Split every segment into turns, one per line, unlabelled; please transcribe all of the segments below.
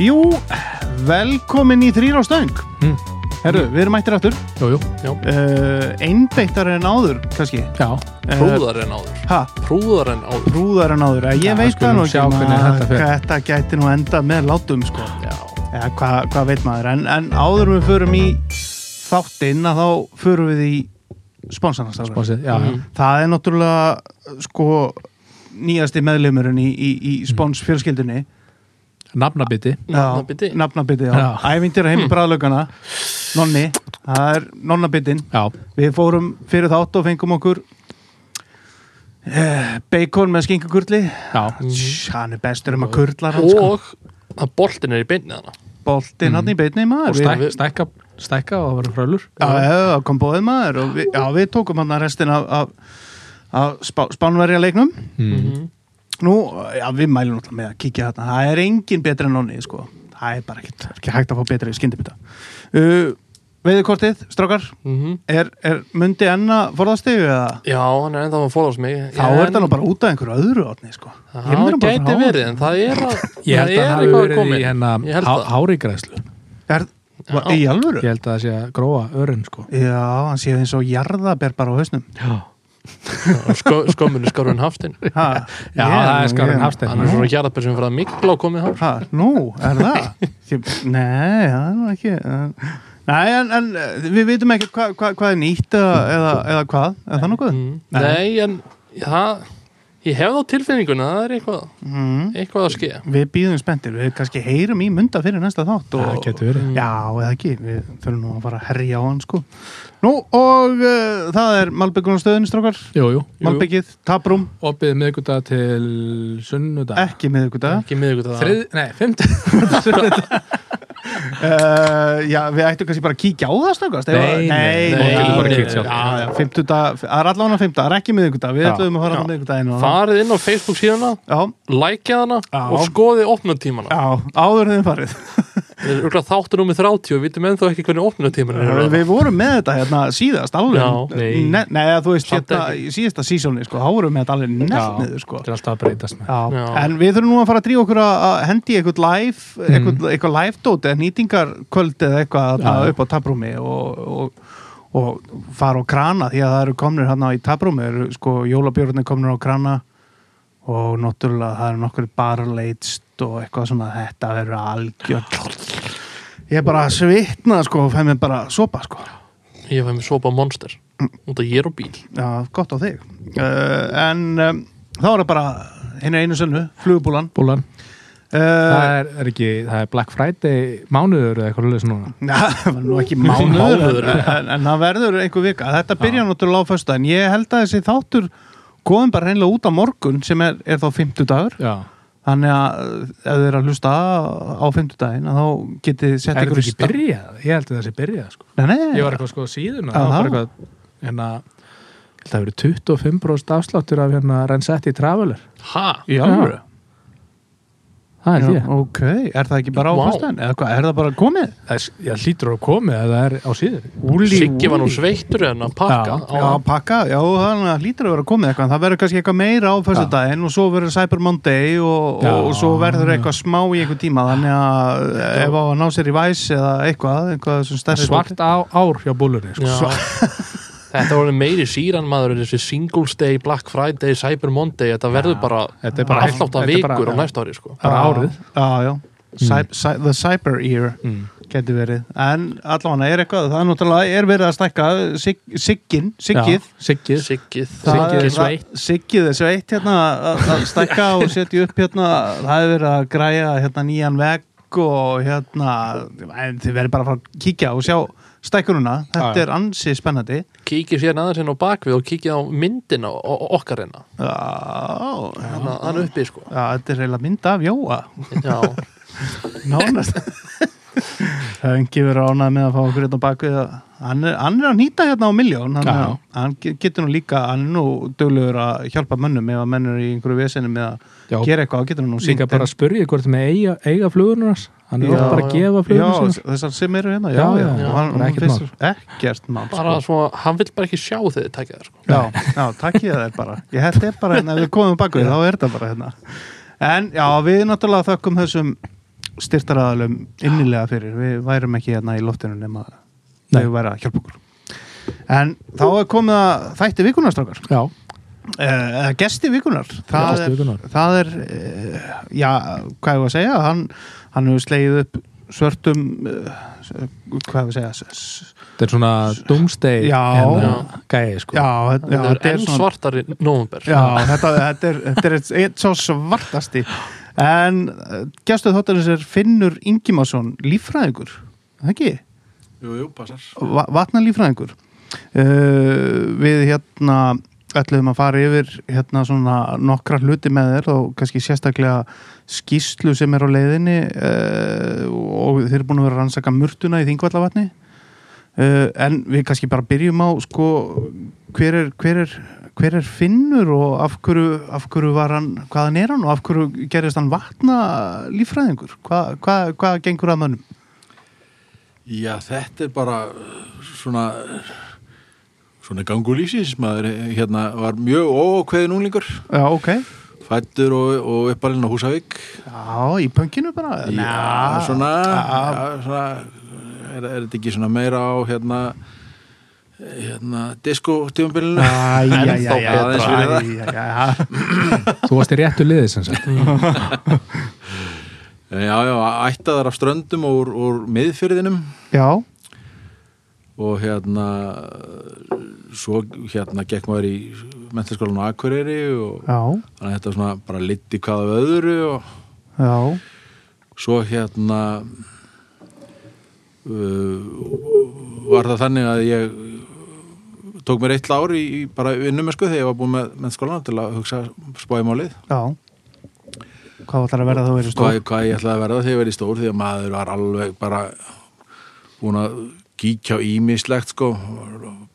Jú, velkomin í þrýr á stöng
Mm.
Herru, við erum mættir aftur
Jú, jú, já,
uh, Einbeittar en áður, kannski
já.
Prúðar
en áður
Ha,
Prúðar en áður
brúðar en áður Eh, Ég
Já,
veit
skulum
það nú ekki
sjá hvernig
maður,
þetta fer.
Þetta gæti nú enda með látum, sko
Já,
Eða, hvað hva veit maður en, en áður en við förum í þáttinn að þá förum við í sponsanastafur
Spásið, já, já.
Það er náttúrulega, sko nýjasti meðlumurinn í, í, í spons fjölskyldunni
Nafnabiti
Nafnabiti?
Já, nafnabiti, já.
Já.
Ævindir að heimi bræðlaugana Nonni, það er nonnabitin
Já,
Við fórum fyrir þátt og fengum okkur eh, Bacon með skinkukurli
já,
Tss, Hann er bestur um að kurla hann sko
og að boltin er í beinni þarna
Boltinn hann í beinni
og
maður
stæk,
Við-
við-
stækka, stækka og það verður frölur
Já, já, já, kom bóðið maður og við, Já, við tókum hann að restin af, af, af spá, spánverja leiknum
Mhm.
Nú, já, við mælum náttúrulega með að kíkja þarna. Það er engin betri en nonni, sko. Það er bara ekkert, ekki hægt að fá betri skyndibita. Uh, veiðikortið, strákar,
Mhm.
er, er mundi enna forðastegu eða?
Já, hann er ennþá að forðast mig
Þá er það nú bara út af einhverju öðru átni, sko. Ég myndi
Það
nú bara
gæti
fara á
verið, en það er að
Ég held að það hafi
eitthvað
verið
komið.
í hennar
Ég held
há,
það.
hárigræslu
Er, va, í alvöru?
Ég held að það sé að gróa örinn sko
Já, hann séð eins og jarðaber bara á hausnum.
Já,
Skö, Skömmun er skarun hafstinn
Ha,
já það er sko skarinn
Hann er
hafstein
svona hjarðabær sem fyrir að mikla og komið hár
Ha, nú, er það? Ég, nei, það er nú ekki... Uh, nei, en, en eh, við vitum ekki hva, hva, hvað er nýtt eða, eða, eða hvað, er það nokkuð?
Mm.
Nei.
Mm, Nei, en það Ég hef þá tilfinninguna, að það er eitthvað
Mm.
Eitthvað að skilja
Við býðum spenntir, við kannski heyrum í munda fyrir næsta þátt og...
Það getur verið.
Já, eða ekki, við þurfum nú að fara að herja á hann sko Nú, og uh, það er Malbyggunarstöðin, strókar
Jú, jú, jú.
Malbyggið, Taprum,
Opið miðgudag til sunnudag
ekki miðvikudag
Ekki miðugut að
Eh? Þrið, nei, fymti
uh, Já, við ættum kannski bara að kíkja á það, strókast
Nei, nei,
nei,
nei,
já,
bara
nei,
kíkja sjálf.
Já, já, fimmtudag, það er allan að fimmtudag, það er ekki miðvikudag Við
Já.
ætlum að fara
Já.
á miðvikudaginn og
Farið inn á Facebook síðuna
Já,
Lækja hana
Já.
og skoðið opnutímana
já, áður þeim farið
Það er örgulega þáttur númið 30 og við vitum ennþá ekki hvernig opnutímana
Uh,
er
Við vorum með þetta hérna síðast alveg
Já, nei.
Ne- Nei, eða þú veist,
Samt
hérna,
ekki.
í síðasta sísóni sko, þá vorum við með þetta alveg nefnt niður sko.
Þetta er alltaf að breytast með
Já.
Já.
En við þurfum nú að fara að drífa okkur að- að hendi í eitthvað live,
Mm.
eitthvað, eitthvað live dót eða nýtingarkvöld eða eitthvað þarna
Já.
upp á taprúmi og, og, og fara á krana því að það eru komnir hérna í taprúmi, eru sko jólabjörðin komnir á krana og náttúrulega það eru nokkur barleitst og eitthvað svona þetta verður algjör Ég er bara að svitna sko og fæ mér bara sopa sko
Ég fæ mér sopa monster Út að ég er á bíl
Já, gott á þig uh, En um, þá er það bara hinn einu sönnu, flugubúlan
Búlan
uh,
Það er, er ekki, það er Black Friday mánuður eða eitthvað leys núna
Nei, það var nú ekki mánuður
Mánuður,
en, en, en það verður einhver vika Þetta byrja náttúrulega á föstu en ég held að þessi þáttur komum bara reynilega út á morgun sem er, er þá 50 dagur
Já,
þannig að ef þið eru að hlusta á 50 daginn að þá getið þið sett
er
ykkur
þetta ekki byrjað? Ég held að það sé byrjað sko
Nei, nei,
Ég var eitthvað sko síðuna
Já.
Það var bara eitthvað hérna ég held að verið 25% afsláttur af hérna Rensetti Traveler
Ha?
í alvöru
Það held
Já,
ég
Ok, er það ekki bara á
Vá.
föstu eða hvað, er það bara komið?
Það er, ég hlýtur að komið að það er á síðun
Úli,
Siggi var nú sveittur en að pakka
Já,
á
Já, pakka, já, þannig að hlýtur að vera komið eitthvað, en það verður kannski eitthvað meira á fyrstu daginn og svo verður Cyber Monday og,
Já.
og, og svo verður eitthvað smá í einhver tíma, þannig að ef á að ná sér í væs eða eitthvað, eitthvað sem stærri
Svart á, ár hjá búlunni sko.
Já. Þetta voru meiri síran maður þessi Singles Day, Black Friday, Cyber Monday þetta verður bara,
Þetta er bara-
bara alltaf
þetta er bara-
vikur á
já.
næsta ári sko.
bara Mm. árið.
Já, já, Cy cy The Cyber Year geti verið, en allavega er eitthvað, það er náttúrulega, er verið að stækka sig, Siggin, Siggið
Já, Siggið
Siggið,
Það
Siggi
er-
Sveit
það- Siggið er sveitt hérna að að stækka og setja upp hérna það er verið að græja hérna nýjan vegg og hérna en þið verður bara að fara að kíkja og sjá stækkununa, þetta
Já, já.
er ansi spennandi
kíkir sér aðeins inn á bakvið og kíkir á myndina og- og okkar hérna
Já, já,
þannig að hann uppi sko
þetta er reyla mynd af Jóa
Já,
nánast Það engi verið ánað með að fá okkur hérna á bakvið að- hann er, hann er að nýta hérna á miljón hann,
Já.
er- hann ge- getur nú líka, hann er nú döglegur að hjálpa mönnum ef að menn eru í einhverju vesinu með að
Já.
gera eitthvað, getur hann nú
Líka
sýnt þeim.
bara að spurja hvort með eiga, eiga flugunars Hann er
Já,
oft bara að
já.
gefa flugunars
Já, þessar sem eru hérna, já,
Já,
já,
já,
og hann,
bara
hann
ekkert
finnst ekkert mál
bara
sko.
svo, hann vill bara ekki sjá þegar þið tækja þér sko.
já, já, takk ég þær bara ég hætti er bara hérna, ef við komum baku þá er þetta bara hérna en já, við náttúrulega þökkum þessum styrtaraðalum innilega fyrir, við værum ekki hérna í loftinu nema
Nei.
þau væri að hjálpa okkur en þá er komið að þætti vikunarstrákar
Já,
eða Eh, gesti vikunar það
Gestir
er,
vikunnar.
það er eh, já, hvað ég var að segja hann, hann hefur slegið upp svörtum eh, hvað ég var að segja s- s-
þetta er svona doomsday
Já.
hérna, gæi sko
já, þetta- já,
þetta er
þetta
enn svartari november
Já, þetta, þetta er, þetta er eitt, eitt svo svartasti en uh, gestuð þáttarins er Finnur Ingimarsson, líffræðingur Er það ekki,
Jú, jú, passar.
Va vatna líffræðingur uh, við hérna ætluðum að fara yfir hérna svona nokkra hluti með þér og kannski sérstaklega skýslu sem er á leiðinni uh, og þeir eru búin að vera að rannsaka murtuna í þingvallavatni uh, en við kannski bara byrjum á sko hver er, hver er, hver er Finnur og af hverju, af hverju var hann, hvaðan er hann og af hverju gerist hann vatna líffræðingur hvað hva, hva gengur að mönnum
Já, þetta er bara uh, svona svona gangulísins maður eh, hérna var mjög ókveðin unglingur
Já, ok
fættur og, og uppalinn á Húsavík
Já, í pönginu bara
Já, svona,
já,
já, svona er, er þetta ekki svona meira á hérna hérna disco tímabilinu
Æ, já, já, já, já,
Ennþá betra.
já, já, já, já.
Þú varst í réttu liði sem sagt
Já, já, ættaðar af ströndum og úr, úr miðfyrðinum
já,
og hérna svo hérna gekk maður í mentaskólan á Akureyri og
já,
þannig að þetta svona bara liti hvað af öðru og
já,
svo hérna uh, var það þannig að ég tók mér eitt lár í, í bara vinnumesku þegar ég var búinn með mennskólan til að hugsa spáði málið
já. Hvað ætlar að verða þú verið
hvað,
stór?
hvað ég ætlaði að verða þegar ég verið stór því að maður var alveg bara búin að kíkja á ímislegt sko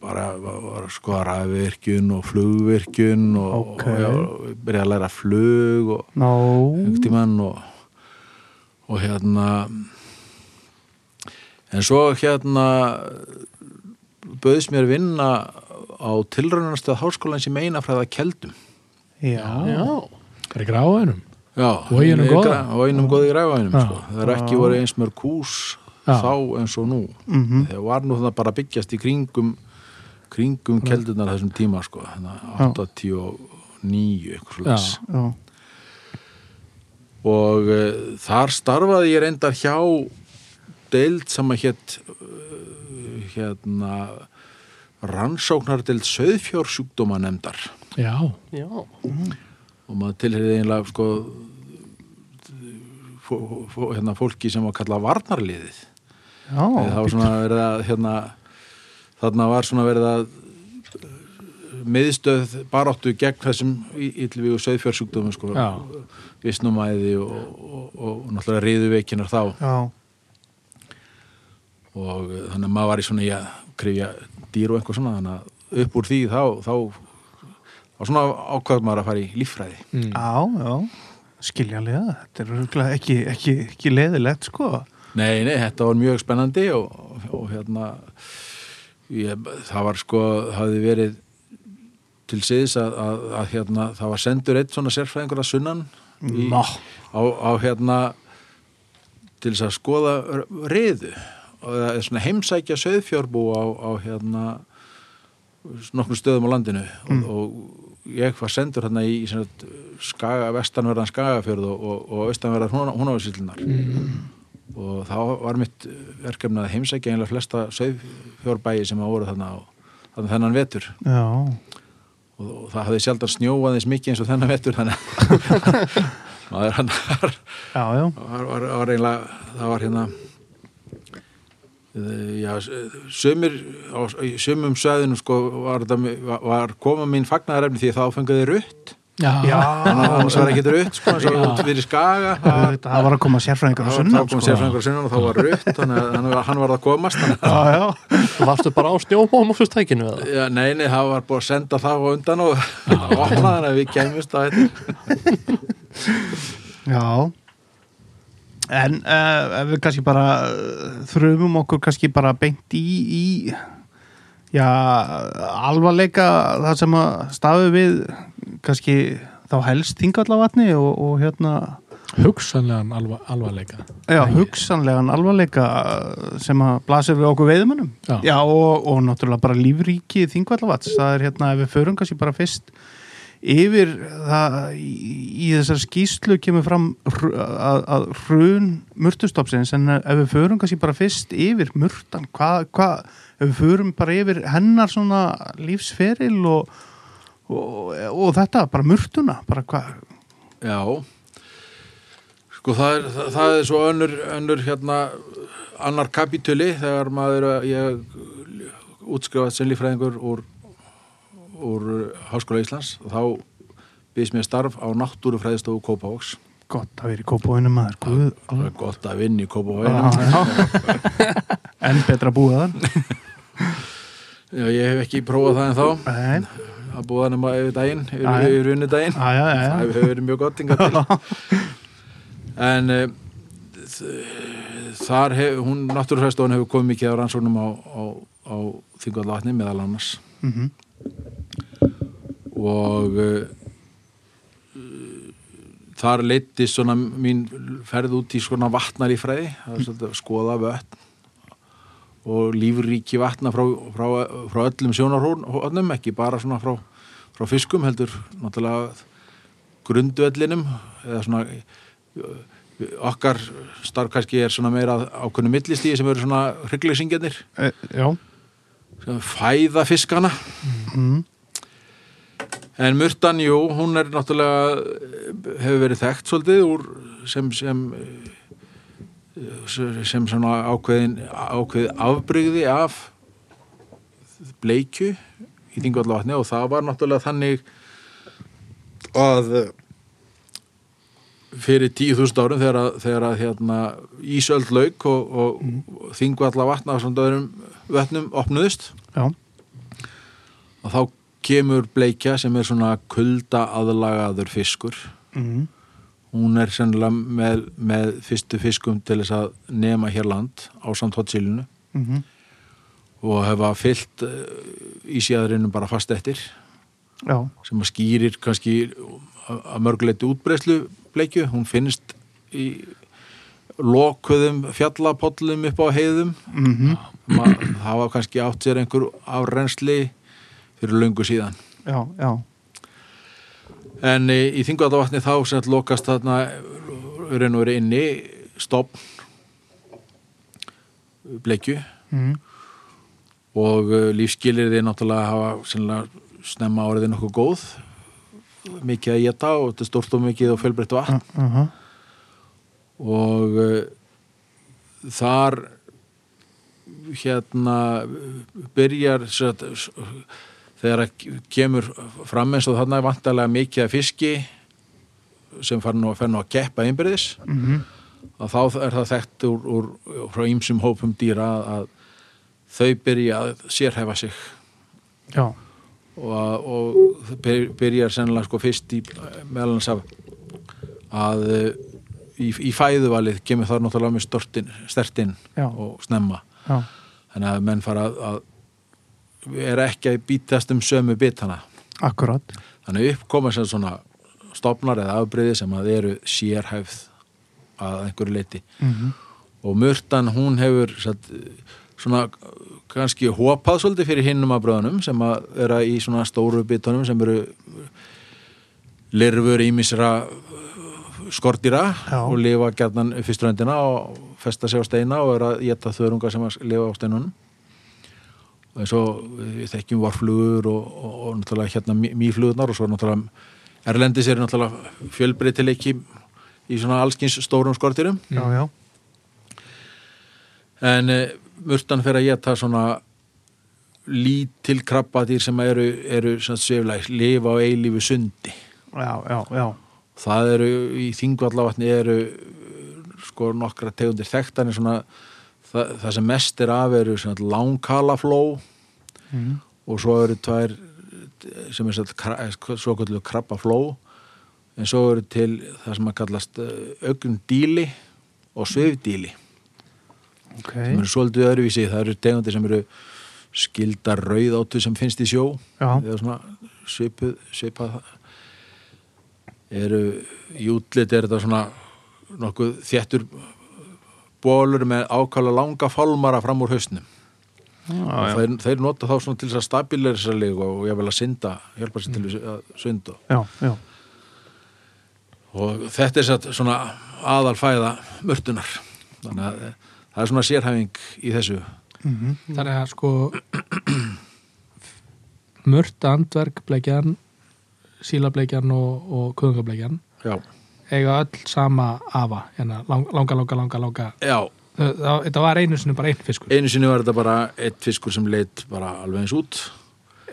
bara var, var sko ræðvirkjun og flugvirkjun og,
Ok.
og já, byrjaði að læra flug og
Nó,
einhvern tímann og, og hérna en svo hérna bauðist mér vinna á tilraunastöð háskólan sem eina fræða keldum
já,
Já.
Það er gráðunum
Já,
Og í einum
í
góða.
gra- og einum góði græfaðinum
Já.
sko. það er ekki voru eins mörg hús
Já.
þá eins og nú
mhm,
þegar var nú það bara að byggjast í kringum kringum keldunar þessum tíma sko, þannig
Já.
að 89 eitthvað
Já.
slags
já,
og uh, þar starfaði ég reyndar hjá deild sem að hétt uh, hérna rannsóknardeild söðfjórsjúkdóma nefndar
Já,
já,
og maður tilheyriði einlega sko fó, fó, hérna, fólki sem var kallað varnarliðið
já,
Ó, það var svona verið að hérna, þarna var svona verið að eh, miðstöð baráttu gegn þessum íllvi og söðfjársjúkdómum sko,
já,
visnumæði og, og, og, og náttúrulega riðuveikinar þá
já,
og eh, þannig að maður var í svona í að krifja dýr og eitthvað svona þannig að upp úr því þá, þá, þá svona ákvað maður að fara í líffræði
mm.
já, já, skiljanlega, þetta er örugglega ekki, ekki, ekki leðilegt, sko.
Nei, nei, þetta var mjög spennandi og, og, og hérna ég, það var sko, hafði verið til síðis að, að, að hérna, það var sendur eitt svona sérfræðingur að sunnan í,
Ná,
á, á hérna til þess að skoða r- riðu og það er svona heimsækja söðfjörbú á, á hérna nokkrum stöðum á landinu og, og ég var sendur hérna í, í sem sagt, skaga, vestanverðan skagafjörð og, og, og austanverðan húnáðsýllunar og þá var mitt eh, verkefni að heimsækja einlega flesta söðfjörbæi sem að voru þarna á þarna þennan vetur
já,
og, og það hafði sjaldan snjóað eins mikið eins og þennan vetur þannig að maður hann var
já, já,
Það var, var, var eiginlega, það var hérna eh, já, sömur á í sömum svæðinu sko var, þetta mi- var- var koma mín fagnaðarefni því að þá fenguði rutt
já,
en annars var ekki rutt sko eins og út fyrir skaga það
auðvitað, það var að koma sérfræðingar á
þá- þá
sunnan,
kom
sko.
sérfræðingur að sunnan og þá var rutt þannig að hann var- hann var að komast þannig að-
Já, já,
varstu bara á snjómóðum á fyrst tækinu eða?
Já, nei, nei, það var búið að senda það á undan og opna þannig að við kemist á þetta
Já En uh, ef við kannski bara uh, þröfum okkur kannski bara beint í, í já, alvarleika það sem að stafi við kannski þá helst þingallavatni og, og hérna
hugsanlegan alva, alvarleika
Já, hugsanlegan alvarleika uh, sem að blasir við okkur veiðumönnum.
Já.
Já, og, og náttúrulega bara lífríki þingvallavats. Það er hérna, ef við förum kannski bara fyrst yfir það í, í þessar skýslu kemur fram hr- að að hrun murtustofsins en ef við förum kannski bara fyrst yfir murtan, hvað, hva, ef við förum bara yfir hennar svona lífsferil og, og, og þetta, bara murtuna, bara hvað,
Já Sko það er, það, það er svo önnur, önnur hérna annar kapituli þegar maður er að- ég útskrifað sem líffræðingur úr, úr Háskóla Íslands og þá býðst mér starf á náttúrufræðistofu Kópavogs
gott að vera í kópóinu maður, guð,
það er gott að vinna í
Ah,
Kópavoginum
en betra að búa þar
Já, ég hef ekki prófað það en þá
Nei,
að búa nema yfir daginn, yfir,
Jæja.
yfir vinnudaginn
já, já,
það
já,
hefur verið mjög gott inga til en uh, þar hef, hún náttúrfræðstofan hefur komið mikið á rannsóknum á, á, á þingvallavatni meðal annars
Mhm.
og uh, þar leiti svona mín ferð út í svona vatnalífræði það er svolítið að skoða vötn og lífríki vatna frá, frá, frá öllum sjónarhóðnum ekki bara svona frá, frá fiskum heldur náttúrulega grunduellinum eða svona ö, okkar starf kannski er svona meira ákveðnu millistíði sem eru svona hryggleysingjarnir
E, já.
sem fæða fiskana
Mm.
En Murtan, jú, hún er náttúrulega hefur verið þekkt svolítið úr sem sem eh, sem svona ákveðin ákveðið afbrygði af bleikju í Þingvallavatni og það var náttúrulega þannig að fyrir 10.000 árum þegar að, þegar að hérna, ísöld lauk og, og mm. Þingvallavatna og svona öðrum vötnum opnuðust
já,
og þá kemur bleikja sem er svona kulda aðlagaður fiskur
mm.
hún er sennilega með, með fyrstu fiskum til þess að nema hér land á samt hotsilinu
mhm.
og hefa fyllt eh, í síðarinnum bara fast eftir
já,
sem að skýrir kannski að að mörguleiti útbreyslu bleikju hún finnst í lokuðum fjallapollum upp á heiðum
mhm.
Ma, það var kannski átt sér einhver afrensli fyrir löngu síðan
já, já,
En eh, í, í Þingvallavatni þá sem sagt lokast þarna eh, raun og verið inni stopn bleikju
mm.
og uh, lífskilirði náttúrulega hafa sennilega snemma áriði nokkuð góð mikið að geta og þetta er stórt og mikið og fjölbreytt vatn
uh -huh.
og uh, þar hérna byrjar sem sagt, s- þegar að kemur fram eins og þarna er vantarlega mikið af fiski sem fer nú, fer nú að keppa einbyrðis
Mhm.
að þá er það þekkt úr, úr, frá ýmsum hópum dýra að, að þau byrja að sérhefa sig
já,
og, að- og það byr- byrjar sennilega sko fyrst í meðalans af að eh, í, í fæðuvalið kemur það náttúrulega með stortin, stertinn
Já.
og snemma
já,
þannig að menn fara að, að er ekki að bítast um sömu bitana
akkurat,
þannig upp koma sem svona stopnar eða afbreyði sem að eru sérhæfð að einhverju leiti
mhm.
og Murtan hún hefur satt, svona kannski hopað svolítið fyrir hinnum að bröðunum sem að vera í svona stóru bitunum sem eru lirfur ímisra skortýra
Já.
og lifa gjarnan fyrströndina og festa sig á steina og vera að geta þörunga sem að lifa á steinunum og eins og við þekkjum varflugur og, og, og náttúrulega hérna mý- mýflugurnar og svo náttúrulega erlendis er náttúrulega fjölbreytileiki í svona allskins stórum skortýrum
já, já,
En uh, murtan fer að geta svona lítil krabbadýr sem eru, eru sveflæg, lifa á eilífu sundi.
já, já, já,
Það eru í þingvallavatni eru eh, sko nokkra tegundir þekktan er svona það, það sem mest er af eru svona langkalafló
mm.
og svo eru tvær eh, sem er sagt kra- eh, svo kallu krabbafló en svo eru til það sem að kallast augnum díli og svifdíli.
ok,
sem eru svolítið öðruvísi, það eru tegundir sem eru skildar rauðáttu sem finnst í sjó
já,
eða svona svipuð, svipað eru í útlit er þetta svona nokkuð þéttur bólur með ákala langa fálmara fram úr hausnum
já,
og
já,
þeir, þeir nota þá svona til þess að stabilisera sig og ég vil að synda, hjálpa sér til að synda
já, já.
og þetta er satt svona aðalfæða mörtunar þannig að það er svona sérhæfing í þessu
Mhm.
þannig að sko mört andverkbleikjan sílableikjan og, og kuðungableikjan
já,
eiga öll sama afa hérna, lang- langa, langa, langa, langa
já
Þa- það- þetta var einu sinni bara einn fiskur
einu sinni var þetta bara eitt fiskur sem leitt bara alveg eins út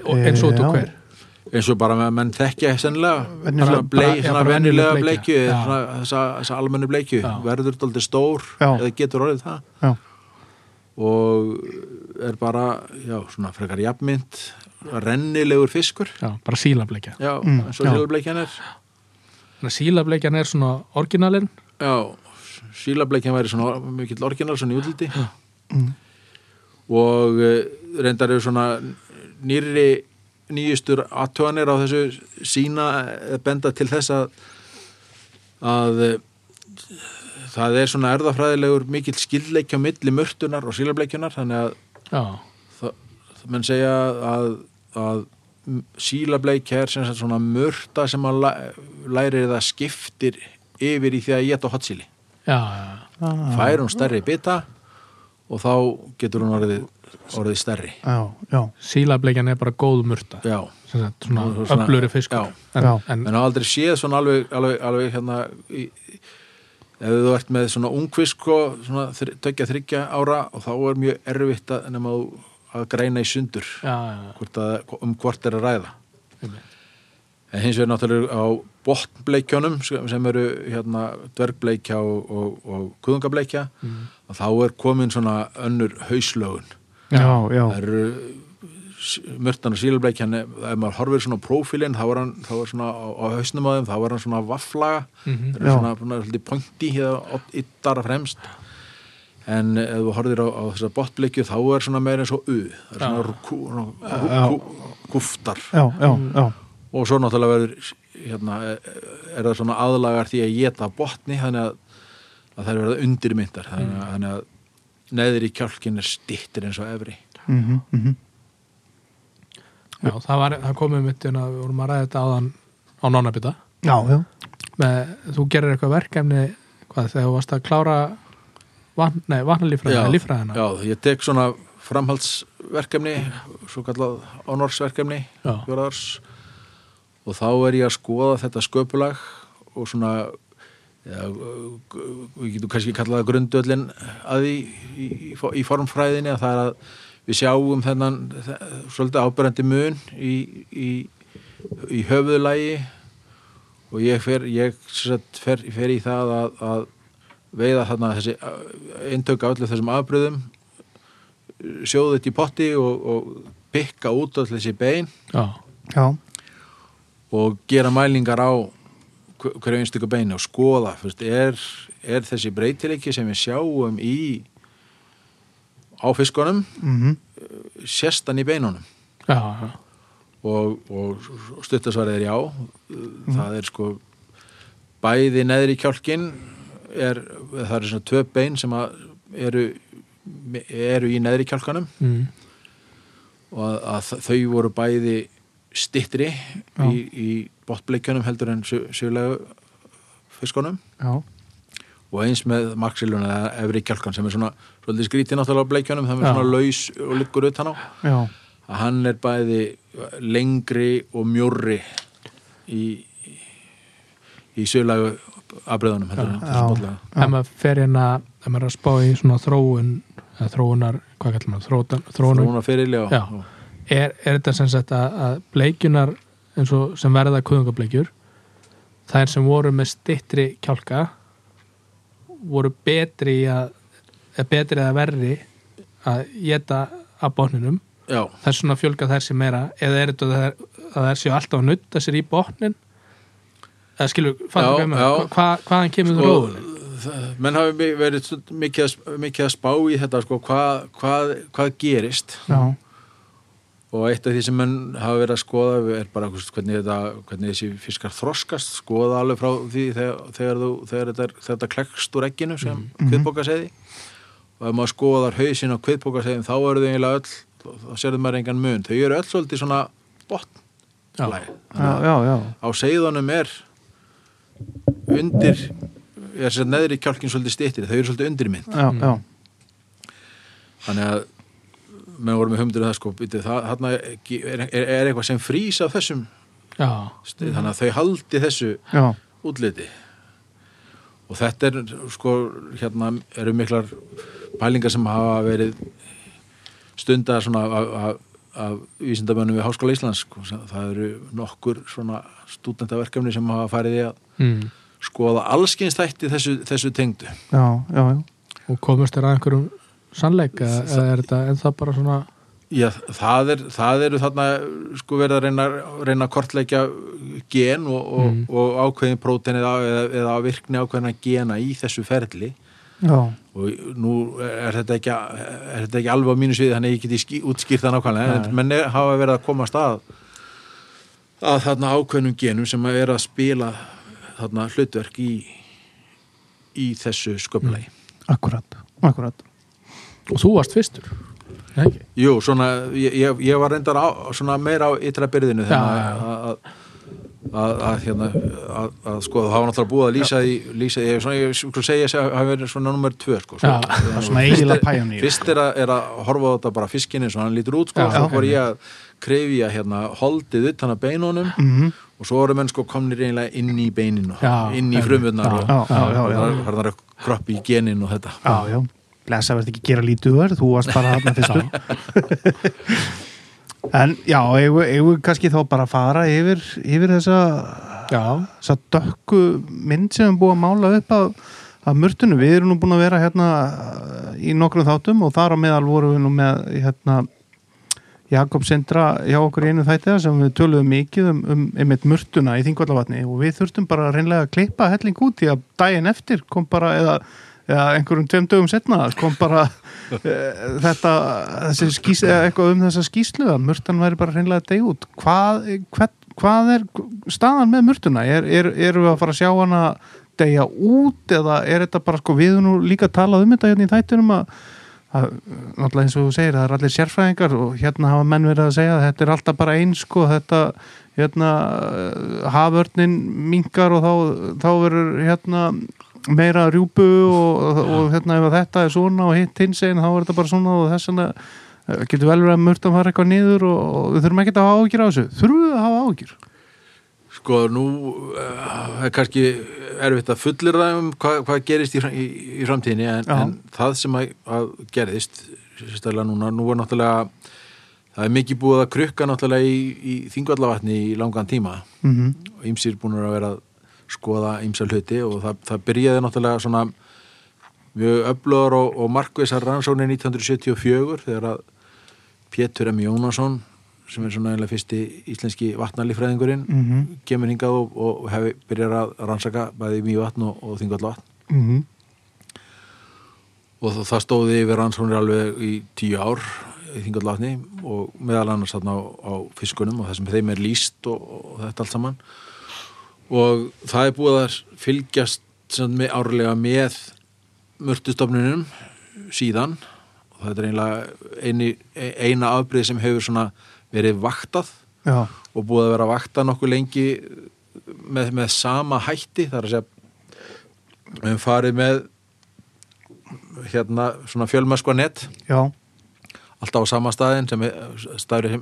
og eins og út
Já.
og hver
eins og bara með menn þekkja sennilega
Venjulega-
svona blei,
bara- já,
svona
bara
venjulega
venjuleg bleikju,
bleikju eða
já.
svona þessa, þessa almennu bleikju
Já.
verður daldið stór
Já.
eða getur orðið það
já.
og er bara, já, svona frekar jafnmynd, rennilegur fiskur
já, bara sílableikja
já,
Mm,
eins og
já.
sílableikjan er
Þannig að sílableikjan er svona orginalinn
já, sílableikjan væri svona mikill orginal, svona í útliti og eh, reyndar eru svona nýri nýjustur aðtöðanir á þessu sína eh, benda til þess að að eh, það er svona erðafræðilegur mikill skilleikja á milli mörtunar og sílableikjunar þannig að
já,
það, það menn segja að, að sílableikja er sem sagt svona mörta sem að læ, lærir það skiptir yfir í því að geta hotsíli
já, já,
Ah,
fær hún stærri bita og þá getur hún orðið, orðið stærri
já, já,
sílableikjan er bara góð murta
já,
sem sagt, svona
Nú, svona-
öfluri fiskur
já.
en,
Já.
en,
en hafa aldrei séð svona alveg, alveg, alveg hérna í, í- ef þú ert með svona ungfisk og svona þri- tveggja þryggja ára og þá er mjög erfitt að, nema þú að greina í sundur
já, já,
hvort að, um hvort er að ræða
einmitt.
en hins vegar náttúrulega á botnbleikjónum sem sem eru hérna dvergbleikja og, og, og kuðungableikja og þá er komin svona önnur hauslögun
já, já,
það eru mörtan og sílbleikjan ef ef maður horfir svona á prófílinn þá er hann, þá er svona á, á hausnum á þeim þá er hann svona vafflaga
Mhm.
það er
Mm-hmm. Já.
svona, svona svolítið pointi hérna yttara fremst en eh, ef þú horfir á, á þessa botbleikju þá er svona meira eins og u það er svona kú, kú, kú, kúftar
já, já, já.
og svo náttúrulega verður hérna, er það svona aðlagar því að geta botni þannig að, að það er verið undirmyndar þannig
Mm.
að, þannig að neðri kjálkin er stittir eins og efri
mhm, mhm.
já, það, var, það komið mitt en að við vorum að ræða þetta áðan á nánabita
já, já,
með, þú gerir eitthvað verkefni hvað þegar þú varst að klára vatn, nei, vatnalífræðina, lífræðina
já, ég tek svona framhaldsverkefni svo kallað honorsverkefni
Já.
fjóraðars og þá er ég að skoða þetta sköpulag og svona já, g- við getum kannski kallað það grundöllin að því í, í, í formfræðinni að það er að við sjáum þennan þe- svolítið ábyrjandi mun í, í, í höfuðlægi og ég fer, ég sem sagt fer, fer í það að, að veiða þarna þessi eintöku allir þessum afbröðum sjóðu þetta í potti og, og pikka út allir þessi bein
já,
já,
og gera mælingar á hver- hverju einstöku beinu og skoða fyrst, er, er þessi breytileiki sem við sjáum í á fiskunum
mhm,
sérstann í beinunum
já, já,
og, og stuttasvarið er já það er sko bæði neðri kjálkin er, það eru svona tvö bein sem að eru eru í neðri kjálkanum
mm,
og að, að þau voru bæði stittri í, í botbleikjunum heldur en sjölega fiskunum
já,
og eins með maxilun eða efri kjálkan sem er svona svolítið skrítið náttúrulega á bleikjunum það er
Já.
svona laus og liggur utan á
já,
að hann er bæði lengri og mjórri í í sjölagu afbröðunum heldur en
Já.
þessum botnlega.
ef maður fer hérna ef maður er að spá í svona þróun eða þróunar, hvað kallar maður þróunar, þróunar
þróna fyrir já,
Já. er, er þetta sem sagt að, að bleikjunar eins og sem verða kuðungableikjur þær sem voru með stittri kjálka voru betri í að eða betri eða verri að geta að botninum
já,
þess svona fjölga þær sem meira eða er þetta að þær, að þær séu alltaf að nutta sér í botnin eða skilur,
Já,
fattu hvað ég meina?
já.
Hva- hva- hvaðan kemur þú
Sko,
róðunni
það- menn hafi mi- verið stund-
Mm.
mikið að, mikið að spá í þetta sko, hvað, hvað, hvað gerist
já,
og eitt af því sem menn hafa verið að skoða er bara þú veist, hvernig, þetta, hvernig þessi fiskar þroskast skoða alveg frá því þegar, þegar, þú, þegar þetta, þetta klekst úr egginu sem mm og ef maður skoðar hausin á kviðbókarsæðin þá eru þau eiginlega öll, þá sérðu maður engan mun þau eru öll svolítið svona botn
Já.
já, já, já,
á seiðunum er undir er sér neðri kjálkin svolítið stýttir þau eru svolítið undirmynd
já, já.
þannig að menn voru með humdur um það sko býtu, það, þarna er, er, er eitthvað sem frýs af þessum
já,
stið, þannig að þau haldi þessu
já.
útliti og þetta er sko hérna eru miklar pælingar sem hafa verið stundar svona af, af, af vísindamönnum við Háskóla Íslands sko. það eru nokkur svona stúdentaverkefni sem hafa farið í að
mm.
skoða allskynstætti þessu, þessu tengdu
já, já, já.
og komast þér að einhverjum sannleika eða er þetta ennþá bara svona
Já, það, er, það eru þarna sko verið að reyna, reyna að kortleikja gen og, og,
Mm.
og ákveðin prótein eða, eða, eða virkni ákveðina gena í þessu ferli
Já,
og nú er þetta ekki, er þetta ekki alveg á mínu sviði þannig að ég geti ský, útskýrt það nákvæmlega
Nei.
en menn er, hafa verið að komast að að þarna ákveðnum genum sem að er að spila þarna hlutverk í í þessu sköpulegi
akkurat, akkurat.
og þú varst fyrstur Nei, ekki?
Jú, svona, ég, ég- ég var reyndar á, svona meira á ytra byrðinu
Já,
þannig
já, já.
að- að að, að, hérna, að, að sko það hafa náttúrulega búið að lýsa í, lýsa í, ég, svona, ég skulle segja að það hafa verið svona nummer tvö sko,
Já.
Það er svona eiginlega pæjónýr.
Fyrst er að, er að horfa á þetta bara fiskinn eins og hann lítur út sko,
Já,
og svo
já.
voru ég að krefja hérna holdið utan að beinunum
Mm.
Mhm.
og svo voru menn sko komnir eiginlega inn í beininu,
Já,
inn í
einmitt.
frumvunnar
Já,
Já, já, já,
og
já.
það er að kroppi í genin og þetta.
Já, já. Blessa verður ekki að gera lítið verð, þú varst bara þarna fyrstur. en já, eigum við- eigum við kannski þá bara að fara yfir, yfir þessa,
já,
þessa dökku mynd sem við erum búið að mála upp af, af mörtunum. Við erum nú búin að vera hérna í nokkrum þáttum og þar á meðal vorum við nú með hérna Jakob Sindra hjá okkur í einu þættiða sem við töluðum mikið um, um einmitt mörtuna í Þingvallavatni og við þurftum bara reynlega að klippa helling út því að daginn eftir kom bara eða, eða einhverjum tveim dögum setna kom bara e, þetta þessi skís, eða eitthvað um þessa skýslu að mörtan væri bara reynlega deg út hvað, hvað, hvað er staðan með mörtuna? Er, er, erum við að fara að sjá hana degja út eða er þetta bara sko við höfum nú líka talað um þetta hérna í þættinum að Það, náttúrulega eins og þú segir, það er allir sérfræðingar og hérna hafa menn verið að segja að þetta er alltaf bara eins sko, þetta hérna, eh, haförnin minkar og þá, þá verður hérna meira rjúpu og, og hérna ef að þetta er svona og hitt hins einn þá er þetta bara svona og þess vegna eh, getur vel verið að mörtum fara eitthvað niður og, og við þurfum ekki að hafa ágjur á þessu þurfum við að hafa ágjur?
Sko, nú eh, er kannski erfitt að fullir það um hvað, hvað gerist í, fram- í, í framtíðinni en,
Já.
en það sem að, að gerðist sérstaklega núna, nú er náttúrulega það er mikið búið að krukka náttúrulega í, í þingvallavatni í langan tíma
Mm
og ýmsir búinur að vera að skoða ýmsa hluti og það, það byrjaði náttúrulega svona mjög öflöður og, og markvisar rannsóknir 1974 þegar að Pétur M. Jónasson sem er svona eiginlega fyrsti íslenski vatnalífræðingurinn
Mhm.
kemur hingað og, og hefur byrjar að rannsaka bæði mjög vatn og, og þingvallavatn
-hmm.
og það, það stóði yfir rannsóknir alveg í tíu ár í þingallatni og meðal annars þarna á, á fiskunum og það sem þeim er líst og, og þetta allt saman og það er búið að fylgjast sem, með, árlega með mörtustofnunum síðan og þetta er einlega eini, e-, eina afbrið sem hefur svona verið vaktað
Já,
og búið að vera að vakta nokkuð lengi með, með sama hætti þar að segja við höfum farið með hérna svona fjölmöskva net
já,
alltaf á sama staðin sem er staður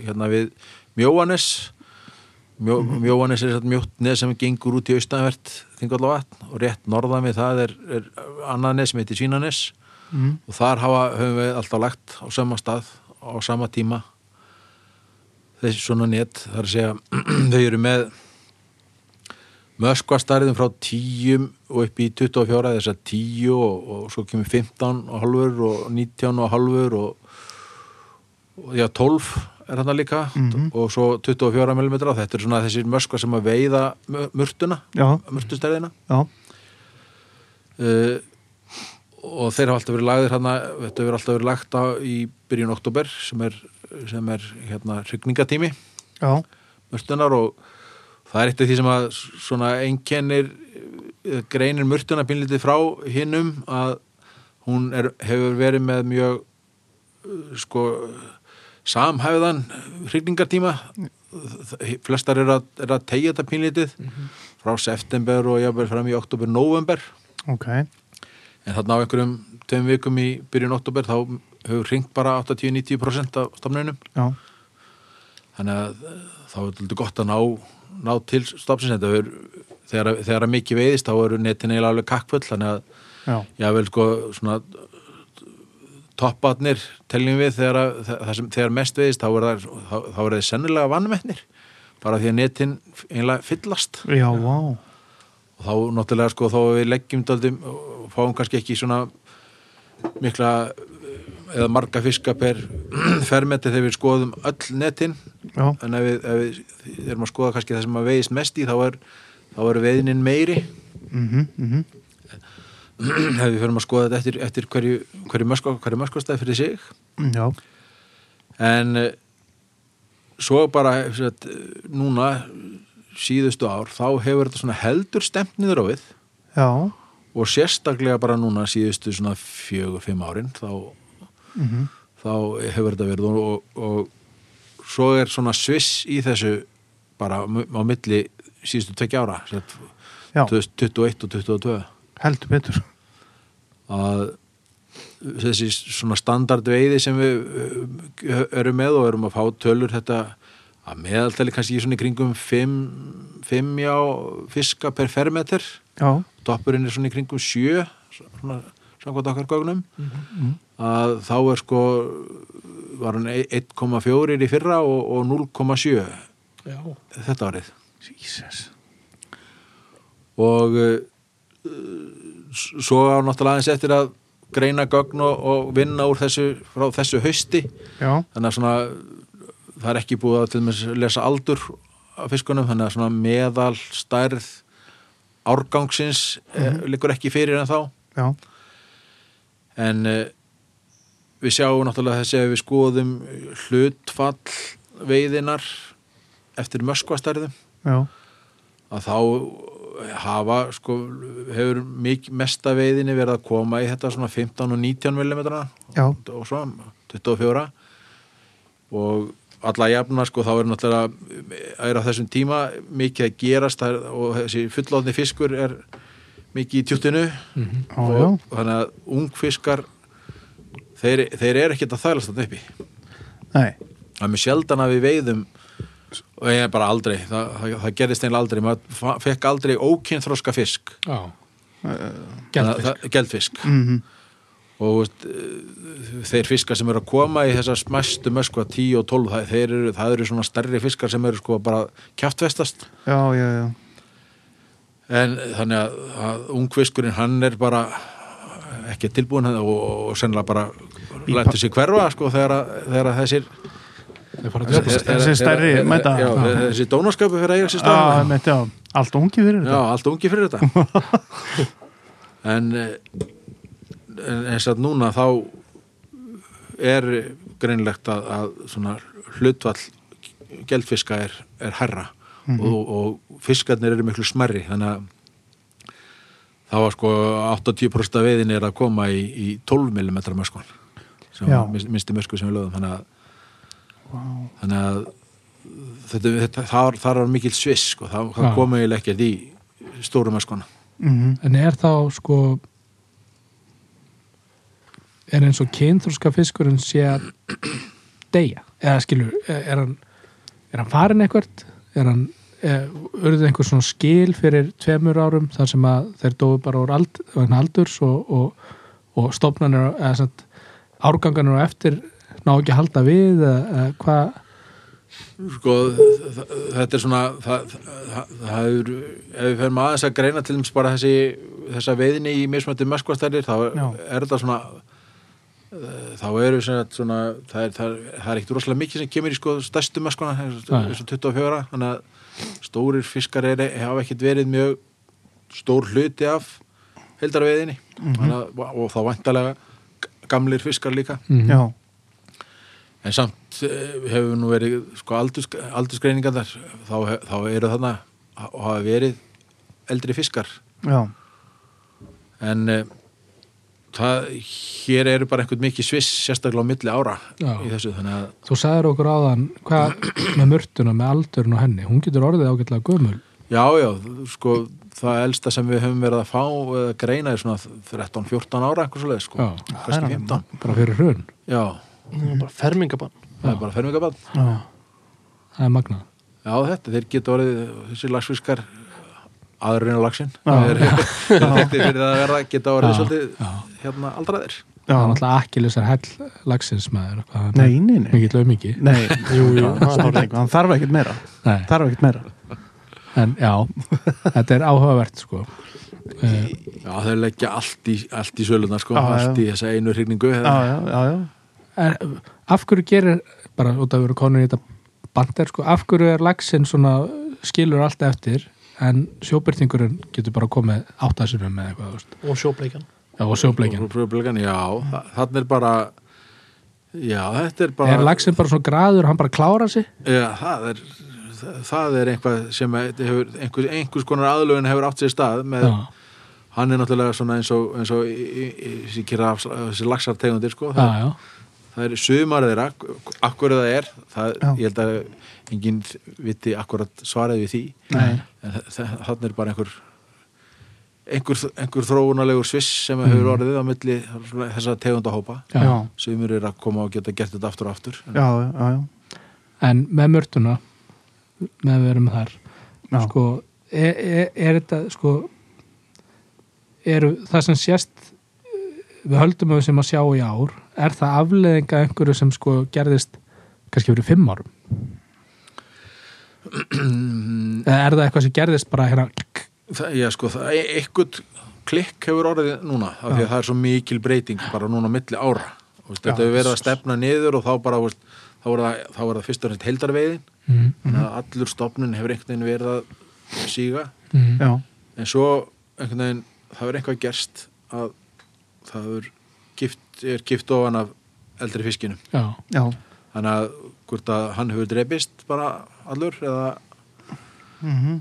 hérna við Mjóanes Mjó, Mjóanes er þetta mjótt neð sem gengur út í austanvert þingallavatn og rétt norðan við það er, er annað neð sem heitir Svínanes
mm.
og þar hafa, höfum við alltaf lagt á sama stað á sama tíma þessi svona net þar að segja, þau eru með möskvastarðum frá 10 og upp í 24 þess að 10 og, og svo kemur 15 og halvur og 19 og halvur og, og já 12 er hann líka
Mhm.
og svo 24 mm þetta er svona þessir möskva sem að veiða mu- murtuna,
já,
murtustarðina
já,
uh, og þeir hafa alltaf verið lagðir hana, þetta hefur alltaf verið lagt á í byrjun oktober sem er sem er hérna hrygningatími
já,
mörtunar og það er eitt af því sem að svona einkennir eh, greinir mörtuna pínlítið frá hinnum að hún er, hefur verið með mjög eh, sko samhæfðan hrygningartíma Þ- flestar er að, er að tegja þetta pínlítið frá september og jáfnvel fram í oktober, november
ok
en þarna á einhverjum tveim vikum í byrjun oktober þá hefur hringt bara 80-90% af stafnunum
já,
þannig að eh, þá er þetta gott að ná, ná til stafnsins þetta er þegar, að- þegar að mikið veiðist þá eru netin eiginlega alveg kakkfull þannig að
já,
jável sko svona topparnir teljum við þegar, að, þa- það sem, þegar mest veiðist þá er það, þá, þá er það sennilega vannmennir bara því að netin eiginlega fyllast
já, vá
og þá náttúrulega sko þá við leggjum daldum og fáum kannski ekki svona mikla eða marga fiska per fermenti þegar við skoðum öll netin
já,
en ef við, ef við erum að skoða kannski það sem að veiðist mest í þá er, þá er veiðinin meiri
mhm, mhm
ef við förum að skoða þetta eftir, eftir hverju, hverju, mösko, hverju möskostæð fyrir sig
já,
en eh, svo bara sem sagt, núna síðustu ár þá hefur þetta svona heldur stemt niður á við
já,
og sérstaklega bara núna síðustu svona fjögur, fimm árin þá,
mhm
þá hefur þetta verið og, og, og svo er svona sviss í þessu bara á mi- á milli síðustu tvekja ára sem sagt,
já,
2021 og 2022
heldur betur
að þessi svona standardveiði sem við uh, erum með og erum að fá tölur þetta að meðaltali kannski í svona í kringum 5, 5 já fiska per fermeter
já,
toppurinn er svona í kringum sjö svona samkvæmt okkar gögnum að þá er sko var hann e- ein- 1,4 í fyrra og, og 0,7
já,
þetta árið
Jesus
og uh, s- svo á náttúrulega aðeins eftir að greina gögn og, og vinna úr þessu frá þessu hausti
já,
þannig að svona það er ekki búið að til dæmis lesa aldur af fiskunum, þannig að svona meðal stærð árgangsins mm liggur ekki fyrir en þá
já,
en uh, við sjáum náttúrulega þessi að við skoðum hlutfall veiðinar eftir möskvastærðum
já
að þá hafa sko, hefur mik, mesta veiðinni verið að koma í þetta svona 15 og 19 mm
já,
og svo 24 og alla jafna sko þá er náttúrulega er á þessum tíma mikið að gerast það er, og þessi fullóðni fiskur er mikið í tjúttinu
já, já
og þannig að ungfiskar þeir, þeir eru ekkert að þælast þannig uppi
nei,
það er mjög sjaldan að við veiðum og ég er bara aldrei það, það, það gerðist einlega aldrei maður fa- fekk aldrei ókynþroska fisk
já
Þannig
Geldfisk.
að það- geldfisk
mhm,
og veist, eh, þeir fiskar sem eru að koma í þessar smæstu möskva 10 og 12 það, þeir eru, það eru svona stærri fiskar sem eru sko bara kjáftvestast
já, já, já
En þannig að, að ungfiskurinn hann er bara ekki tilbúin og, og, og sennilega bara lætur sig hverfa sko þegar, að, þegar að þessir
það er bara að
Þessi-
drepast.
þessi
þegar-
stærri
þegar-
mæta. Ah,
Já,
Já.
þessi dónaskapu fyrir að eiga sér
Já,
stafna
einmitt, já, allt ungi fyrir
Já,
þetta
allt ungi fyrir þetta En eh, en eins og núna þá er greinlegt að, að svona hlutvall gelfiska er, er herra
Mhm.
og, og fiskarnir eru miklu smerri þannig að það var sko 80% af veiðin er að koma í, í 12 mm möskun sem
Já.
var mis- minnsti mösku sem við lögum þannig að, þannig að þetta, þetta, þar, þar var mikil sviss sko, það, það
Já.
kom eiginlega ekkert í stóru möskuna
mhm,
en er þá sko er eins og kynþróska fiskurinn sé að deyja eða skilur, er er hann er hann farin eitthvert er hann, e, urðu einhver svona skil fyrir tveimur árum þar sem að þeir dói bara úr ald, vegna aldurs og, og, og stofnanir eða satt, árganganir og eftir ná ekki að halda við eða, eða hvað
sko þ- þ- þetta er svona það, það, það er, ef við ferum aðeins að greina til dæmis bara þessi þessa veiðinni í mismöndum möskvastælir þá er,
Já.
er þetta svona eh, þá eru sem sagt svona það er, það er, það er ekkert rosalega mikið sem kemur í sko stærstu möskuna,
Nei.
þessu 24 þannig að stórir fiskar er, hafa ekkert verið mjög stór hluti af heldarveiðinni
Mhm.
mm -hmm. og þá vantalega gamlir fiskar líka
mm
já,
en samt eh, hefur nú verið sko aldurs, aldursgreiningar þar þá, he- þá eru þarna og hafa verið eldri fiskar
já,
en eh, það, hér eru bara einhvern mikið sviss sérstaklega á milli ára
Já.
í þessu þannig að
Þú sagðir okkur áðan hvað með mörtuna, með aldurinn og henni hún getur orðið ágætlega gömul
já, já, sko það elsta sem við höfum verið að fá eða greina er svona 13-14 ára eitthvað svoleið sko,
Já.
Það er
kannski 15
bara fyrir hrun,
já,
Það er bara fermingabann
það er bara fermingabann
já,
það er magnað
já, þetta, þeir geta orðið þessi lagsfiskar aðurinn á lagsin
Já.
þeir þeir þekktir fyrir það að vera geta orðið
Já.
svolítið
Já.
hérna aldraðir
það er
já.
náttúrulega ekki lýsar hell lagsins maður, hvað hann
Nei, nei, nei.
mikill aumingi
Nei, jú,
jú, það er
jú, hann þarf ekkert meira
Nei,
þarf ekkert meira
en já, þetta er áhugavert sko uh,
já, þeir leggja allt í, allt í sölunar sko,
Já,
allt
já.
í þessa einu hrigningu
Já, já, já, já
er, af hverju gerir bara út af að vera konur í þetta bandar sko, af hverju er lagsin svona skilur allt eftir en sjóbyrtingurinn getur bara komið áttasunum með eitthvað, þú veist.
og sjóbleikjan
já, og
Mhm.
sjóbleikin
Pröfubleikan, já, þa- þarna er bara já, þetta er bara
er lagsin bara svona graður, hann bara klára sig
já, það er það- það er eitthvað sem að hefur, einhvers, einhvers konar aðlögun hefur átt sér stað með,
já,
hann er náttúrulega svona eins og, eins og í- í- í- þessi kyrrahafs- þessi laxartegundir sko,
já,
það,
já,
það er sumar þeirra, akkur það er það,
Já.
ég held að enginn viti akkurat svarið við því
Nei.
en þannig er bara einhver einhver, einhver þróunalegur sviss sem hefur orðið á milli þessa tegundahópa
já.
Mm. Já,
sumir eru að koma og geta gert þetta aftur og aftur
já, já, já.
en með mörtuna með að verum þar
Já.
sko, er, er, er þetta sko eru það sem sést við höldum að við sem að sjá í ár er það afleðinga einhverju sem sko gerðist kannski fyrir fimm árum eða er það eitthvað sem gerðist bara hérna
það, já, sko, það, e- eitthvað klikk hefur orðið núna af því að það er svo mikil breyting bara núna á milli ára Þú veist, þetta hefur verið að stefna niður og þá bara þú veist, þá er það, þá er það fyrst og næst heildarveiðin
mm,
þannig að allur stofnun hefur einhvern veginn verið að síga
mm,
já.
en svo einhvern veginn það hefur eitthvað gerst að það hefur gift, er gift ofan af eldri fiskinum
já,
já.
þannig að hvort að hann hefur drepist bara allur eða
mhm,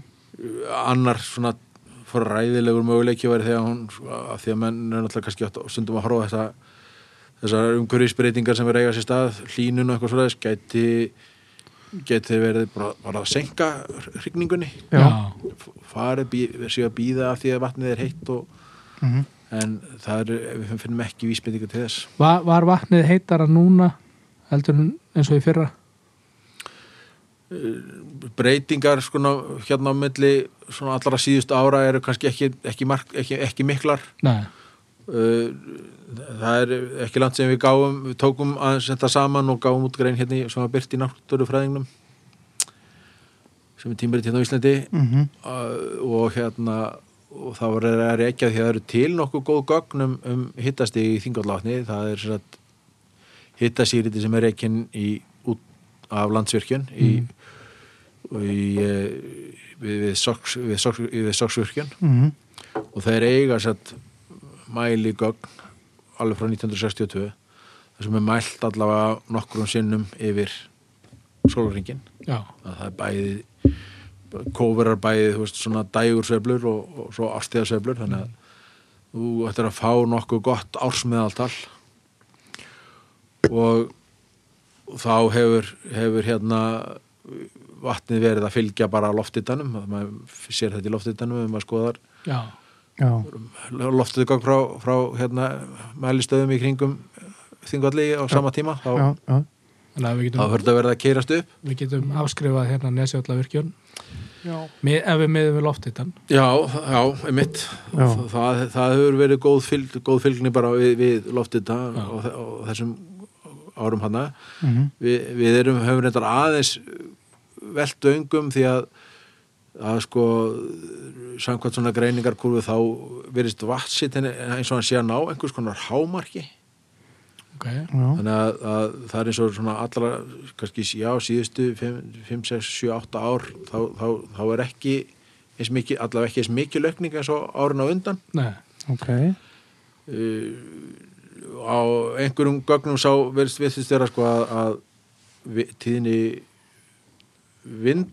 annar svona fræðilegur möguleiki væri þegar hún að því að menn er náttúrulega kannski oft stundum að horfa á þessa þessar umhverfisbreytingar sem er eiga sér stað hlínun og eitthvað svoleiðis gæti gæti verið bara, bara að senka hrygningunni
Já.
já,
farið, bí, séu að býða af því að vatnið er heitt og,
mhm.
en það er, við finnum ekki vísbendingar til þess
Var, var vatnið heitara núna heldur en eins og í fyrra
breytingar sko, ná- hérna á milli svona allra síðust ára eru kannski ekki, ekki, mark, ekki, ekki miklar
nei,
Uh, það er ekki langt sem við gáum við tókum aðeins þetta saman og gáum út grein hérna í- sem var byrt í náttúrufræðingnum sem er tímarit hérna á Íslandi
Mhm.
uh, og hérna og það var að reykja því að það eru til nokkuð góð gögn um, um hittast í þingallatni það er svona hittasýriti sem er reykinn í út af landsvirkjun í, og í eh, við, við, soks, við, soks, við soksvirkjun
Mhm.
og þeir eiga sett mæligögn alveg frá 1962 þar sem er mælt allavega nokkrum sinnum yfir sólaringin
já,
að það er bæði kóverar bæði, þú veist, svona dægursveiflur og, og svo afstíðarsveiflur þannig að þú ættir að fá nokkuð gott ársmiðaltal og þá hefur, hefur hérna vatnið verið að fylgja bara loftitanum, maður sér þetta í loftitanum ef maður skoðar
já,
já.
loftuðu gang frá, frá hérna, mælistöðum í kringum þingvalli á sama tíma þá,
já, já.
þannig að við
þá
getum
fyrir að verða að keirast upp
við getum afskrifað hérna nesjallavirkjörn
Já.
Mið, ef við miðum við loftitann
já, já, einmitt
Já.
Það, það, það hefur verið góð, fylg, góð fylgni bara við, við loftita
Já.
og, þe- og þessum árum hana
Mhm.
Vi, við erum, höfum reyndar aðeins velt öngum því að að sko samkvæmt svona greiningarkurfu þá verist vatnsitt eins og hann sé að ná einhvers konar hámarki
okay.
Já.
þannig að, að það er eins og svona allra, kannski já, síðustu 5, 6, 7, 8 ár þá, þá, þá er ekki eins mikið, allavega ekki eins mikið lögning eins og árun á undan
Nei,
Uh,
Ok.
á einhverjum gögnum sá virðist virðist vera sko að, að vi- tíðni vind,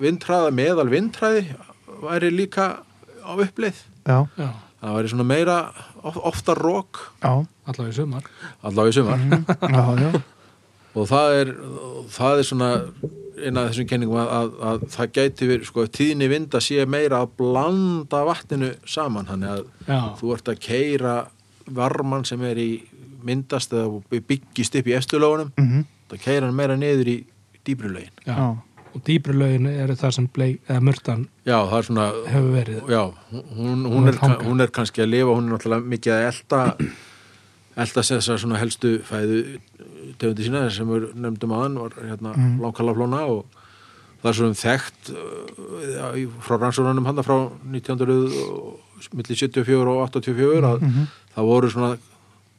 vindhraða meðal vindhraði væri líka á uppleið
já,
já,
það væri svona meira of, ofta rók
já,
allavega í sumar
allavega í sumar
já, já.
og það er, það er svona eina af þessum kenningum að, að, að það gæti verið, sko, tíðni vinda sé meira að blanda vatninu saman þannig að
Já.
þú ert að keira varman sem er í myndast eða byggist upp í eftirlögunum
Mm -hmm.
það keira hann meira niður í dýbri lögin
já.
já.
og dýpri lögin eru það sem bleik, eða mörtan
já, það er svona
hefur verið
já, hún,
Hún
hún,
er
er, kann-
þangað.
hún er kannski að lifa hún er náttúrulega mikið að elta elta sér þessar svona helstu fæðu tegundi sína sem við nefndum aðan var hérna mm. langkalaflóna og það er svona þekkt uh, í- frá rannsóranum handa frá 1900 og- milli 74 og 84 að það voru svona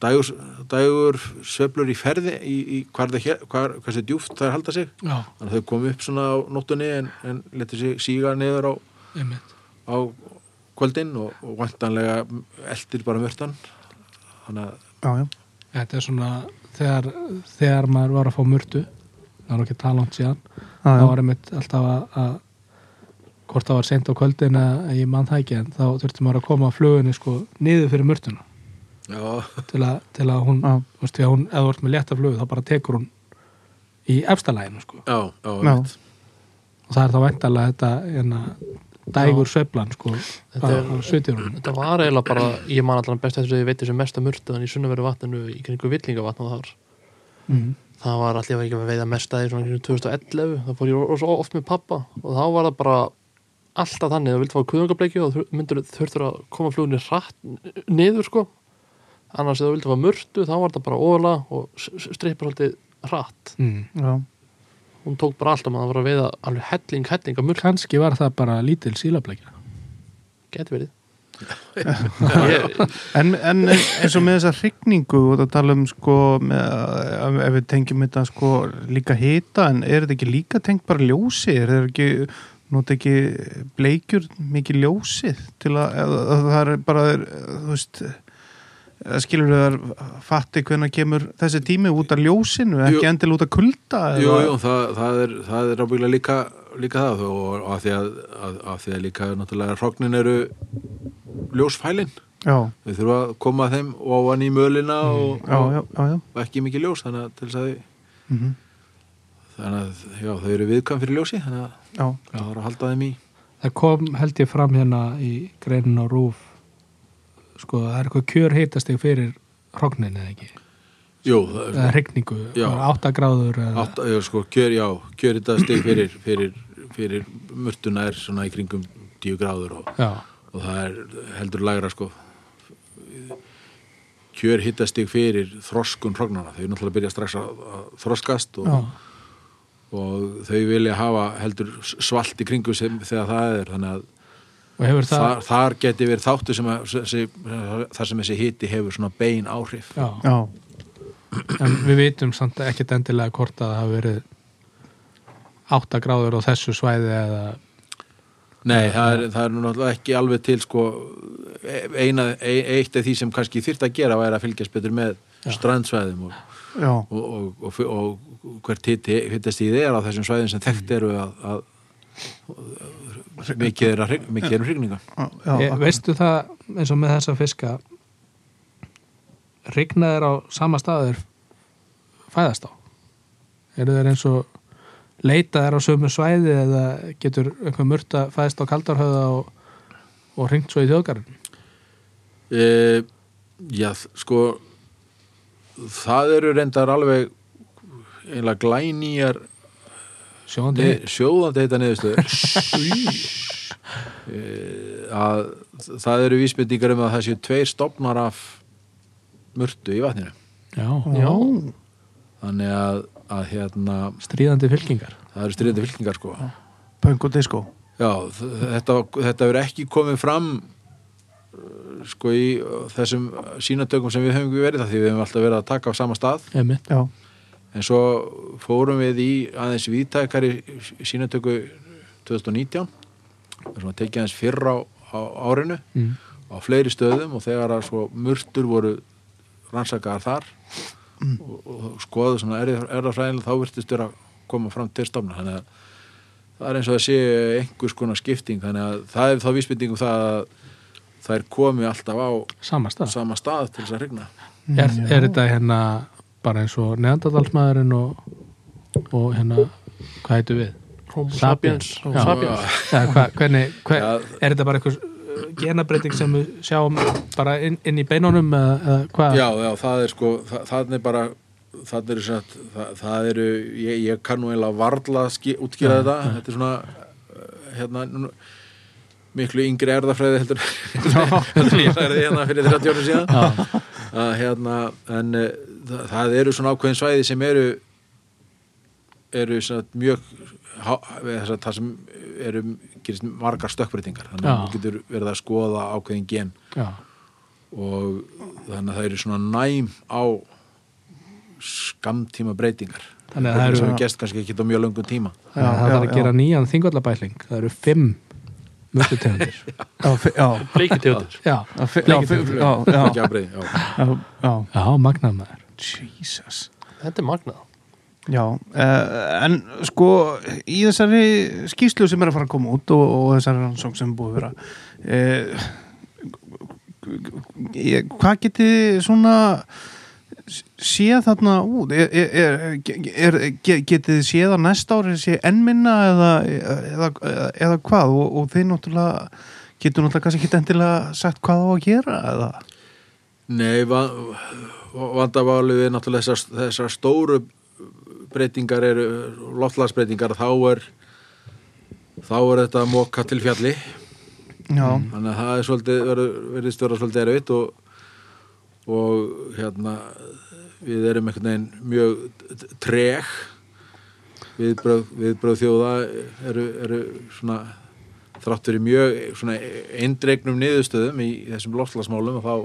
dagur, dagur sveflur í ferði í, í hvar það, hér- hvar, hversu djúft það er halda sig
já,
þannig að þau komu upp svona á nóttunni en, en letur sig síga niður á
einmitt
á kvöldin og, og vantanlega eldir bara mörtan þannig að
já, já.
þetta er svona þegar, þegar maður var að fá mörtu það var ekki talant síðan
Já,
það
já.
var einmitt alltaf að, að hvort það var sent á kvöldin að ég mann það ekki en þá þurfti maður að koma að flugunni sko niður fyrir mörtuna
já,
til að, til að hún,
Já.
þú veist, því að hún eða þú ert með létta flugu þá bara tekur hún í efstalæginu sko
já, já,
Já.
einmitt.
og það er þá væntalega þetta hérna, dægur sveiflan sko
Þetta
á,
er-
á svitjörunum
Þetta var eiginlega bara, ég man allan best eftir því að ég veit sem mesta murtaðan í sunnaveru vatninu í kringu villingavatn og það var
mm.
það var alltaf ekki að veiða mesta í svona kringum 2011, það fór ég rosa oft með pappa og þá var það bara alltaf þannig að þú vilt fá kuðungableikju og myndur þurftur að koma flugunni hratt niður sko, annars eða þú vilt fá murtu þá var það bara óla og strippa svolítið hratt
Mm.
já.
hún tók bara alltaf maður var að veiða alveg helling, helling af murtu,
kannski var það bara lítil sílableikja
geti verið ég,
En, en eins og með þessa hrygningu og það tala um sko með, ef- ef við tengjum þetta sko líka hita en er þetta ekki líka tengt bara ljósi er þetta ekki, nota ekki bleikjur mikið ljósið til að, að, að það er bara er, þú veist eða skilur það fatti hvernig kemur þessi tími út af ljósinu
Jú.
ekki endil út af kulda
jú,
eða-
jú, það, það er það er ábyggilega líka, líka það og, og af, því að, að, af því að líka náttúrulega hrognin eru ljósfælin
já,
við þurfum að koma þeim ofan í mölina og,
já, já, já, já.
og ekki mikið ljós þannig að, til þess að þau-
Mm
þannig að já, þau eru viðkvæm fyrir ljósi þannig að
já.
það var að halda þeim í
það kom held ég fram hérna í greinin á rúf sko það er eitthvað kjör heitastig fyrir hrognin eða ekki
jú, það er
eða hrygningu,
Já.
8 gráður eða,
Átta, já, sko, kjör, já, kjör þetta stig fyrir, fyrir, fyrir mörtuna er svona í kringum 10 gráður og,
já,
og það er heldur lægra sko kjör hittastig fyrir þroskun hrognana, þau náttúrulega byrja strax að, að þroskast
já,
og, og þau vilja hafa heldur svalt í kringum sem, þegar það er þannig að
og hefur það
þar, þar geti verið þáttu sem að, sem, þar sem þessi hitti hefur svona bein áhrif
já.
já.
en við vitum samt ekkert endilega hvort að það hafi verið 8 gráður á þessu svæði eða
Nei, það er, það er nú náttúrulega ekki alveg til sko, eina, e- eitt af því sem kannski þyrft að gera væri að fylgjast betur með strandsvæðum og,
já.
og, og, og, og hvert hitti, hittast í þeir á þessum svæðum sem þekkt eru að, að mikið er, að, hrygg- mikið er um hrygninga
já.
Ég, veistu það eins og með þessa fiska rignaðir á sama staður fæðast á eru þeir eins og leitaðir á sömu svæði eða getur einhver murta fæðast á kaldarhöða og, og ringt svo í þjóðgarinn
e, Já, sko það eru reyndar alveg einlega glænýjar
sjóðandi
Nei, sjóðandi heita niðurstöður Eh, að það eru vísbendingar um að það séu tveir stofnar af mörtu í vatninu
já,
já.
þannig að, að hérna,
stríðandi fylkingar
það eru styrjandi fylkingar sko.
punk og disco
já, þ- þetta, þetta verður ekki komið fram eh, sko í eh, þessum sínatökum sem við höfum verið það því við höfum alltaf verið að taka á sama stað
einmitt
já,
en svo fórum við í aðeins viðtækari sínatöku 2019 þar sem að tekið aðeins fyrr á, á árinu
mm.
á fleiri stöðum og þegar að svo murtur voru rannsakaðar þar og, og skoða svona erið- erðafræðinlega þá virtist vera að koma fram til stofna þannig að það er eins og að sé einhvers konar skipting þannig að það er þá vísbyndingum það að þær komi alltaf á
samasta
sama stað til þess að regna
Mm,
er, er þetta hérna bara eins og neðandadalsmaðurinn og, og hérna hvað heitum við?
Homo
Sapiens.
sapiens,
Já.
Homo sapiens.
Eða, hva, hvernig, hver,
Já.
er þetta bara einhvers uh, genabreiting sem við sjáum bara inn, inn í beinunum eða, eða hvað?
já, já, það er sko það, það er bara það eru, satt, það, það eru ég, ég kann nú eiginlega varla ski, útskýra þetta þetta er svona uh, hérna nú, miklu yngri erðafræði heldur heldur en ég sagði hérna fyrir 30 árum síðan
Já,
að hérna en uh, það, það eru svona ákveðin svæði sem eru eru svona mjög há, eða þess að það sem eru gerist margar stökkbreytingar þannig að
Já.
þú getur verið að skoða ákveðin gen
já,
og þannig að það eru svona næm á skamtíma breytingar
Þannig að það eru-
sem við gest kannski ekki á mjög löngum tíma
já, það
já,
þarf að
já.
gera nýjan þingvallabæling það eru fimm mörgutegundir
Já, fe- já,
bleikitegundir
já,
já, fe- já, fe- já,
ekki
já,
að breyði, já,
já, já.
já, magnað maður
Jesus
þetta er magnað
Já, uh, en sko í þessari skýslu sem er að fara að koma út og, og þessari rannsókn sem er búið að vera uh, hvað geti svona s- séð þarna út er, er, er, er, getið þið séð að næsta ári sé enn minna eða, eða, eða, eða hvað og, og þið náttúrulega getur náttúrulega kannski ekki endilega sagt hvað á að gera eða
Nei, va- vandaválið er náttúrulega þessar, þessar stóru breytingar eru loftlagsbreytingar, þá er þá er þetta að móka til fjalli
já,
þannig að það er svolítið verður- verðist vera svolítið erfitt og, og hérna við erum einhvern veginn mjög t- treg viðbröð, viðbröð þjóða eru, eru svona þráttur í mjög svona eindregnum niðurstöðum í þessum loftslagsmálum og þá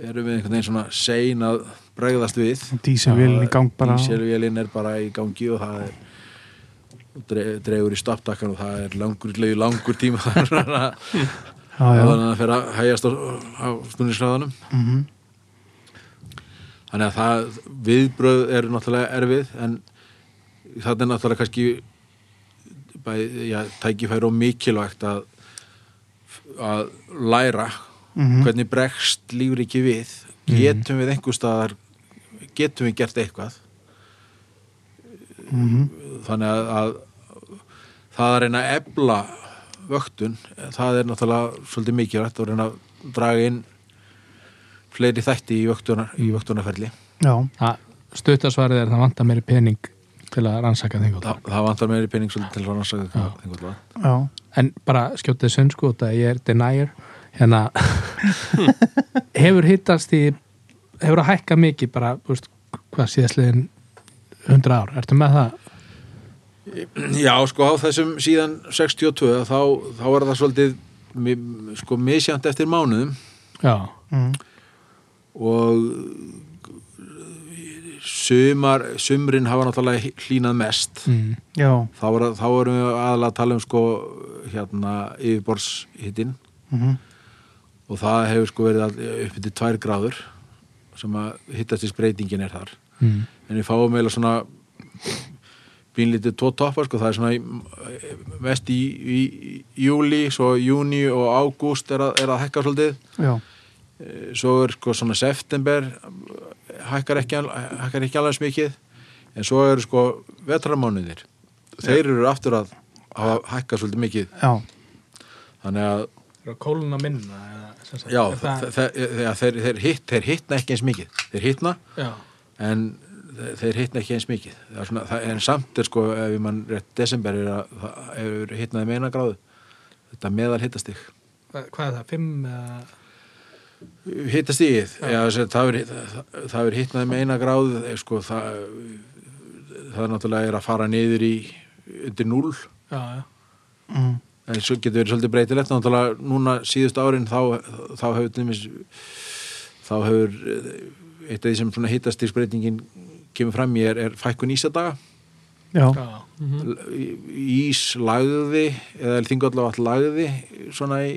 erum við einhvern veginn svona sein að bregðast við
dísilvílinn í gang bara
Díselvélin er bara í gangi og það er og dre- dregur í stapptakkan og það er langur, leiði langur tíma þannig að
já, já.
þannig að það fer að hægjast á, á stundinskræðanum
Mm
þannig að það viðbröð er náttúrulega erfið en það er náttúrulega kannski bæ, já, tækifæri og mikilvægt að, að læra
Mhm.
hvernig bregst lífriki við getum við einhver staðar getum við gert eitthvað
Mhm.
þannig að, að það að reyna að ebla vöktun, það er náttúrulega svolítið mikilvægt að reyna að draga inn fleiri þætti í, vöktunar, í vöktunarferli
já,
stuttasvarið er það vantar meiri pening til að rannsaka þingvall
Þa, það vantar meiri pening svolítið til að rannsaka hvað þengur það
já
en bara skjótið sinn sko þetta ég er denier hérna hefur hittast í hefur að hækka mikið bara þú veist, hvað síðastliðin 100 ár, ertu með það?
var. Já, sko á þessum síðan 62 þá, þá er það svolítið mi- sko misjant eftir mánuðum
Já,
mm.
og sumar, sumrin hafa náttúrulega hlínað mest
mm.
já,
þá, er, þá erum við aðalega að tala um sko hérna yfirborðshittin
mm
og það hefur sko verið all- upp til tvær gráður sem að hittastins breytingin er þar
Mm.
en við fáum eiginlega svona bínlítið tvo toppar sko, það er svona í- mest í, í, í júli, svo júni og ágúst er, að- er að hækka svolítið
já
Eh, svo er sko svona september hækkar ekki, al- hækkar ekki alveg eins mikið en svo eru sko vetramánuðir þeir eru aftur að hafa hækka svolítið mikið
já,
þannig að
Kóluna minna eða, sem sagt,
já,
er
þe- þe- þe- þeir, þeir, hitt, þeir hittna ekki eins mikið þeir hittna
já,
en þe- þeir hittna ekki eins mikið það er svona, það, en samt er sko ef mann rétt desember er að það er hittnaði meina gráðu þetta meðal hittastig
Hvað er það, 5 eða
hittastíð já, þessi, það verður- það- það verður hittnaði með eina gráð eh, sko, það, það er náttúrulega er að fara niður í undir núl
Já, já,
mm.
en svo getur verið svolítið breytilegt náttúrulega núna síðust árin þá, þá hefur tlumis, þá hefur eh, eitt af því sem svona hittastíðsbreytingin kemur fram í er, er fækkun ísadaga
já,
já,
ís lagði eða þingallega all lagði svona í,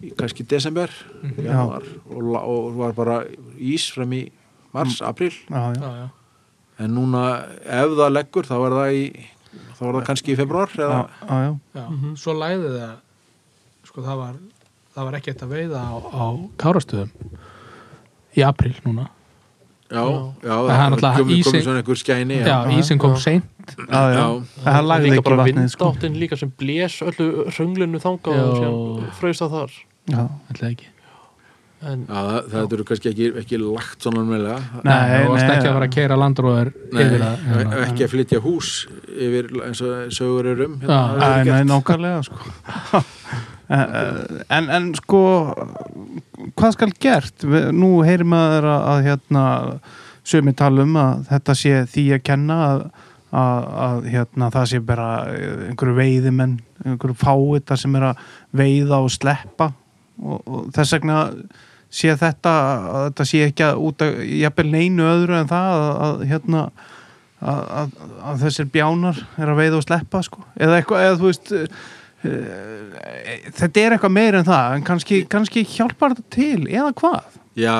Mhm,
í kannski desember januar, og, la- og var bara ís fram í
Mm.
mars, apríl
já, já.
já, já.
en núna ef það leggur þá er það í þá er það kannski í februar eða,
Já, já, já.
Já,
Mhm.
svo læði það sko það var, það var ekki eitt að veiða á, á kárastöðum í apríl núna
já, já,
Það er náttúrulega
komið
ísinn-
komi svona einhver skæni
Já,
já,
ísinn kom
já.
seint
já, já.
Já.
það lagði
líka
ekki
bara
vatnið sko.
vindáttin líka sem blés öllu hrönglinu þangað
Já.
og síðan fröst það þar
Já.
ætlaði ekki
en
Já, það, það eru kannski ekki, ekki lagt svona meðlega
Nei,
Nei, það varst
nei,
ekki að
já.
vera að keira landróður yfir það hérna.
e- ekki að flytja hús yfir eins og sögur eru um
Já.
það
Æ, nei,
verður gert.
nákvæmlega sko. en, en sko hvað skal gert Við- nú heyrir maður að, að hérna, sömi talum að þetta sé því að kenna að, að, að hérna, það sé bara eh, einhverju veiðimenn einhverju fáita sem er að veiða og sleppa og, og þess vegna sé þetta að þetta sé ekki að út að jafnvel neinu öðru en það að, að hérna að, að, að þessir bjánar er að veiða og sleppa sko. eða eitthvað, eða þú veist eh, þetta er eitthvað meir en það en kannski, kannski hjálpar þetta til eða hvað
Já,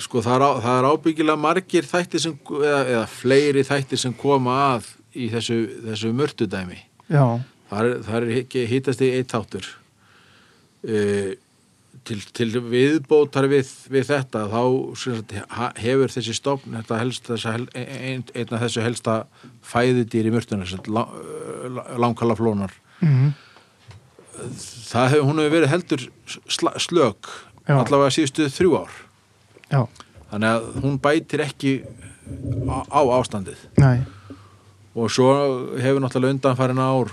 sko það er, á, það er ábyggilega margir þættir sem, eða, eða fleiri þættir sem koma að í þessu, þessu mörtudæmi.
já,
Það er, það er ekki hittast í eitt þáttur. Uh, til, til viðbótar við, við þetta þá sem sagt, ha- hefur þessi stofn þetta helst, þessa, hel- e, ein, einn af þessu helsta fæðudýr í mörtunar langkala flónar
mm.
það hefur, hún hefur verið heldur sla, slök
Já.
allavega síðustu þrjú ár
já,
þannig að hún bætir ekki á, á ástandið
nei
og svo hefur náttúrulega undanfærin ár uh,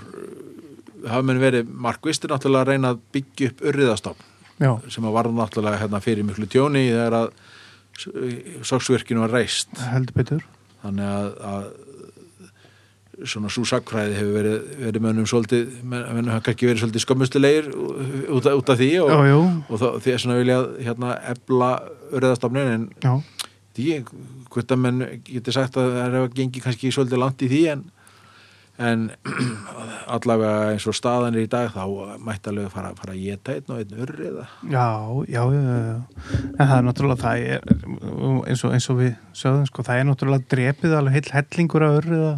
hafa menn verið markvistir náttúrulega að reyna að byggja upp urriðastofn
já,
sem að varða náttúrulega hérna, fyrir miklu tjóni þegar að s- sogsvirkinu var reist
heldur betur
þannig að, að svona svo sakfræði hefur verið, verið mönnum svolítið, menn menn hafa kannski verið svolítið skömmustilegir út, af- út af því og,
já, já,
og þá, því er svona viljað hérna, efla urriðastofnin en
já,
því ég- hvort að menn geti sagt að það er að gengi kannski svolítið langt í því en, en allavega eins og staðan er í dag þá mætti alveg fara, fara að geta einn og einn urriða
já, já, já, já. en það er náttúrulega það er, eins, og, eins og við sögðum sko, það er náttúrulega drepið alveg heill hellingur að örriða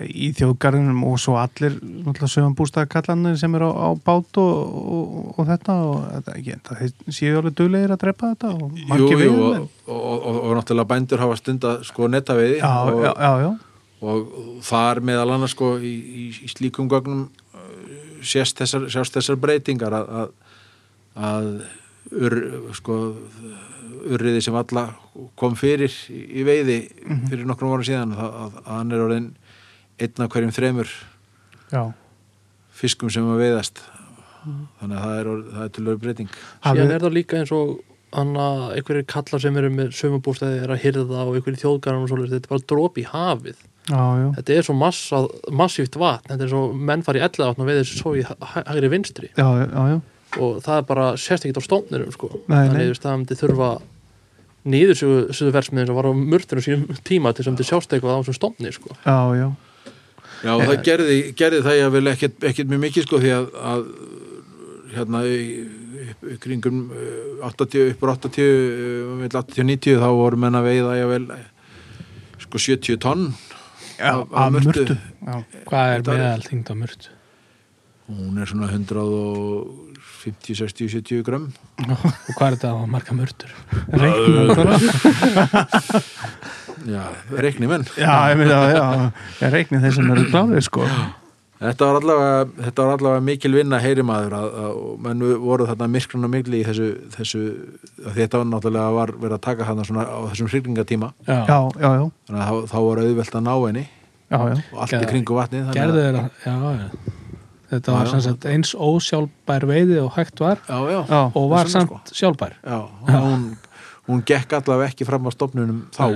í þjóðgarðinum og svo allir náttúrulega sögumbústaðakallanir sem er á, á bát og, og, og þetta og þetta, ég, það þeir séu alveg duglegir að drepa þetta og
Jú,
margir
jú,
veiðimenn.
og, og, og, og náttúrulega bændur hafa stunda sko nettaveiði
já,
og,
já, já, já,
og þar meðal annars sko í, í, í slíkum gögnum uh, sést þessar, sjást þessar breytingar að, að, að ur, sko urriði sem alla kom fyrir í í veiði
Mhm.
fyrir nokkrum ára síðan að, að, að hann er orðin einn af hverjum þremur
já.
fiskum sem að veiðast
Mhm.
þannig að það er, orð- það er tölur breyting
Hafið-
síðan er það líka eins og hann að einhverjir kallar sem eru með sömubústæði er að hyrða það og einhverjir þjóðgarðan og svolítið, þetta er bara drop í hafið
já, já,
þetta er svo massa, massíft vatn þetta er svo menn fari í ella vatn og veðir svo í hæ- hægri vinstri
já, já, já.
og það er bara sérst ekki á stóknirum sko.
Nei, nei.
þannig að það myndi þurfa niðursöðu versmiðin sem var á mörtunum sínum tíma til sem myndi sjást eitthvað á þessum stókni sko.
Já, já,
Já, og það gerði, gerði það ég vel ekkert, ekkert mjög mikið sko því að, að hérna í, upp, í kringum eh, 80, uppur 80 eh, milli 80 og 90 þá voru menn að veiða ég vel sko 70 tonn Af- af
að
mörtu.
mörtu Já,
hvað er
Þetta var-
meðal þingd á mörd
hún er svona 150, 60, 70 grömm
og hvað er þetta á marga mördur
reiknum bara
Já, reikni menn
Já, ég meina, já, ég reikni þeir sem eru klárið, sko
Þetta var allavega, þetta var allavega mikil vinna heyrimaður að, að og menn voru þarna myrkrun og mikli í þessu, þessu af því þetta var náttúrulega var verið að taka þarna svona á þessum hrygningatíma
Já, já, já,
þannig að þá, þá var auðvelt að ná henni
já, já,
og allt
Gerðu-
í kringu vatnið þannig
gerðu
að-
þeirra já, já. þetta var
Já, já.
sem sagt eins ósjálfbær veiði og hægt var
Já, já,
já,
og var
Þess vegna, sko.
samt sjálfbær
já og hún, hún gekk allavega ekki fram á stofnunum þá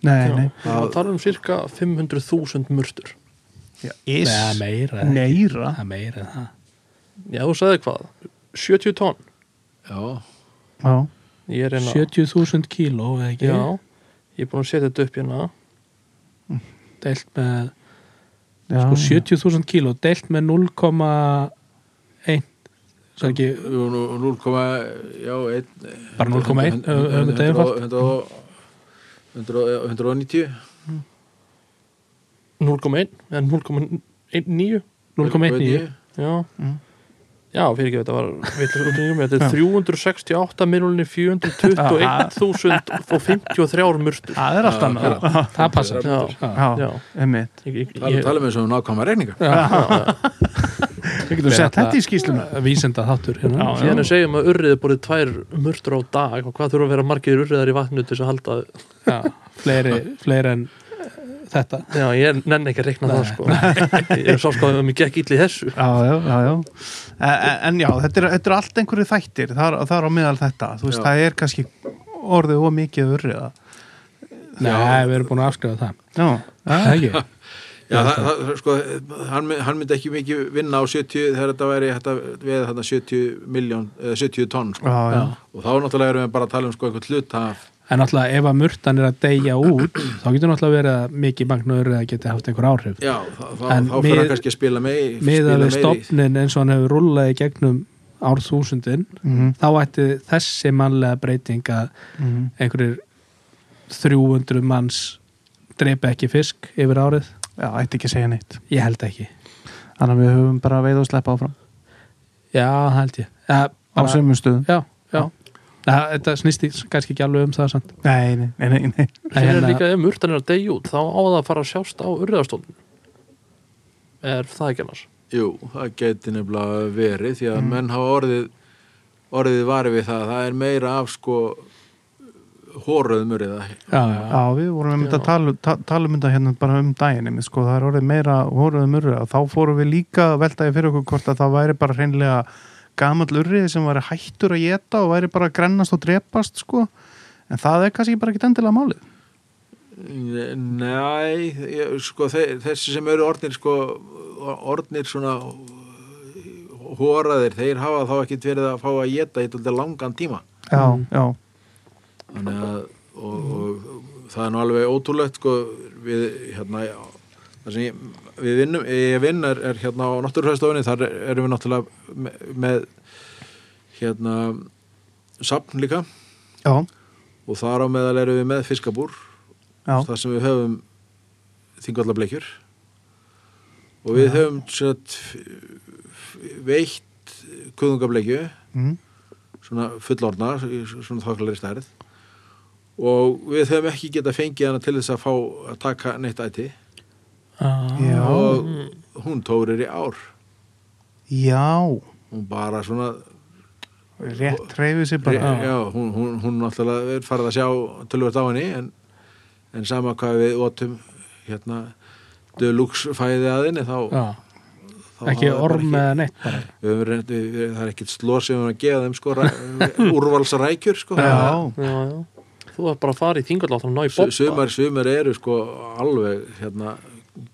Nei.
nei, nei
það tala um cirka 500.000 mörtur
Já,
Nei,
Is,
meira
neira
Það er meira en það
já, þú sagði hvað 70 tonn
Já,
Já,
ég er hérna
70.000 kíló eða ekki
já, ég er búin að setja þetta upp hérna
deilt
Eh,
með
já
sko 70.000 kíló deilt með 0,1 svo er ekki
Jú, nú- 0,1
Bara 0,1, höfum við þetta einfalt.
100 og 100 190
0,1 eða 0,19 0,19 já
Mm.
já, fyrir ekki þetta var vitlaus útreikningur, þetta er 368 miljonir 421.053 murstur
það er allt
Já,
annað
já.
það passar
já,
Já.
já,
já
einmitt
ég, ég,
Það er
ég,
að tala með þessum nákvæma reikninga
Já.
við getum sett þetta í skýsluna
vísenda þáttur hérna.
Já,
síðan er segjum að urriði borðið tvær mörtur á dag og hvað þurfa að vera margir urriðar í vatnu til þess að halda
Já, fleiri, fleiri en eh, þetta
já, ég nenni ekki að reikna það sko ég er sá sko að mér gekk illa í þessu
Já, já, já, já. En, en já, þetta er, þetta er allt einhverju þættir þar, þar á meðal þetta, þú veist,
Já.
það er kannski orðið of mikið urriða
Nei, við erum búin að afskrifa það
Já,
Það
Ah.
já,
ekki?
Já, það, það, það- sko, hann, my- hann myndi ekki mikið vinna á 70 þegar þetta væri þetta, við þarna 70 miljón, eh, 70 tonn sko.
já, já.
og þá náttúrulega erum við bara að tala um sko, einhvern hlut af
En náttúrulega ef að murtan er að deyja út þá getur náttúrulega verið að mikið magnaður eða geti haft einhver áhrif
Já, þá, þá,
En
þá fyrir
mið-
hann kannski að spila mei
Miðað
spila
við
meiri.
stopnin eins og hann hefur rúllað í gegnum árþúsundin
Mhm,
þá ætti þessi mannlega breyting að
mhm.
einhverjir 300 manns dreipa ekki fisk yfir árið
já ætti ekki að segja neitt
Ég held ekki
Þannig að við höfum bara veið og sleppa áfram
Já, það held ég ja,
á sömum stöðum
Já, já Það, þetta snýst í- kannski ekki alveg um það samt
Nei, nei, nei, nei, nei.
Nei,
Sér er
hérna-
líka ef murtan er að deyja út þá á það að fara að sjást á urriðarstólun er það ekki annars
Jú, það geti nefnilega verið því að
Mm.
menn hafa orðið orðið varið við það, það er meira af sko hóruðmur eða
Já, já, já.
Já, við vorum einmitt að
Já.
tala, ta, tala um þetta hérna bara um daginn einmitt, sko, það er orðið meira voruðum urriða þá fórum við líka að velta veltaði fyrir okkur hvort að það væri bara hreinlega gamall urriði sem væri hættur að geta og væri bara að grennast og drepast sko. en það er kannski bara ekki endilega málið
Ne- Nei, ég, sko þe þessi sem eru orðnir sko orðnir svona hóraðir, þeir hafa þá ekkit verið að fá að geta í tóldi langan tíma
Já, Mm. já,
þannig að og, og það er nú alveg ótrúlegt sko við hérna já, það sem ég, við vinnum ég vinn er, er hérna á náttúrfræðstofunni þar erum við náttúrulega með, með hérna safn líka
já,
og þar á meðal erum við með fiskabúr
já.
þar sem við höfum þingvallableikjur og við höfum sett, veitt kuðungableikju
Mm.
svona fullorna í svona þokkalari stærð og við höfum ekki getað fengið hana til þess að fá að taka neitt æti
Já.
og hún tórir í ár
já,
hún bara svona
rétt reyfið sér bara
já, hún, hún, hún náttúrulega er farið að sjá tölvöld á henni en, en sama hvað við ótum hérna deluxe fæði aðinni þá,
Já.
þá
Ekki
hafa þeir bara
orm eh. eða neitt bara
við höfum reynd, við, við, það er ekkit slór sem við höfum að gefa þeim sko, ræ, úrvalsarækjur sko.
Já,
já, já. þú er bara að fara í þingallátt og ná í
Su-
bóta
sumar, sumar eru sko alveg hérna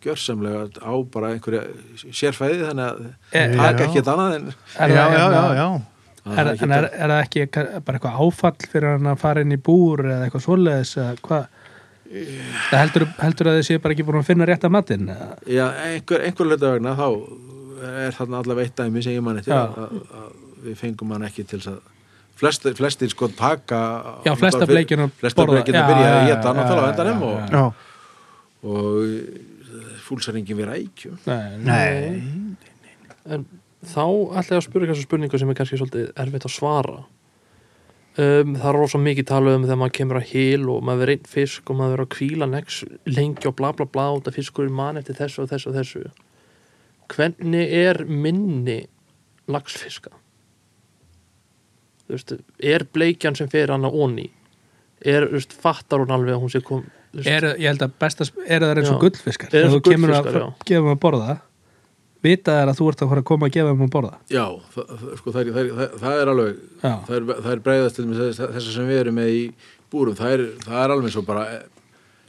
gjörsamlega á bara einhverja sérfæði þannig að
Er-
það er
Já.
ekki annað en
já,
Eh, Er það
já, já,
hérna-
já.
það
Er,
er
en
ekki
er, er það ekki eitthvað- bara eitthvað áfall fyrir hann að fara inn í búr eða eitthvað svoleiðis eða hvað Það heldur, heldur að þið séu bara ekki búin að finna rétt að matinn eða?
já, einhver, einhver hluta vegna þá er þarna allavega eitt dæmi sem ég manni til
Já.
að, að, að við fengum hann ekki til þess að flestir, flestir sko taka
Já, flesta
náttúrulega fyr-
bleikjurnar
flesta
borða-
bleikjurnar
Já,
byrja að
já,
geta
já,
náttúrulega á
já, já,
endanum og,
já.
og fúlsaringin við rækjum
Nei,
Nei,
en þá ætla ég að spyrja þessu spurningu sem er kannski svolítið erfitt að svara um, það er rosa mikið talað um þegar maður kemur að hil og maður verið einn fisk og maður verið að kvíla nex lengi og bla bla bla og það fiskurinn man eftir þessu og þessu og þessu hvernig er minni lagsfiska þú veist, er bleikjan sem fer hann að onni er, þú veist, fattar hún alveg að hún sé kom þú veist,
er, ég held að besta, er það eins og
Já.
gullfiskar Ef
Eru eins
þú
og
kemur að
gullfiskar, já.
gefa þeim að borða vita þær að þú ert að fara að koma að gefa þeim að borða
Já, það, það- sko, það, er, það, er, það, það er alveg
Já,
það er, það er bregðast til dæmis þess- þessar sem við erum með í búrum það er, það er alveg svo bara eh,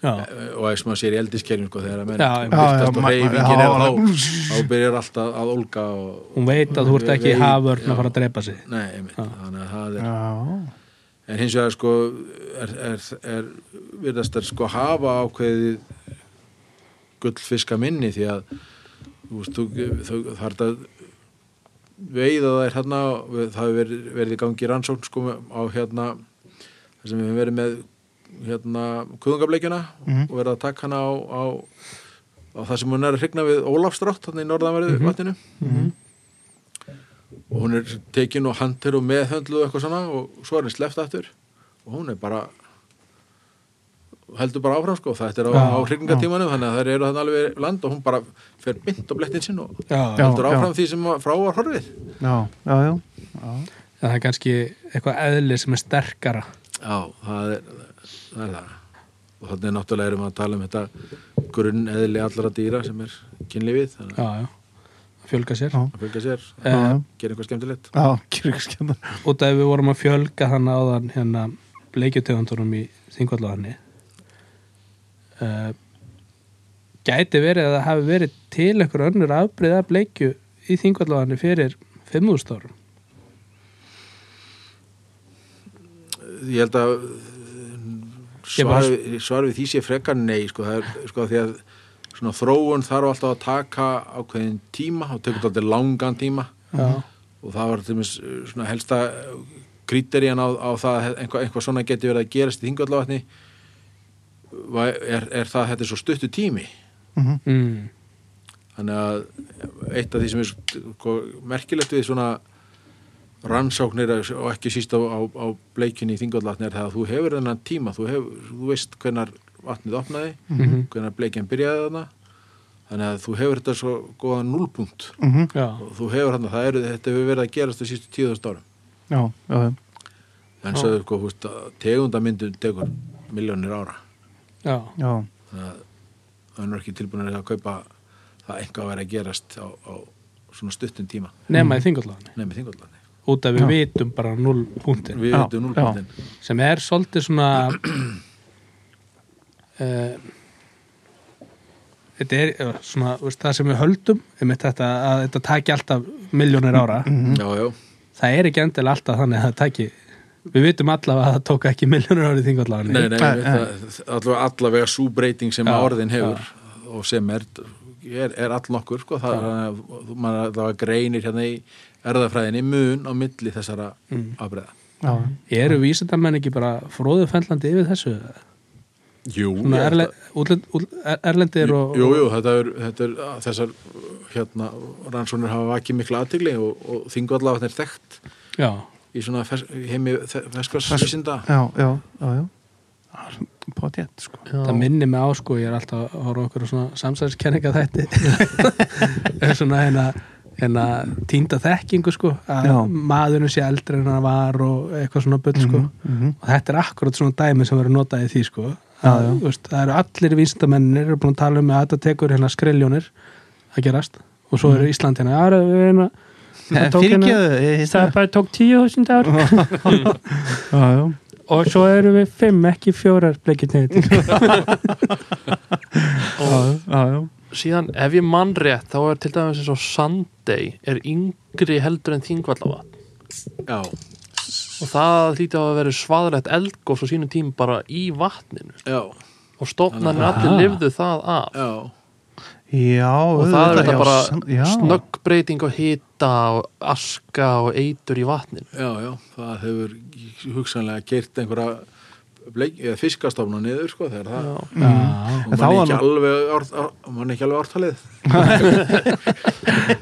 já,
og eins og maður sér í eldiskerjum sko, þegar að menn
Já, já.
Já, já,
byrtast og
ma-
reyfingin
já,
er
alveg.
þá, þá byrjar allt að, að olga og,
hún veit að þú ert ekki
Veit,
haförn
já.
að fara að drepa sig
nei, einmitt, þannig að það er
já,
en hins vegar sko er, er, er virðast er sko hafa ákveðið gullfiska minni því að þú veist, þú, þú þarf að veiða þær hérna það hefur verið, verið í gangi rannsókn sko á hérna þar sem við höfum verið með hérna kuðungableikjuna
Mhm.
og verða að taka hana á, á, á það sem hún er að hrygna við Ólafstrátt þannig í norðanverðu vatninu og hún er tekin og handir og meðhöndluð og eitthvað svona og svo er henni sleppt aftur og hún er bara heldur bara áfram sko þetta er á,
Já,
á hrygningatímanum þannig að þær eru þannig alveg við land og hún bara fer mynd á blettin sinn og
Já,
heldur áfram því sem að- frá var horfið
já, já, já.
En það er kannski eitthvað eðli sem er sterkara
Já, það er það. Er það. Og þannig náttúrulega erum við að tala um þetta grunneðli allra dýra sem er kynlífið, þannig
já, já. fjölga sér
Já.
að fylgja sér,
Eh,
Já, já.
gera eitthvað skemmtilegt.
Já, kyrkskjöndar.
út af við vorum að fjölga hann áðan hérna bleikjutegundunum í þingvallaðanni uh, gæti verið að það hafi verið til einhver önnur afbreyða bleikju í þingvallaðanni fyrir 5.000 árum
Ég held að eh,
Ég bara-
svar, svar við því sé frekar nei, sko, það er, sko, því að svona þróun þarf alltaf að taka ákveðin tíma og tekur þetta langan tíma
já,
og það var til dæmis uh, svona helsta kríterían á, á það að einhvað, einhvað svona geti verið að gerast í þingvallavatni er, er það að þetta er svo stuttu tími
Mhm.
mm.
þannig að eitt af því sem er sko, merkilegt við svona rannsóknir og ekki síst á, á, á bleikinni í þingvallatni er það að þú hefur þennan tíma, þú, hefur, þú veist hvenar vatnið opnaði,
Mhm.
hvenar bleikinn byrjaði þarna þannig að þú hefur þetta svo góðan núlpunkt
Mhm.
já,
og þú hefur hann það eru, þetta hefur verið að gerast þau sístu tíðast árum
Já, já, já.
en svo er sko, húst, tegundamyndun tekur miljónir ára
já,
Já,
þannig að hann er ekki tilbúin að kaupa það eitthvað að vera að gerast á, á svona stuttum tíma
nema í þingvallaðanni
nefnir þingvallandi
út af við
Já.
vitum bara 0 punktin
Við
Já,
veitum núlpunktin.
sem er svolítið svona uh, þetta er eh, svona þú veist, það sem við höldum um þetta, að þetta taki alltaf miljónir ára
Já, já.
það er ekki endilega alltaf þannig að það taki við vitum allavega að það tók ekki miljónir ára í
Nei,
þingvallaðan
nei,
Nei,
við- það- allavega, allavega sú breyting sem
Já,
orðin hefur og sem er, er, er all nokkur, sko. Það, er, þú- maður, það greinir hérna í erðafræðinni mun á milli þessara mm. afbreyða.
já.
eru vísindamenn ekki bara fróðufendlandi yfir þessu
Jú,
svona erle, útlend, úl, erlendir og,
jú, jú, þetta er, þetta er þessar hérna, rannsónir hafa vakið mikla aðtigli og, og þingu allavega þetta er þekkt
já,
í svona fes, heimi feskvarsvísinda.
Já, já, já, já. Potjett, sko.
það minnir mig á sko ég er alltaf að horfa okkur á svona samsæðiskenninga þætti svona hérna hérna týnda þekkingu sko að
Já.
maðurinn sé eldri en hann var og eitthvað svona bull sko
mhm.
og þetta er akkurat svona dæmi sem verður notað í því sko að,
já.
þú veist, það eru allir vísindamennir eru búin að tala um að þetta tekur hérna skriljónir að gerast og svo eru Ísland hérna aðra við hérna það tók hérna
Fyrirgeðu, ég hýst
það
það.
bara tók tíu þúsund ár
Já, já.
og svo erum við fimm, ekki fjórar bleikirnir
og
Já, já.
síðan ef ég mann rétt þá er til dæmis eins og Sunday er yngri heldur en þingvallavatn
Já,
og það hlýti á að vera svaðalegt eldgóð svo sínum tím bara í vatninu
já,
og stofnarnir allir lifðu það af
já.
Já,
og það er
auðvitað,
þetta
já, sam- já.
bara snöggbreyting og hita og aska og eitur í vatninu
Já, já, það hefur hugsanlega gert einhverja bleik, eða fiskastofna niður, sko, þegar það
Já.
Já.
og
En þá
mann
var
ekki,
nú-
alveg ár- ár- man ekki alveg ártalið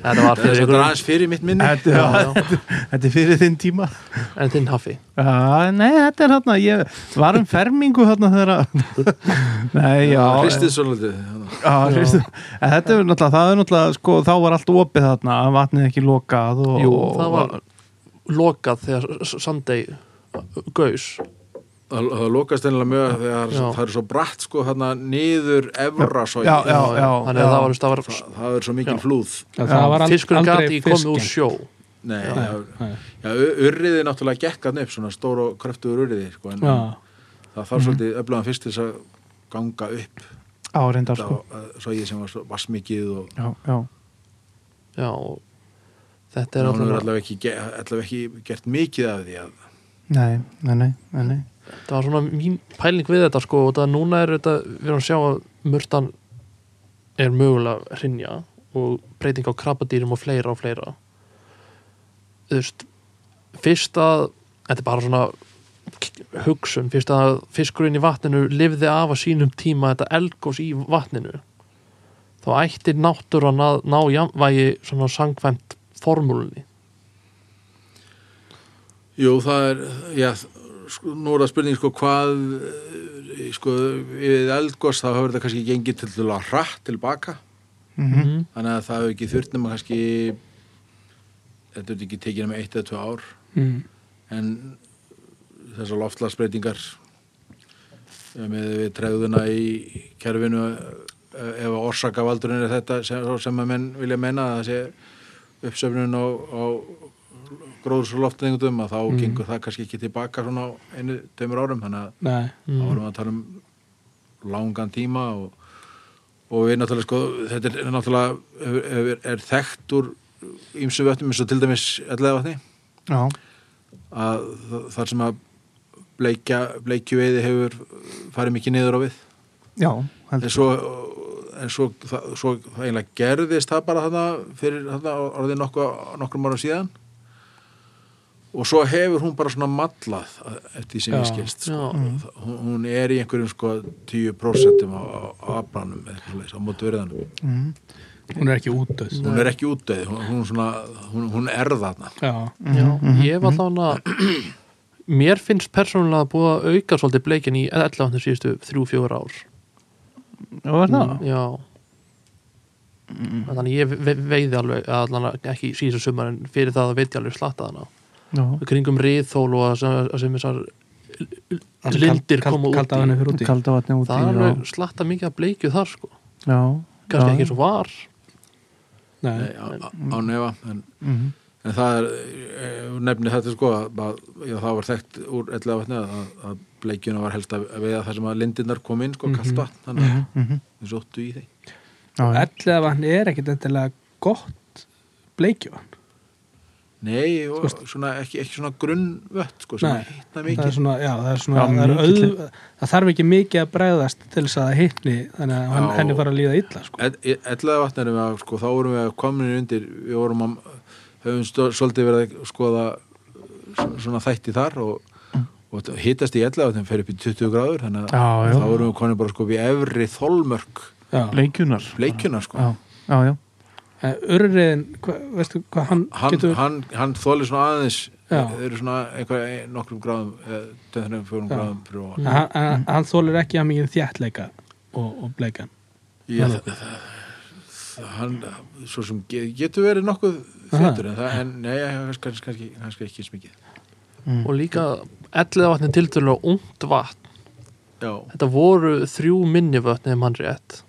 þetta var
það
fyrir
er
ykkur
aðeins fyrir mitt minni
Þetta, já, þetta, þetta er fyrir þinn tíma
en þinn hafi
Já, nei, þetta er hérna ég var um fermingu hérna þegar að- Nei, já
hristið svolítið þannig.
Já, hristið. En þetta er náttúrulega, það er náttúrulega sko, þá var allt opið þarna, vatnið ekki lokað og,
Jú,
og,
það var lokað þegar S- S- Sunday uh, gaus
það það lokast einlega mjög þegar
Já.
það er svo bratt sko þarna niður evra svo
Já, já, já,
þannig
já.
að það var, það var
það er svo mikil
Já.
flúð
Já, það var al-
fiskurinn gati
aldrei
ekki komið úr
fiskinn
sjó
Nei,
Já.
já,
Nei.
já, u- urriði náttúrulega gekk hann upp svona stór og kröftugur urriði sko, en
já,
það
Mhm.
þarf svolítið öflugan fyrst til þess að ganga upp
á reyndar sko
þá, að- svo ég sem var svo vassmikið og
Já, já,
já, og þetta er
hún hefur
allavega
allavega ekki, ge- allavega ekki gert mikið af því að
nei, nei, nei, nei, nei.
það var svona mín pæling við þetta sko og það núna er þetta, við erum að sjá að murtan er mögulega að hrynja og breyting á krabbadýrum og fleira og fleira þú veist fyrst að, þetta er bara svona hugsun fyrst að fiskurinn í vatninu lifði af að sínum tíma þetta eldgós í vatninu þá ætti náttúran að ná jafnvægi svona sangvæmt formúlunni
Jú, það er, já, sko, nú er það spurning, sko, hvað, eh, sko, við eldgos þá hefur það kannski gengið til til að hratt tilbaka,
Mhm.
þannig að það hefur ekki þurft nema kannski, þetta er ekki tekið nema eitt eða tvö ár,
Mm.
en þessar loftlagsbreytingar eh, með við trefðuna í kerfinu eh, ef að orsakavaldurinn er þetta sem, sem að menn vilja menna að það sé uppsöfnun á, á gróðsloftningundum að þá
Mm.
gengur það kannski ekki tilbaka svona á einu, tveimur árum þannig að
Nei,
þá erum við að tala um langan tíma og, og við náttúrulega sko, þetta er náttúrulega hefur- hefur- er þekkt úr ýmsu vötnum eins og til dæmis ellega vatni
Mhm.
já,
að þa- þar sem að bleikja, bleikjuveiði hefur farið mikið niður á við
já,
en
heldur
svo, en svo, það, svo það eiginlega gerðist það bara þarna fyrir þarna orðið nokku, nokkrum árum síðan og svo hefur hún bara svona mallað eh, eftir því sem ég
Já.
skilst sko.
Já.
Þa- hún, hún er í einhverjum sko 10% á, á, á aflanum eða eitthvað svoleiðis, á móti verðanum
mm.
hún er ekki útöð
hún er ekki útdöð, hún, hún, svona, hún, hún er þarna
Já,
Já,
Mhm,
ég var þá að mér finnst persónulega að búa að auka svolítið bleikin í ellavatnum síðustu þrjú, fjögur ár
já, Mhm. var það
Já Þannig ég ve- veiði alveg allan ekki síðustu sumar en fyrir það að veiði alveg slatta hana
já,
kringum riðþól og að sem, að sem þessar
Allt
lindir
kald-
koma
kald-
út
kalda
í
hana fyrir úti
kalda vatni úti
það er
já,
alveg slatta mikið að bleikju þar sko
já,
kannski
já.
ekki eins og var
Nei,
Nei, eh, á, á, á nefa en
Mhm.
En það er, eh, hún nefnir þetta sko að, að já, það var þekkt úr ellega vatni að, að- að bleikjuna var helst að veiða þar sem að lindirnar kom inn sko, kallt vatn, þannig að
Mhm.
við sóttu í þeim.
já, já.
ellega vatn er ekkit endilega gott bleikjuvann
Nei, og svona, ekki, ekki svona grunnvött sko, sem
Sko, Nei,
að hýtna
það er
mikið.
svona, já, það er svona
Já,
það, er
mikið
auð, það þarf ekki mikið að bregðast til þess að það hitni þannig að hann,
Já.
henni fara að líða illa sko.
E- Ellega vatn erum við að, sko, þá vorum við að komin undir, við vorum að, höfum stó- svolítið verið að skoða s- svona þætti þar og, og hittast í ellega vatnum fer upp í 20 gráður, þannig að
já,
þá
já,
vorum við komin bara sko við efri þolmörk
Já.
bleikjunar
bleikjuna sko.
já, já, já,
En Eh, Urriðin, hva, veistu hvað hann,
hann,
getur
hann, hann þóli svona aðeins
Já.
þeir eru svona einhver nokkrum gráðum döðnum fjórum
Já. Mm.
gráðum fyrir
hann, hann, hann, hann þólir ekki að mikið þjættleika og, og bleikan
óan hann svo sem ge- getur verið nokkuð þettur en það en nei, kannski, kannski, kannski, kannski ekki smikið
mm.
og líka ellavatni tiltölu og ungt vatn
já,
þetta voru þrjú minni vötni ef mann rétt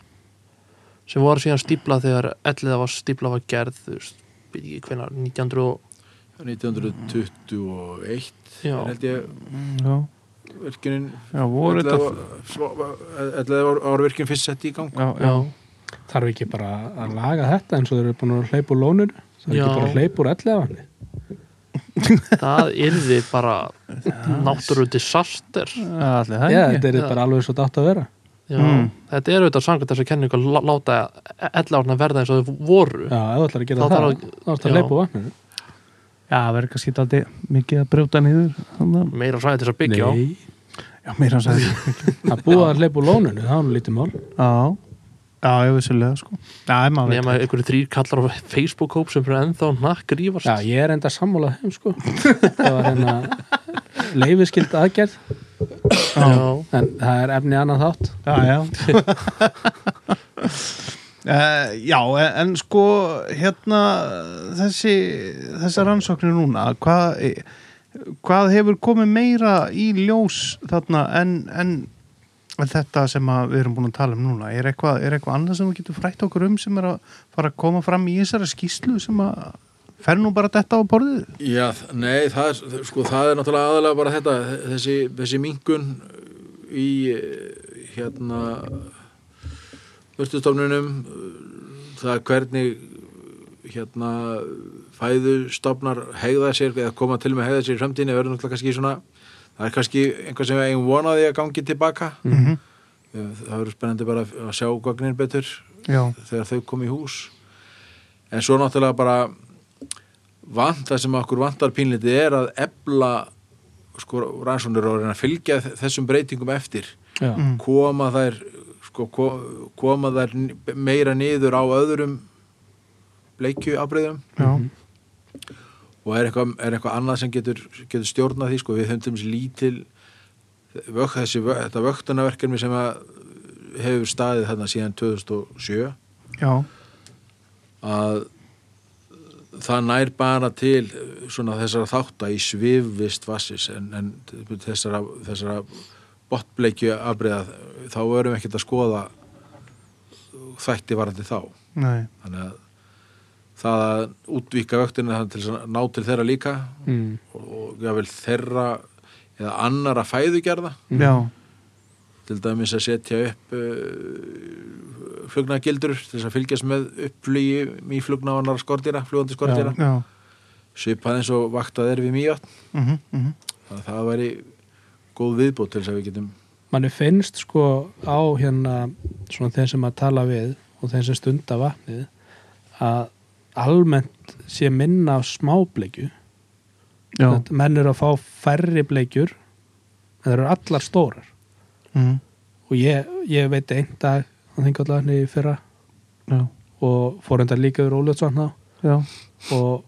sem voru síðan stípla þegar ellaða var stípla var gerð þú veist, veit ekki hvenar 1900 og,
1921
já,
er held ég
já,
virkunin
já, voru þetta
ellefu var- svo- var- ellefu var- var virkun fyrst sett í gang
já,
já,
já,
þarf ekki bara að laga þetta eins og þeir eru búin að hleypa úr lónir þarf ekki
Já.
bara að hleypa úr ellega vanni
það yrði bara náttúru disaster
allir það
Já,
ekki.
þetta er
Já.
bara alveg svo dátt að vera
já,
Mm.
þetta er auðvitað sangat þess að kenningu að lá- láta ellavatni verða eins og þau voru
Já, ef þú ætlar að gera
Þá
það,
þarf
þá ætlar að
já.
hleypa úr vatninu
já, verður kannski alltaf mikið að brjóta niður þannig að-
meira sæði til þess að byggja á
Nei,
já, meira hans að segja
að búa að hleypa úr lóninu, það er nú lítið mál
já, já, já, vissulega sko já, ef maður veit
nema einhverju þrýr kallar á Facebook-hóp sem er ennþá nakkrífast
Já, ég er enda sammálað þeim, sko Það var hérna leifiskild aðgerð
Já.
En það er efni annað þátt
Já, já. uh, já, en- en sko hérna þessi, þessar rannsóknir núna hvað, hvað hefur komið meira í ljós þarna en, en þetta sem að við erum búin að tala um núna er eitthvað, er eitthvað annað sem við getum frætt okkur um sem er að fara að koma fram í þessari skýslu sem að fer nú bara þetta á borðið
Já, þ- nei, það er, sko, það er náttúrulega aðalega bara þetta, þessi, þessi minkun í eh, hérna vörstustofnunum það er hvernig hérna fæðustofnar hegða sér eða koma til með hegða sér í framtíðinni verður náttúrulega kannski svona það er kannski einhvað sem við eigum vonaði að gangi tilbaka
mm -hmm.
Eh, það verður spennandi bara að sjá gögnin betur
Já,
þegar þau kom í hús en svo náttúrulega bara vant það sem okkur vantar pínlítið er að ebla sko rannsóknir á að reyna að fylgja þessum breytingum eftir
já,
Mm.
koma þær sko, ko- koma þær n- meira niður á öðrum bleikjuafbreyðum
já,
og er eitthvað, er eitthvað annað sem getur, getur stjórnað því, sko, við höndum þessi lítil vök, þessi, vö- þetta vöktunarverkefni sem að hefur staðið þarna síðan 2007
já,
að það nær bara til eh, svona þessara þátta í svifvist vassis en, en þessara, þessara botbleikju afbreyða þá verum ekkert að skoða þætti varandi þá
nei,
þannig að það að útvíka vöktinu til þess að ná til þeirra líka
mm,
og, og jável þeirra eða annara fæðugerða
já,
til dæmis að setja upp uh, flugnagildur til þess að fylgjast með uppflugi mýflugna og annara skordýra, flugandi skordýra
já,
svipað eins og vaktað er við mýjött
mhm, mhm,
þannig að það væri góð viðbót til þess að við getum
manni finnst sko á hérna svona þeim sem að tala við og þeim sem stunda vatnið að almennt sé minna af smábleikju
já,
Þetta- menn eru að fá færri bleikjur en það eru allar stórar
mhm,
og ég, ég veit einn dag á þingallarni í fyrra
já,
og fór enda líka yfir Óljótsvann þá
já,
og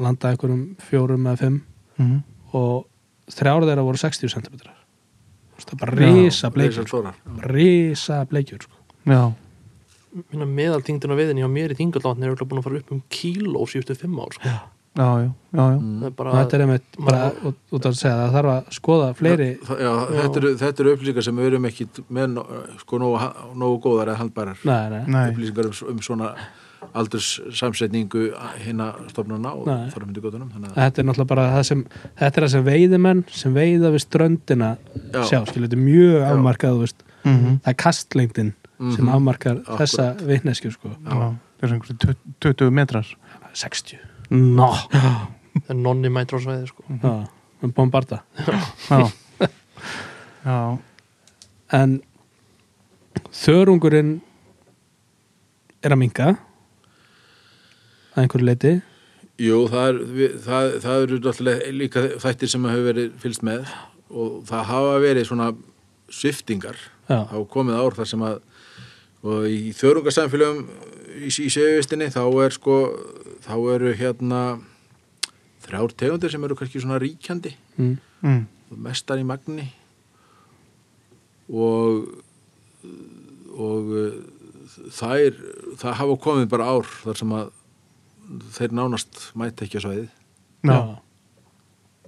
landaði einhverjum fjórum eða fimm
mhm,
og þrjár þeirra voru 60 cm það er bara risa bleikjur sko.
stórar
risa bleikjur sko.
já,
minna meðaltingdina veiðin hjá mér í Þingalatn er örugglega búin að fara upp um kíló síðustu fimm ár sko.
já, já, já, já,
og
það er
þetta
bara,
er einmitt bara út út að segja það þarf að skoða fleiri
já, þetta, eru, þetta eru upplýsingar sem við erum ekki með nó- sko nógu, ha- nógu góðar eða handbærar
nei, nei,
nei,
upplýsingar um, um svona aldurssamsetningu hinna stofnana og
Nei.
þormyndugutunum þannig að
þetta er náttúrulega bara það sem þetta er það sem veiðimenn sem veiða við ströndina
Já.
sjá, skilur þetta er mjög afmarkað þú veist,
mhm,
það er kastlengdin sem
Mhm.
afmarkar
Akkurat.
þessa vitnesku sko.
já, þessu einhversu tut- 20 metrar,
60
ná,
það er nonni mætur á sveiði sko.
já, um bombarda
já, já,
en þörungurinn er að minga að einhverju leiti
Jú, það, er, við, það, það eru náttúrulega líka þættir sem hefur verið fylst með og það hafa verið svona sviftingar
já,
hafa komið ár þar sem að og í þörungarsamfélögum í, í segjustinni þá er sko þá eru hérna þrjár tegundir sem eru kannski svona ríkjandi
mm,
mhm,
mestar í magni og og uh, þær, það hafa komið bara ár þar sem að þeir nánast mæta ekki á svæðið
já,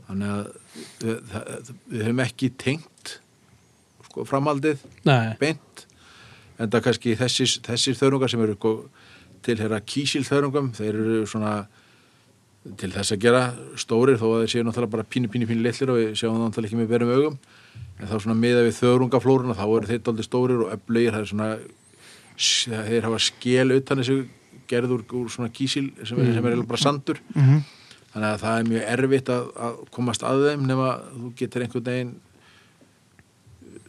þannig að við, það, við höfum ekki tengt sko, framhaldið
nei,
beint en það kannski þessir, þessir þörungar sem eru sko, tilhera kísil þörungum þeir eru svona til þess að gera stórir þó að þeir séu náttúrulega bara pínu, pínu, pínu litlir og við sjáum það náttúrulega ekki með berum augum en þá svona miða við þörungaflóruna þá eru þeir daldið stórir og öflugir það er svona, þeir hafa skel utan þessu gerður úr svona kísil sem, mm. sem er eiginlega bara sandur
mhm,
þannig að það er mjög erfitt að, að komast að þeim nema þú getur einhvern veginn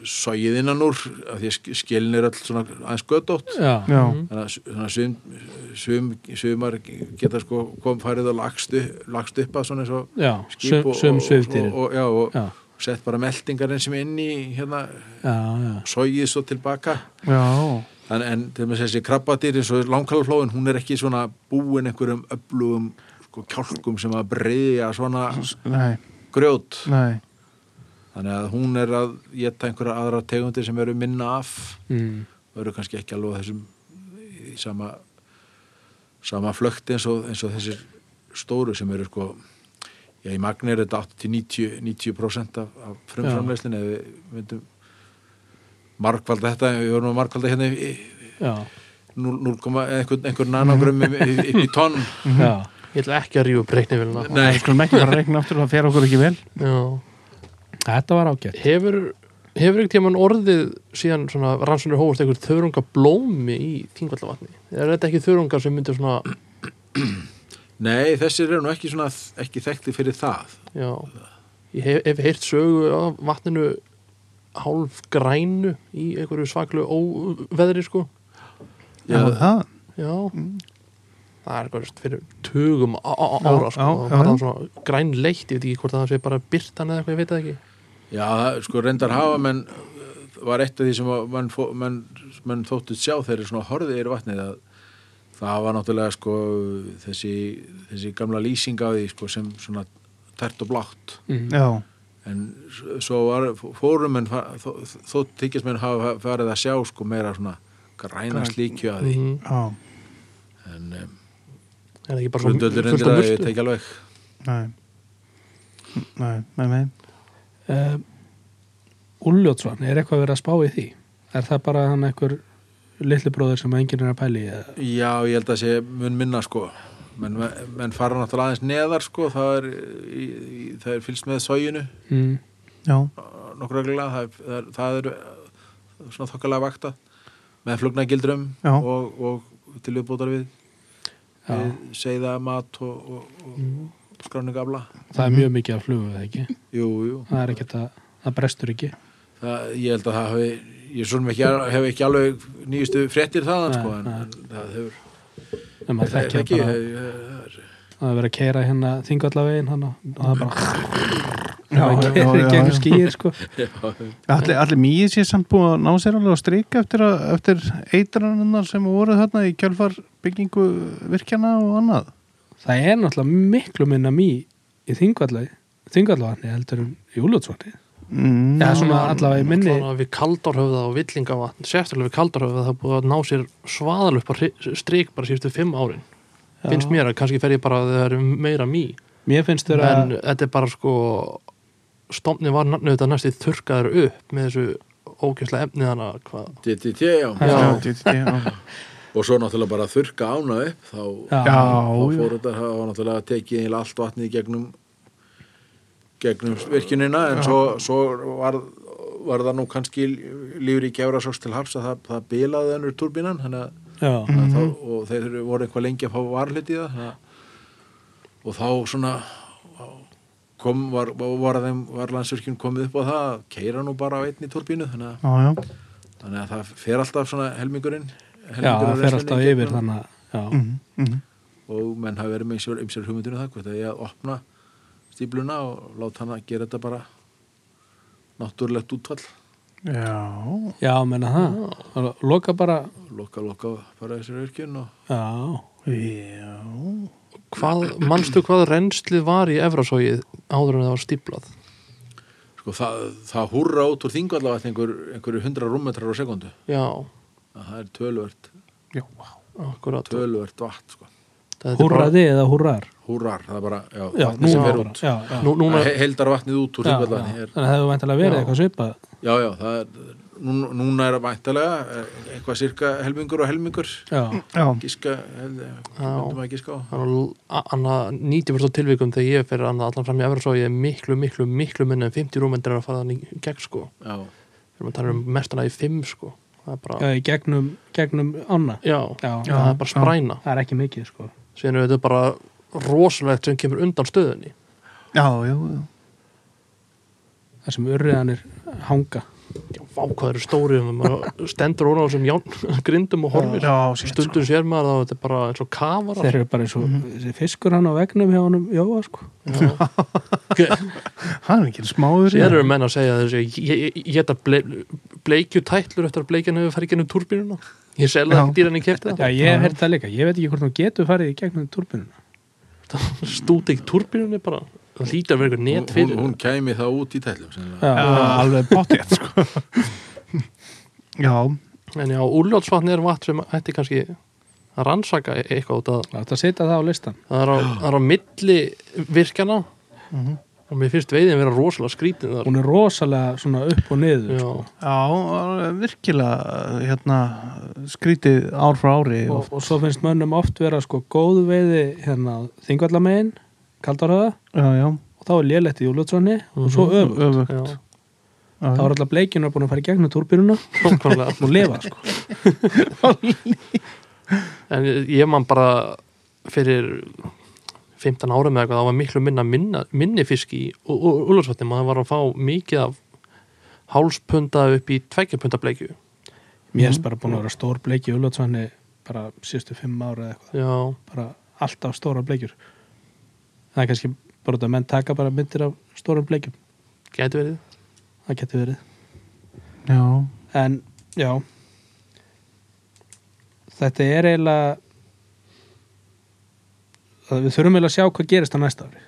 sogið innan úr af því að skilin er öll svona aðeins göttótt
já,
já,
þannig að svona sum, sum, sumar geta sko kom farið og lagst upp, lagst upp að svona eins og
já
skip
sum,
og,
sum sviftir
og, og, já, og
já,
sett bara meldingarinn sem er inn í hérna
já, já,
sogið svo tilbaka
já,
en, en til með þessi krabbadýr eins og langkalaflóin hún er ekki svona búin einhverjum öflugum sko kjálkum sem að breyja svona
nei,
grjót
nei,
þannig að hún er að geta einhverja aðra tegundir sem eru minna af
mm,
og eru kannski ekki alveg á þessum í sama, sama flögt eins og, eins og þessir stóru sem eru sko já, í magni er þetta 80-90% af, af frumframleyslinn ef við myndum markvalda þetta, við vorum að markvalda hérna í- í-
já,
0, 0, einhver, einhver nanogram upp í, í, í tonn
já
ég ætla ekki að rífa breykni vilna
Nei, skulum ekki fara að reikna aftur, það fer okkur ekki vel.
þetta var ágætt
hefur hefur ekkert tímann orðið síðan svona rannsóknir hófust einhver þörunga blómi í Þingallavatni er þetta ekki þörungar sem myndir svona
Nei, þessir eru nú ekki, svona, ekki þekkti fyrir það
já, ég hef, hef heyrt sögu af vatninu hálf grænu í einhverju svaklu óveðri sko
Já, það,
já, það er eitthvað veist, fyrir tugum á- á- á- ára
Já,
sko,
já,
og
já.
var það svona græn leitt ég veit ekki hvort það sé bara byrtan eða eitthvað, ég veit það ekki
Já, það- sko reyndar hafa menn var eitt af því sem að menn, fó- menn, menn þóttu sjá þeirri svona horfið er vatnið að það var náttúrulega sko þessi, þessi gamla lýsing á því sko sem svona tært og blátt
já,
en s- svo var, fórum menn fa- þó- þótt þykjast menn hafa farið að sjá sko meira svona græna slíkju að því
Mhm.
já,
en um,
er það ekki bara svona fullt
grundöldur reyndir
af
að ég
myrtu
tekja alveg
nei nei, nei, nei
uh, Úljótsson, er eitthvað verið að spá í því? Er það bara hann einhver litlu bróður sem enginn er að pæli í? eða?
Já, ég held að sé mun minna sko menn, menn fara náttúrulega aðeins neðar sko, það er, í, í, það er fylgst með sóginu
Mm.
já,
nokkur reglulega það, er- það, er- það er eh, svona þokkalega vakta með flugnagildrum
Já.
og, og til viðbótar við,
Já,
við segða mat og, og, og skráningabla
það er mjög mikið að flugu eða ekki
Jú, jú,
það er ekkert að, það brestur ekki
það, ég held að það hafi ég svo sem ekki, hef ekki alveg nýjustu fréttir þaðan
Nei,
sko en,
nei.
en það hefur
en maður
það
þekkir
ekki,
það eh, bara
ég- ég- það er-
að það er verið að keira hérna þingallavegin hann og það er bara
já, já, já,
keira í
já.
gegnum skýr sko
Allir, allir mýið sé samt búið að ná sér alveg á strik eftir, að, eftir eitranarnar sem voru þarna í kjálfar byggingu virkjana og annað.
það er náttúrulega miklu minna mý í þingallavegin þingallavatni heldur en í Úljótsvatni
Mm,
Já, svona allavega í minni
Allavega við kaldárhöfða og villingavatn sérstaklega við kaldárhöfða það er búið að ná sér svaðalöp strik bara síðustu fimm árin
Já.
finnst mér að kannski fer ég bara að það er meira mý
mér finnst þér
en
að
þetta er bara sko stofni var nafnið þetta næstu þurrkaður upp með þessu ógjöfslega efnið hana hvað
DDT, já
já,
Já.
já, já,
og svo náttúrulega bara að þurrka ána upp þá,
Já.
já,
þá
já,
fór þetta það var náttúrulega að tekið eiginlega allt vatnið í gegnum gegnum virkinina en svo, svo var, var það nú kannski lífur í gefrasóks til hafs að það, það bilaði ennur turbínan þannig að
já,
mm -hmm.
Mhm.
og þeir voru eitthvað lengi að fá varlut í það þannig að- og þá svona kom, var, var, þeim, var landsvirkjum komið upp á það að keira nú bara á einni turbínu þannig að,
já, já.
þannig að það fer alltaf svona helmingurinn
já, það
helmingurinn af
fer
restinni
alltaf
í
yfir
gegnum-
þannig að já,
Mm, mm,
og menn hafa verið með sér, um sér hugmyndinu það hvort að ég að opna stípluna og láta hann að gera þetta bara náttúrulegt útfall
já,
já, menna það loka bara,
loka, loka bara þessir örkjun og
já
já,
hvað, manstu hvað reynslið var í Evrasóið áður en það var stíplað
sko það, það húrra út úr þingu allavega einhver, einhverju hundra rúmmetrar á sekundu
já,
það er tölvert,
já, vá.
akkurat
tölvert vatn sko.
Þetta er bara-
húrraði eða húrrar
húrrar, það er bara, já,
já,
vatnið
nú
sem
er
fer
bara
út
já, já.
Nú, núna,
He- heildar vatnið út úr
Já, já. þannig
þingu allavega
að það hefur væntalega verið
Já.
eitthvað svipað
já, já, það er nú- núna er væntalega eh, eitthvað cirka helmingur og helmingur eh,
já,
já,
gíska, heldur maður gíska á
Það er nú a- annað 90% tilvikum þegar ég fer annað allan fram í efra svo ég er miklu, miklu, miklu minna en 50 rúmendir að fara þannig gegn sko
já
þegar maður talar um mestana í 5 sko
Mm.
það er
já,
bara,
í gegnum, gegnum ána
já,
já,
það er bara spræna
það er ekki mikið sko
síðan er þetta bara rosalegt sem kemur undan stöðunni
já, já, já.
það sem urriðanir hanga
já, vá, hvað eru stórið maður stendur óna á þessum járn grindum og horfir
Já, shit, sko.
stundum sér maður það og þetta er bara eins og kafar
þeir eru bara Mhm. eins og þessi fiskur hann á vegnum hjá honum Jóa sko
Hann er ekki smáður.
Sér eru menn að segja þessu ég geta ble, bleikju tætlur eftir að bleikjan hefur farið gennum turbínuna ég selði
Já.
það dýran ég kefti
já, ég hef hert það líka, ég veit ekki hvort þú getur farið í gegnum turbinuna
það stúti ekki turbínunni bara það lítur að vera eitthvað net
hún,
fyrir
hún kæmi það út í tællum sennilega.
já,
Já, alveg pottið, sko. já,
en já, úrljótsvatn er vatn sem ætti kannski að rannsaka e- eitthvað út að
láta setja það á listan
það er á, það er á milli virkjana og mér finnst veiðin vera rosalega skrítin þar
hún er rosalega svona upp og niður
já,
sko.
já, virkilega, hérna, skrítið ár frá ári.
og, og svo finnst mönnum oft vera sko góð veiði hérna þingvallamegin kaldarhöða
já, já,
og þá er lélegt í Júljótsvanni og svo öfugt
öfugt.
sko.
já,
Já,
þá er alltaf bleikjunar búin að fara í gegnum turbinuna
nákvæmlega
og lifa sko
En ég man bara fyrir 15 árum eða eitthvað, það var miklu minna, minna minni fisk í úlarsvatni, maður var að fá mikið af hálspunda upp í tveggjapunta bleikju.
Mér finnst bara búin að vera stór bleiki í Ulfatsvanni bara síðustu fimm ára eða eitthvað
já,
bara alltaf stóra bleikjur það er kannski bara út að menn taka bara myndir af stórum bleikjum
gæti verið
það getur verið
já,
en já þetta er eiginlega það- við þurfum eiginlega að sjá hvað gerist á næsta ári er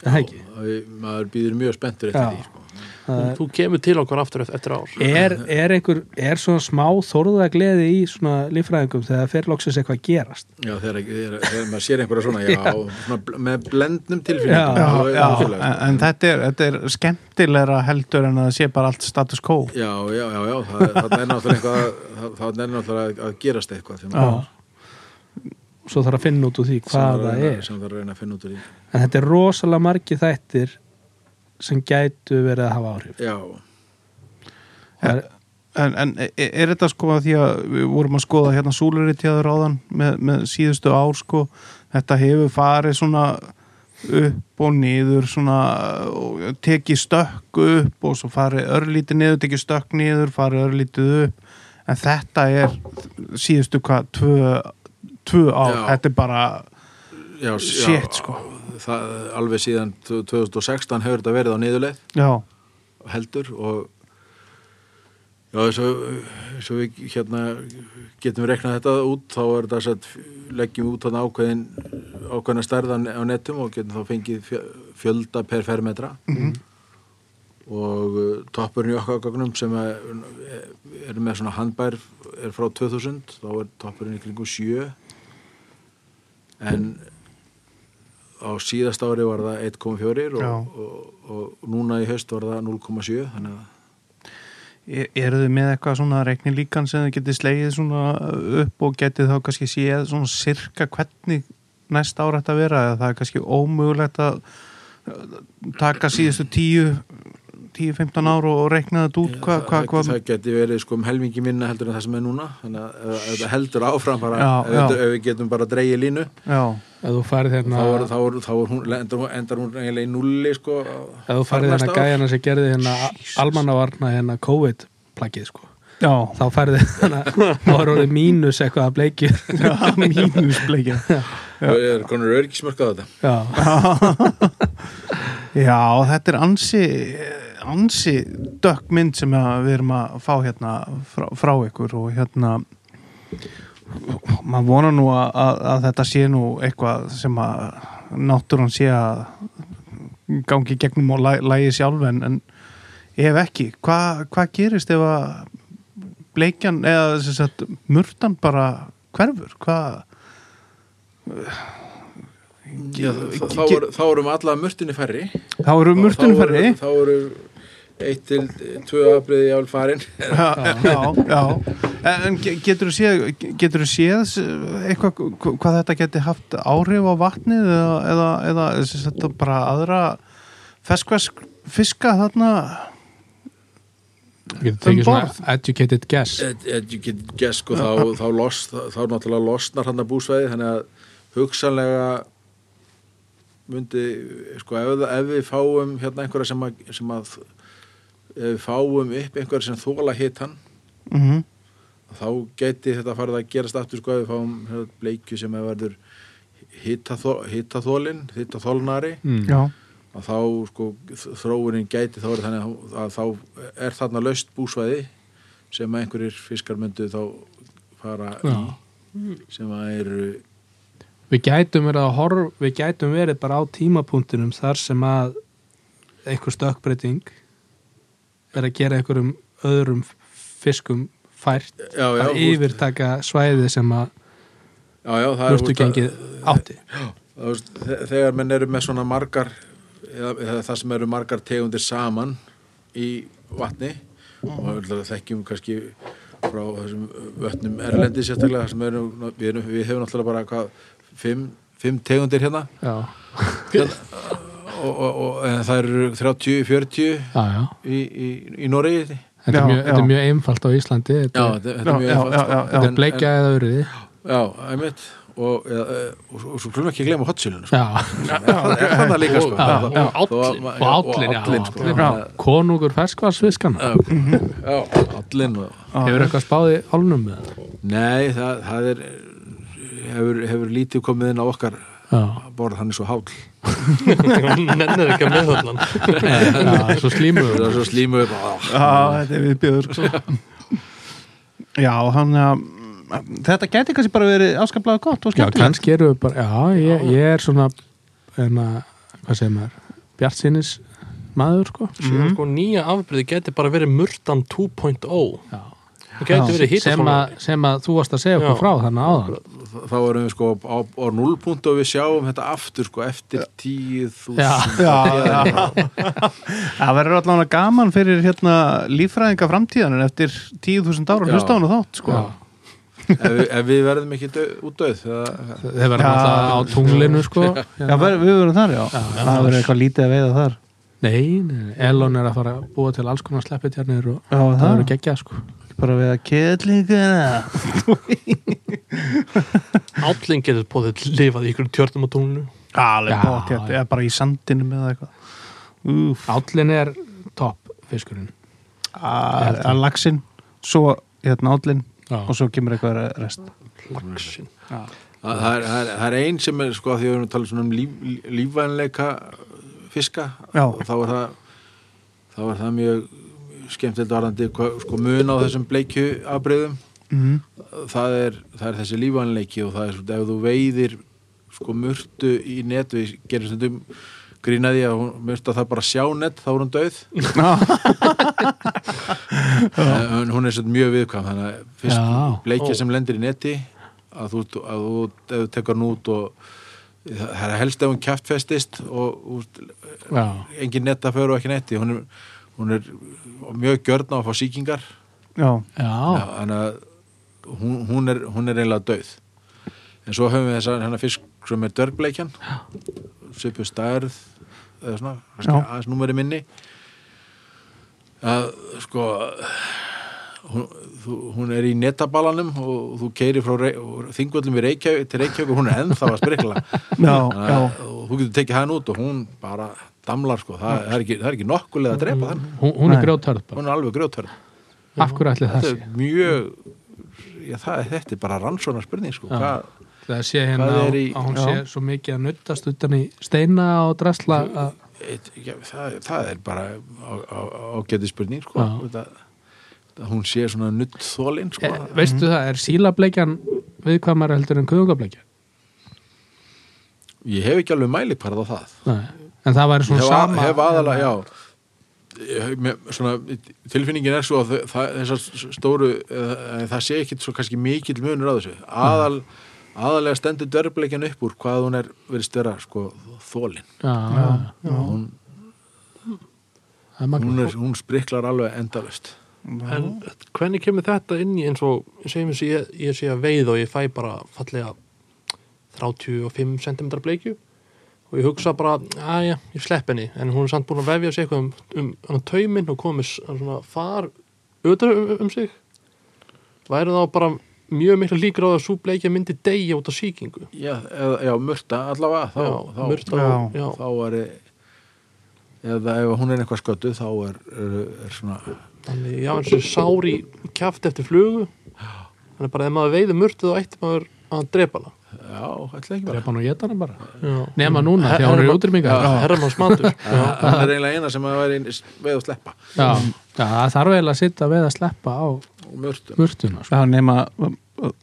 það ekki
Æ, maður býður mjög spenntur eftir
Já.
því sko.
Það er-
þú kemur til okkar aftur eft- eftir ár
er, er einhver, er svona smá þorða gleði í svona líffræðingum þegar fer loksins eitthvað að gerast
já, þegar, þegar, þegar maður sér einhverja svona, já, svona bl- með blendnum tilfinningum
já,
þá er
já.
það svoleiðis,
En, en þetta er, þetta er skemmtilegra heldur en að það sé bara allt status quo
sko. já, já, já, já það, það er náttúrulega eitthvað, það, það er náttúrulega að- að gerast eitthvað sem,
Já. svo þarf að finna út úr því
sem
hvað
að
það
reyna-
er
sem það er að reyna að finna út úr því
en þetta er rosalega margi þættir sem gætu verið að hafa áhrif
já,
Það er,
En, en er, er þetta sko að því að við vorum að skoða hérna súlurinn til aður áðan með, með síðustu ár sko þetta hefur farið svona upp og niður svona og tekið stökk upp og svo farið örlítið niður, tekið stökk niður farið örlítið upp en þetta er síðustu hvað tvö, tvö ár,
Já.
þetta er bara
já, s- já
shit sko
það, alveg síðan 2016 hefur þetta verið á niðurleið
Já,
heldur og já, eins og, eins og við hérna getum reknað þetta út þá er þetta satt, leggjum við út þarna ákveðin ákveðina stærðan á nettum og getum þá fengið fjö- fjölda per fermetra og uh, toppurinn í okkar gögnum sem er, er með svona handbær er frá 2000, þá er toppurinn í kringu 7 en á síðast ári var það
Já.
1,4 og, og, og núna í haust var það 0,7 þannig að
E- Eru þið með eitthvað svona reikni líkan sem þið getið slegið svona upp og getið þá kannski séð svona sirka hvernig næst ára þetta vera eða það er kannski ómögulegt að uh, taka síðustu 10 10-15 ár og og reikna þetta út hvað, hvað,
það,
hvað
það geti verið sko um helmingi minna heldur en það sem er núna þannig að ef- ef þetta heldur áfram bara,
Já,
ef,
já.
þetta- ef við getum bara að dreigja línu
já,
ef þú farið
þá,
hérna
er, þá, er, þá er hún, endar, hún- endar hún eiginlega í nulli sko
ef þú farið
næsta
hérna
ár.
gæjana sem gerði hérna almannavarna hérna COVID plakið sko
já,
þá farið hérna þá er orðið mínus eitthvað að bleikjur
já mínusbleikja
það er konur örgismörk á þetta
já,
já, þetta er ansi ansi dökk mynd sem að við erum að fá hérna frá, frá ykkur og hérna maður vonar nú að, að, að þetta sé nú eitthvað sem að náttúrun sé að gangi í gegnum og læ- lægi sjálf en, en ef ekki, hva, hvað gerist ef að bleikjan eða sem sagt, murtan bara hverfur, hvað
Já, þá, þá, er, þá erum alla mörtinni færri
þá eru murtunum
Þá- þá
færri
eru- þá eru eitt til tvö afbreyði jál farin
já, já, já. En- En getur þú séð, geturðu séð s- eitthvað hv- hvað þetta geti haft áhrif á vatnið eða, eða, eða sem sagt, bara aðra ferskvarsfiska þarna
þú getur tekið
Um borð.
svona educated guess
Ed- ed- ég get gess sko þá, þá, los, þá, þá náttúrulega losnar hann að búsvæði þannig að hugsanlega myndi sko ef, það- ef við fáum hérna einhverja sem að, sem að ef við fáum upp einhverja sem þóla hitan
mm
Mhm.
þá geti þetta farið að gerast aftur sko ef við fáum hérna, bleikju sem að verður hitaþólin hitaþólnari
mm.
já,
að þá sko þróunin gæti þá verið þannig að, að þá er þarna laust búsvæði sem að einhverjir fiskar myndu þá fara
Já.
í sem að eru
við gætum verið að horf við gætum verið bara á tímapunktinum þar sem að einhver stökkbreyting er að gera einhverjum öðrum fiskum fært
já, já,
að yfirtaka svæði sem að
já, já, það er
mörtu gengið átti
það er, þe- þegar menn eru með svona margar eða, eða það sem eru margar tegundir saman í vatni og við þekkjum kannski frá þessum vötnum erlendi sérstaklega þar sem eru, við, erum, við hefum náttúrulega bara hvað, fimm, fimm tegundir hérna
já,
og, og, og en það eru 30-40
já, já
í, í, í Noregi já,
þetta
Já,
er mjög,
já.
þetta er mjög einfalt á Íslandi þetta,
þetta,
já,
þetta er mjög
já, já,
einfalt, sko.
já, já.
þetta er bleikja eða öryði
já, einmitt og, eða, eða, og, og, og svo klumum ekki að glema hotsilinu sko.
Já,
það er þannig líka
Já,
sko. Það-
já.
þó að ma-
og állin,
og állin, sko.
já, já. konungur ferskvarsviskana
Já, allin og
hefur eitthvað spáði álnum með það
Nei, það, það er hefur, hefur lítið komið inn á okkar
já,
borð, hann er svo háll
nennir ekki að meðhöllan
já, svo slímur
það er svo slímuð upp
Já, þetta er viðbjöður sko. Já, hann að þetta geti kannski bara verið afskaplega gott og
já,
skemmtilegt
kannski eru við bara já, ég, ég er svona en að, hvað segir maður Bjart sínis maður, sko
Síðan, sko, nýja afbyrði geti bara verið murtan 2.0
já.
það geti verið hitt
sem, að, sem að þú varst að segja okkur
Já.
frá þannig áðan
þá erum við sko á, á núllpunkt og við sjáum þetta aftur sko eftir tíu
Já.
þúsund
Já, já. Það verður allavega gaman fyrir hérna líffræðinga framtíðanir eftir 10.000 ára
Já.
hlusta hann og þátt sko.
sko.
ef, við- ef við verðum ekki döð, út döð það,
þeir verða
Já.
alltaf á tunglinu sko.
Já, ver, við verðum þar, já. það verður eitthvað lítið að veiða þar.
nei, nei, nei, Elon er að fara að búa til alls konar sleppitjarnir og
Já,
Ah.
það
það
verður
verður
geggja sko.
ekki bara að veiða kjöldlinguna.
állin getur bóðið lifað í ykkur tjörnum á tónlu
Alveg
Já.
bótt, þetta er bara í sandinum eða eitthvað. Úf,
állin er topp fiskurinn
að að laxinn, svo hérna állinn
Já.
og svo kemur eitthvað rest.
laxin
það, það, er, það, er, það er ein sem er sko því að við erum að tala svona um líf, lífvænleika fiska
Já.
þá er það þá er það mjög skemmtilegt varandi hvað- sko mun á þessum bleikju afbreyðum
Mhm.
Mm.
það er, það er þessi lífanleiki og það er svona ef þú veiðir sko murtu í netu við gerum stundum grínaði að hún murta það bara sjá net þá er hún döð Eh, en hún er svona mjög viðkvæm þannig að
Já.
fyrst bleikja sem lendir í neti að þú, að þú, ef þú tekur hún út og það er helst ef hún kjaftfestist og úst,
já,
engin netta fyrir og ekki netti hún er, hún er mjög gjörn á að fá sýkingar
Já,
já,
Já, þannig að hún, hún, er, hún er eiginlega döð en svo höfum við þess að hennar fisk sem er dörgbleikjan svipu stærð eða svona, kannski
Já.
aðeins númeri minni að sko hún, þú, hún er í netabalanum og þú keirir frá rey, þingvöldum í Reykjavík til Reykjavík og hún er ennþá að sprikla
já,
Þannig
já.
að- og þú getur tekið hann út og hún bara damlar sko, það, það, er, ekki, það er ekki nokkulega að
Mm.
drepa þann,
hún, hún
Nei.
er grjótörð bara.
hún er alveg grjótörð
af hverju ætli það
þetta
sé
er mjög já, það, er- þetta er bara rannsóna spurning sko.
Já.
Hvað-
það sé hérna
Hvað er
að
í-
að hún
Já.
sé svo mikið að nuttast utan í steina og drasla að,
eitt- já, það, það er bara á- á- ágæti spurning sko.
Já.
Þetta- að hún sé svona nutt þólin sko.
e, veistu það, er sílableikjan viðkvæmara heldur en kuðungableikja
ég hef ekki alveg mælikvarð á það
en það væri
Ég
svona
hef,
sama
hef aðalega, já Ég hef- mér- svona, tilfinningin er svo að þau- það, þessar stóru eða, það sé ekkit svo kannski mikill munur á
Mm.
þessu aðal aðalega stendur dörbleikjan upp úr hvað hún er verið störa sko, þólin
já, já, já.
hún,
það er magnað.
hún, er, hún spriklar alveg endalust
en hvernig kemur þetta inn í eins og segjum við ég, ég sé að veið og ég fæ bara fallega 35 cm bleikju og ég hugsa bara, aðja, ég slepp henni en hún er samt búin að vefja sig eitthvað um, um, um tauminn og komið svona far auðvitað um, um sig væri þá bara mjög mikla líkur á að svo bleikja myndi deyja út af sýkingu
Já, eða, já, murta allavega þá, þá,
murta,
já.
já,
þá er eða ef hún er eitthvað sköttu þá er, er, er svona
þannig, já, eins og sári kjaft eftir flugu þannig bara ef maður veiði murtu þá ætti maður að drepa hana
já, ætla ekki bara
drepa hann og geta hann bara
Já.
nema núna, því að hún er í útrýmingar já,
Herramannsmatur Já.
það er eiginlega eina sem að væri veið að sleppa
já, það þarf eiginlega að sitta við að sleppa á
og murtu
murtuna sko.
Já, nema,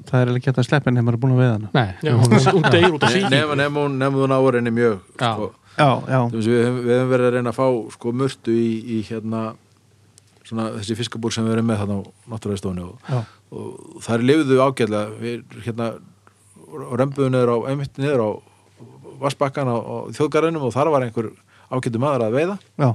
það er ekki hægt að sleppa en nema að búin að veiða hana.
nei,
Já, hún hún deyr út af síkingu
nema, nema, hún- nema hún áur henni mjög
Já.
sko,
Já, já.
Þú veist, við, höfum- við hefum verið að reyna að fá sko, murtu í, í hérna svona þessi fiskabúr sem við erum með þarna á náttúræðistofni og,
Já.
og þar lifðu ágæðlega við hérna römbuðu niður á einmitt niður á vassbakkan á, á þjóðgarðinum og þar var einhver ágættu maður að veiða
Já,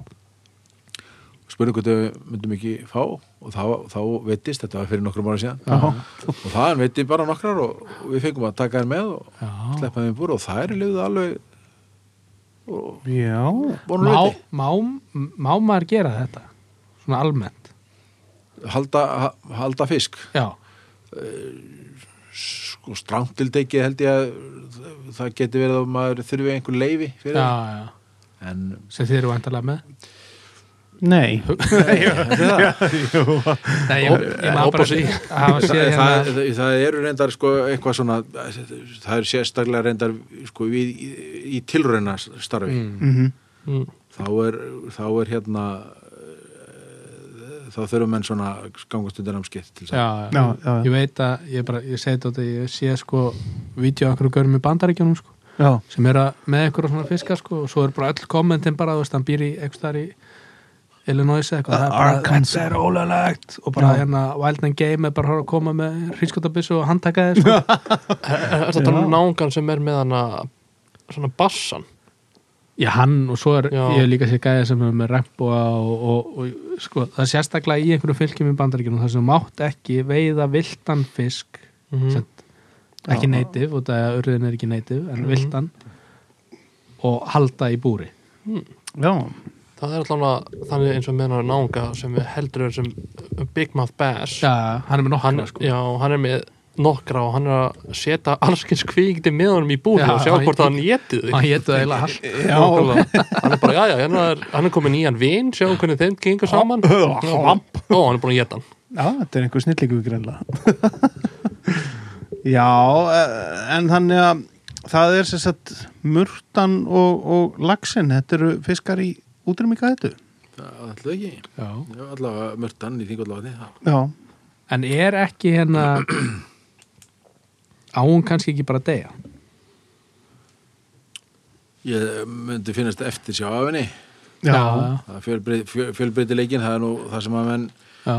spurði hvort við myndum ekki fá og þá, þá veitist, þetta var fyrir nokkrum ára síðan
já,
og það veitti bara nokkrar og, og við fengum að taka þær með og
Já.
sleppa þeim í búr og þær lifðu alveg og
já.
vonum
má,
veiti
má, má maður gera þetta svona almennt
halda, ha- halda fisk
já,
sko strántildegi held ég að það- það geti verið að maður þurfi einhver leifi fyrir
já,
það
já,
en
sem þið eru vantarlega með
Nei
Nei, ég, ég, ég maður bara
Opposite.
að hafa
það,
séð hérna
það, það, eru reyndar sko eitthvað svona það eru sérstaklega reyndar sko í, í, í tilrauna starfi
Mm,
Mhm.
mm,
þá, er, þá er hérna eh, þá þurfum menn svona gangast undir námskeið til þess að-
Já,
já, já,
já, já.
ég veit að ég, bara, ég segi þetta ég sé sko vídeo okkur og görum í bandaríkjunum sko,
Já,
sem er að með einhverja svona fiska sko, og svo er bara öll kommentin bara þú veist, hann býr í einhvers þar í Illinois eða eitthvað,
Ah,
það er bara
Arkansas.
þetta er ólulegt og bara
Já.
hérna Wild and Game er bara að koma með hrískotabissu og handtaka þið sko.
Er þetta
Já.
um nángan sem er með hana svona bassan?
Já, hann og svo er
Já.
ég hef líka sér gæði sem er með regnbúa og, og, og sko, það er sérstaklega í einhverju fylgjum í bandaríkjunum þar sem þú mátt ekki veiða viltan fisk
Mhm.
Sem- ekki
Já.
neitiv, og það er urðin er ekki neitiv en
Mhm.
viltan og halda í búri
já,
Það er allavega þannig eins og með hana nánga sem við heldur er sem Big Mouth Bass
Já, hann er með nokkra
hann,
sko
já, hann er með nokkra og hann er að setja allskins kvíkindi með honum í búri
Já,
og sjá
hann-
hvort hann getið
hann hétu eiginlega hald
já.
hann er bara, já, já, hann er, hann er komin í hann vin sjáum hvernig þeim gengur saman
Já.
og hann er búin að geta hann
Já, þetta er einhver snillíku greinlega Já, eh, en þannig að það er sem sagt murtan og, og laxin, þetta eru fiskar í útrýmika þetta
það er alltaf ekki
Já.
Já, allavega mörtan í þingvallavati það-
Já,
en er ekki hérna á hún kannski ekki bara að deyja
ég myndi finnast eftir sjá af henni
já,
það er fjölbreyt- fjö- fjölbreytileikin það er nú það sem að menn
já. en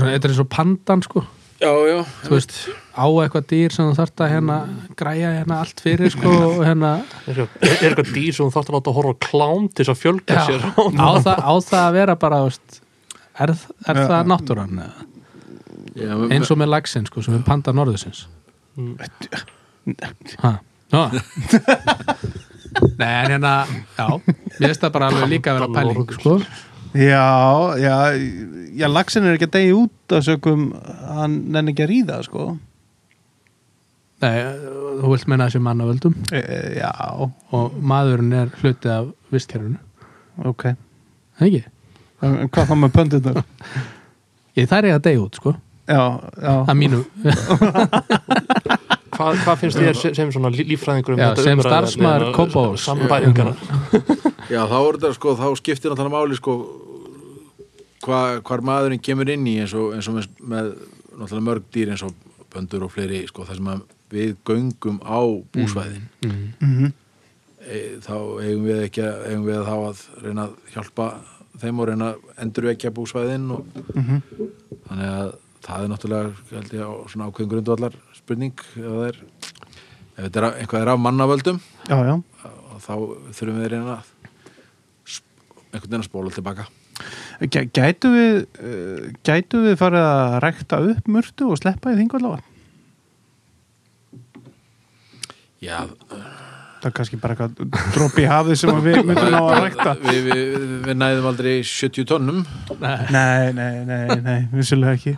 svona, þetta er eins og pandan sko
já, já,
þú veist, á eitthvað dýr sem þú þarft að hérna græja hérna allt fyrir sko og hérna
er eitthvað- er eitthvað dýr sem hún þarf að láta að horfa á klám til þess að fjölga
á,
sér
það, á það að vera bara þú veist, er, er
Já.
það náttúran eða?
já,
eins og með lagsin sko sem er panda norðusins
Mm.
ha, já nei en hérna já, mér finnst það bara alveg líka að vera pæling sko,
já, já, já laxin er ekki að degi út að sökum hann nenni ekki að ríða, sko
nei, þú vilt meina þessi mannavöldum
e, e, Já,
og maðurinn er hluti af vistkerfinu,
ok
það ekki?
En en hvað þá með pöndinu?
Ég þær ég að deyja út sko,
Já,
að
já,
mínu
hvað hva finnst þér sem, sem svona lí- líffræðingur um
Já,
þetta
sem
umræðuefni,
starfsmaður
hérna,
Kópavogs.
sambæringar
Já, þá er þetta sko, þá skiptir náttúrulega máli sko hva, hvar maðurinn kemur inn í eins og, eins og með, með náttúrulega mörg dýr eins og böndur og fleiri sko þar sem að við göngum á búsvæðin
mm.
mhm,
e, þá eigum við ekki að, eigum við þá að reyna að hjálpa þeim og reyna að endurvekja búsvæðin og
mhm
þannig að það er náttúrulega held ég á svona ákveðin grundvallar spurning ef það er ef þetta er af- eitthvað er af mannavöldum
Já, já
og þá þurfum við að reyna að sp- einhvern veginn að spóla tilbaka
Gæ- Gætu við, uh, gætu við farið að rækta upp murtu og sleppa í þingvallavar?
Já,
Það er kannski bara eitthvað dropi í hafið sem að við myndum á að rækta.
við, við, við næðum aldrei 70 tonnum
Nei, nei, nei, nei, vissulega ekki.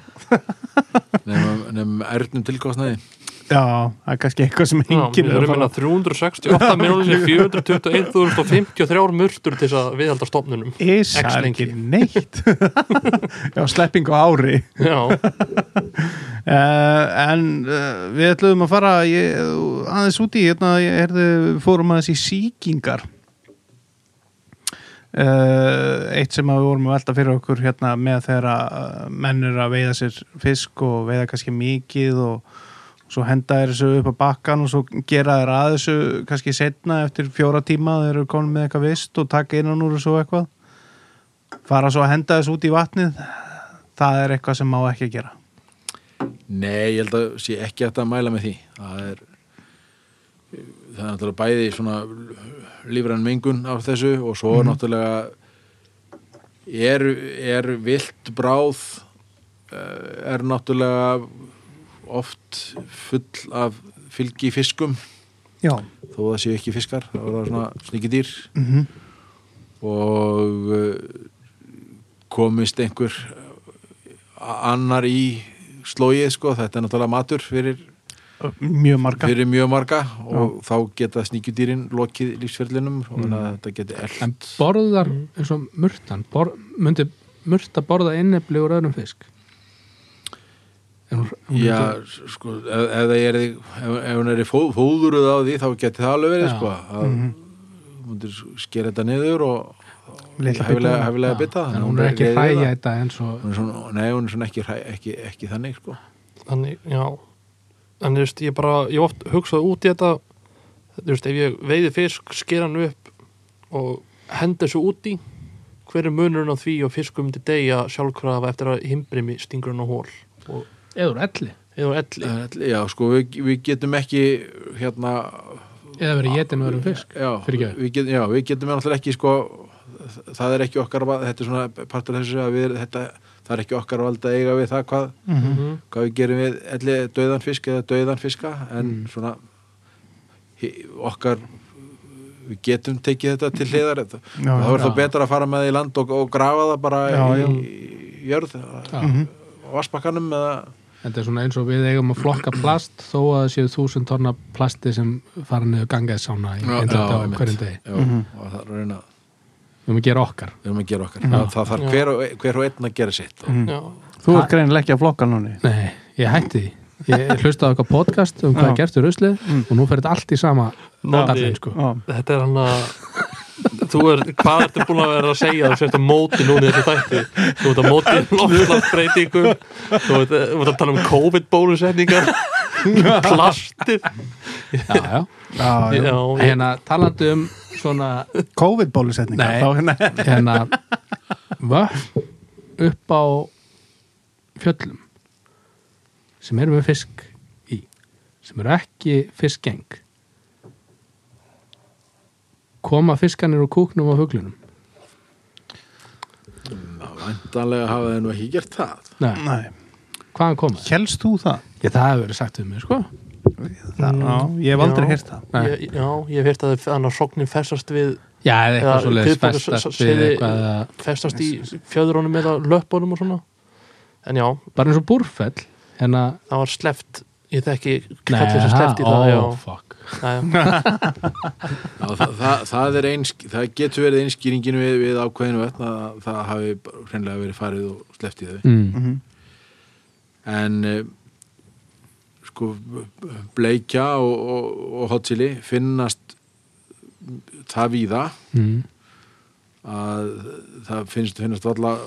nefnum, nefnum ernum tilkostnaði
Já, það er kannski eitthvað sem enginn
við
er að
erum minna
fara.
368 miljonir 421.053 murtur til þess að viðhalda stofnunum
Ísa
X
er
lengi.
ekki neitt. Já, slepping á ári.
já,
Uh, en uh, við ætluðum að fara ég, aðeins út í, hérna, ég herði, fórum aðeins í sýkingar. Uh, eitt sem að við vorum að velta fyrir okkur hérna með þegar að uh, menn eru að veiða sér fisk og veiða kannski mikið og svo henda þeir þessu upp á bakkan og svo gera þeir að þessu kannski setna eftir fjóra tíma þeir eru komin með eitthvað vist og taka innan úr þessu og eitthvað fara svo að henda þessu út í vatnið það er eitthvað sem má ekki að gera
Nei, ég held að sé ekki hægt að mæla með því það er það er náttúrulega bæði svona lífrann mengun á þessu og svo er náttúrulega er, er vilt bráð eh, er náttúrulega oft full af fylgi fiskum
Já,
þó það séu ekki fiskar, þá er það svona sníkidýr
mhm
og eh, uh, komist einhver uh, annar í slóið sko, þetta er náttúrulega matur fyrir,
mjög marga
fyrir mjög marga og þá geta sníkjudýrin lokið lífsferlinum og þannig
Mm.
að þetta geti eld
en borðar eins og murtan bor, myndi murta borða innefli úr öðrum fisk en hún, hún myndi-
Já, sko, ef, ef, það er, ef, ef hún er í fó, fóðuruð á því þá geti það alveg verið
Já. Mhm.
sko, að mm -hmm. skera þetta niður og
Litla
hefilega,
bita.
hefilega
Já,
bita
en hún er ekki
reiðilega.
hræja þetta eins og
Hún er svona, nei, hún er svona ekki, hræ- ekki, ekki þannig sko.
þannig, já en þú veist, ég bara, ég hef oft hugsað út í þetta þú veist, ef ég veiði fisk sker hann upp og henda þessu út í hver er munurinn á því og fiskum til degja sjálfkrafa eftir að himbrimi stingur hann á hól
eða úr elli
eða á elli
En ætli- Já, sko, við, við getum ekki hérna
eða verið getin úr öðrum fisk
já,
fyrirgefðu.
við getum, já, við getum náttúrulega ekki sko, það er ekki okkar val- þetta er svona partur af þessu að við, þetta, það er ekki okkar vald að eiga við það hvað,
Mhm.
hvað við gerum við elli döðan fisk eða döðan fiska en svona hi- okkar við getum tekið þetta til hliðar já,
Já,
það verður
já.
þá betra að fara með það í land og, og grafa það bara
Já,
í,
já.
í jörð
Já.
á vassbakkanum eða
þetta er svona eins og við eigum að flokka plast þó að það séu þúsund tonna plasti sem fara niður gangaði sána í
Já,
einhvern
já,
dag
einmitt.
hverjum degi
já, og það er að reyna
við erum að gera okkar
við erum að gera okkar það, það þarf hver, og- e- hver og einn að gera sitt og,
já,
Þú ert greinilega ekki að flokka núni
nei, ég hætti því ég hlustaði á okkar podcast um hvað
Já.
er gert úr ruslið og nú fer þetta allt í sama notallin sko
Já,
þetta er hann að þú er, hvað ertu búin að vera að segja þú sért að móti núna í þessu þætti þú ert að móti loftlagsbreytingum þú ert þú ert að tala um COVID-bólusetningar plastir
já, já.
já, já.
já,
hérna talandi um svona Nei.
COVID-bólusetningar Þá- Nei
hérna vötn upp á fjöllum sem eru með fisk í sem eru ekki fiskgeng koma fiskanir úr kúknum á fuglunum
Væntanlega hafa þeir nú ekki gert það.
Nei,
Nei,
hvaðan koma þeir?
helst þú það?
Ég, það hefur verið sagt við mig, sko
það Mm. já, ég hef aldrei
Já.
heyrt það
Nei.
ég, já, ég hef heyrt að hann að sognin festast við
Já, eða
Já,
eitthvað svo leiðis
Pétur,
festast
s- s-
við
segði-
eitthvað að-
festast í fjöðrónum eða löppunum og svona en já,
bara eins og búrfell hérna,
það var sleft ég þekki
nei,
kallið sem sleft í
ha,
það já,
ó, fuck
já, já,
Já, það, það, það, er eins, það getur verið einskýringin við, við ákveðinu vetna að það hafi bara hreinlega verið farið og sleppt í þau.
mm.
Mhm.
En eh, sko, bleikja og, og, og hotsili finnast það víða
Mm.
að það finnst, finnast valla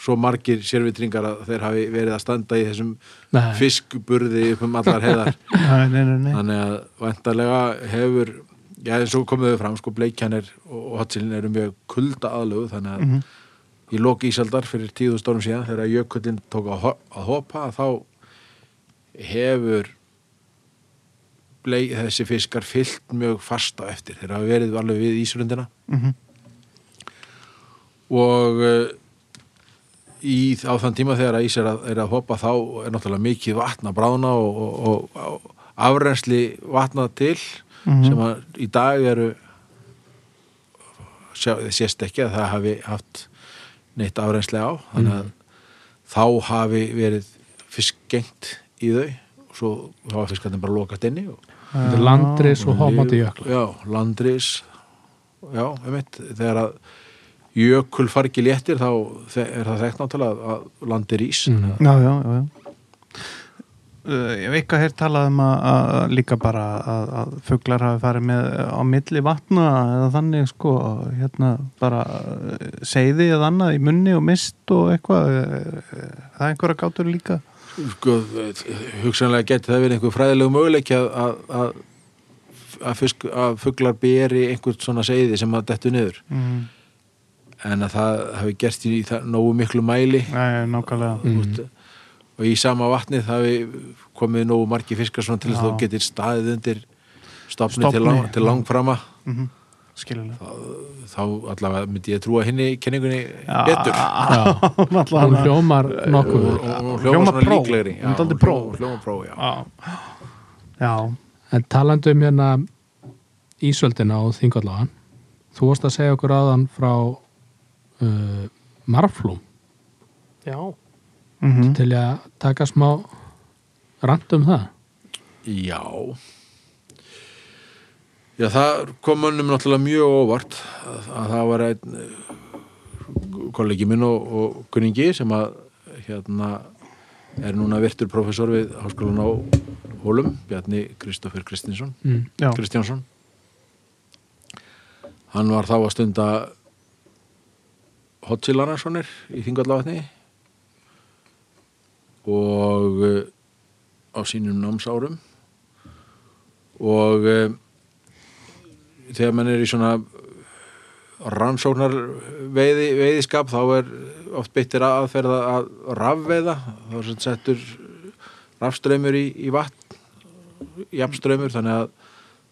svo margir sérvitringar að þeir hafi verið að standa í þessum
Nei.
fiskburði upp um allar heiðar
Nei, nei, nei, nei.
þannig að vantarlega hefur já eins og komuðu fram sko bleikjanir og hotsilin eru mjög kulda aðlögu þannig að
Mhm.
í lok ísaldar fyrir tíðu stórum síðan þegar jökullin tók að, ho að hopa þá hefur bleik, þessi fiskar fyllt mjög fast á eftir þeir hafa verið alveg við ísrundina
Mhm.
og eh, í, á þann tíma þegar að ís er að, er að hopa þá er náttúrulega mikið vatn að bráðna og, og, og, og afrensli vatna til
Mhm.
sem að í dag eru sjá, þið sést ekki að það hafi haft neitt afrensli á þannig að þá hafi verið fiskgengt í þau og svo hafa fiskarnir bara lokast inni og,
Þetta er landris og hoppandi jökla
já, landris já, einmitt, þegar að jökul far ekki léttir þá þe- er það þekkt náttúrulega að landi rís
Mm.
mm.
Já, já, já, já. Uh, Ég hef eitthvað hér talað um að, að líka bara að, að fuglar hafi farið með eh, á milli vatna eða þannig sko hérna bara uh, seiði eða annað í munni og mist og eitthvað uh, það er einhverja gátur líka
sko, hugsanlega geti það verið einhver fræðilegu möguleik að, að, að að, fisk, að fuglar beri einhvern svona seiði sem að dettu niður
mm.
en að það hafi gert í það nógu miklu mæli
Nei, nákvæmlega
mm. og í sama vatni það hafi komið nógu margi fiskar svona til þess að
Já.
þú getur staðið undir stopni,
Stofni.
til, lang, til langframa
mm -hmm. Skilulega
þá allavega myndi ég trúa henni kenningunni
Já.
betur
hún
Náttúrulega
hljómar nokkuð
og, og, og
Hljómar
hljóma svona
próf.
líklegri
Hún er dálítið próf.
hljóma próf, já
Já, já
En talandi um hérna Ísöldina og þingalláðan þú varst að segja okkur áðan frá uh, marflúm
já.
Mhm.
til að taka smá rand um það
Já Já, það kom mönnum náttúrulega mjög á óvart að, að það var einn eh, kollegi minn og, og kunningi sem að hérna er núna virtur professor við háskólan á Hólum, Bjarni Kristoffer Kristinsson
mm.
Já.
Kristjánsson Hann var þá að stunda hotchilarnarsonir í Þingvallavatni og eh, á sínum námsárum og eh, þegar mann er í svona rannsóknar veiði, veiðiskap þá er oft beittir aðferða að rafveiða þá er sem sagt settur rafströmmur í, í vatn jafnströmmur þannig að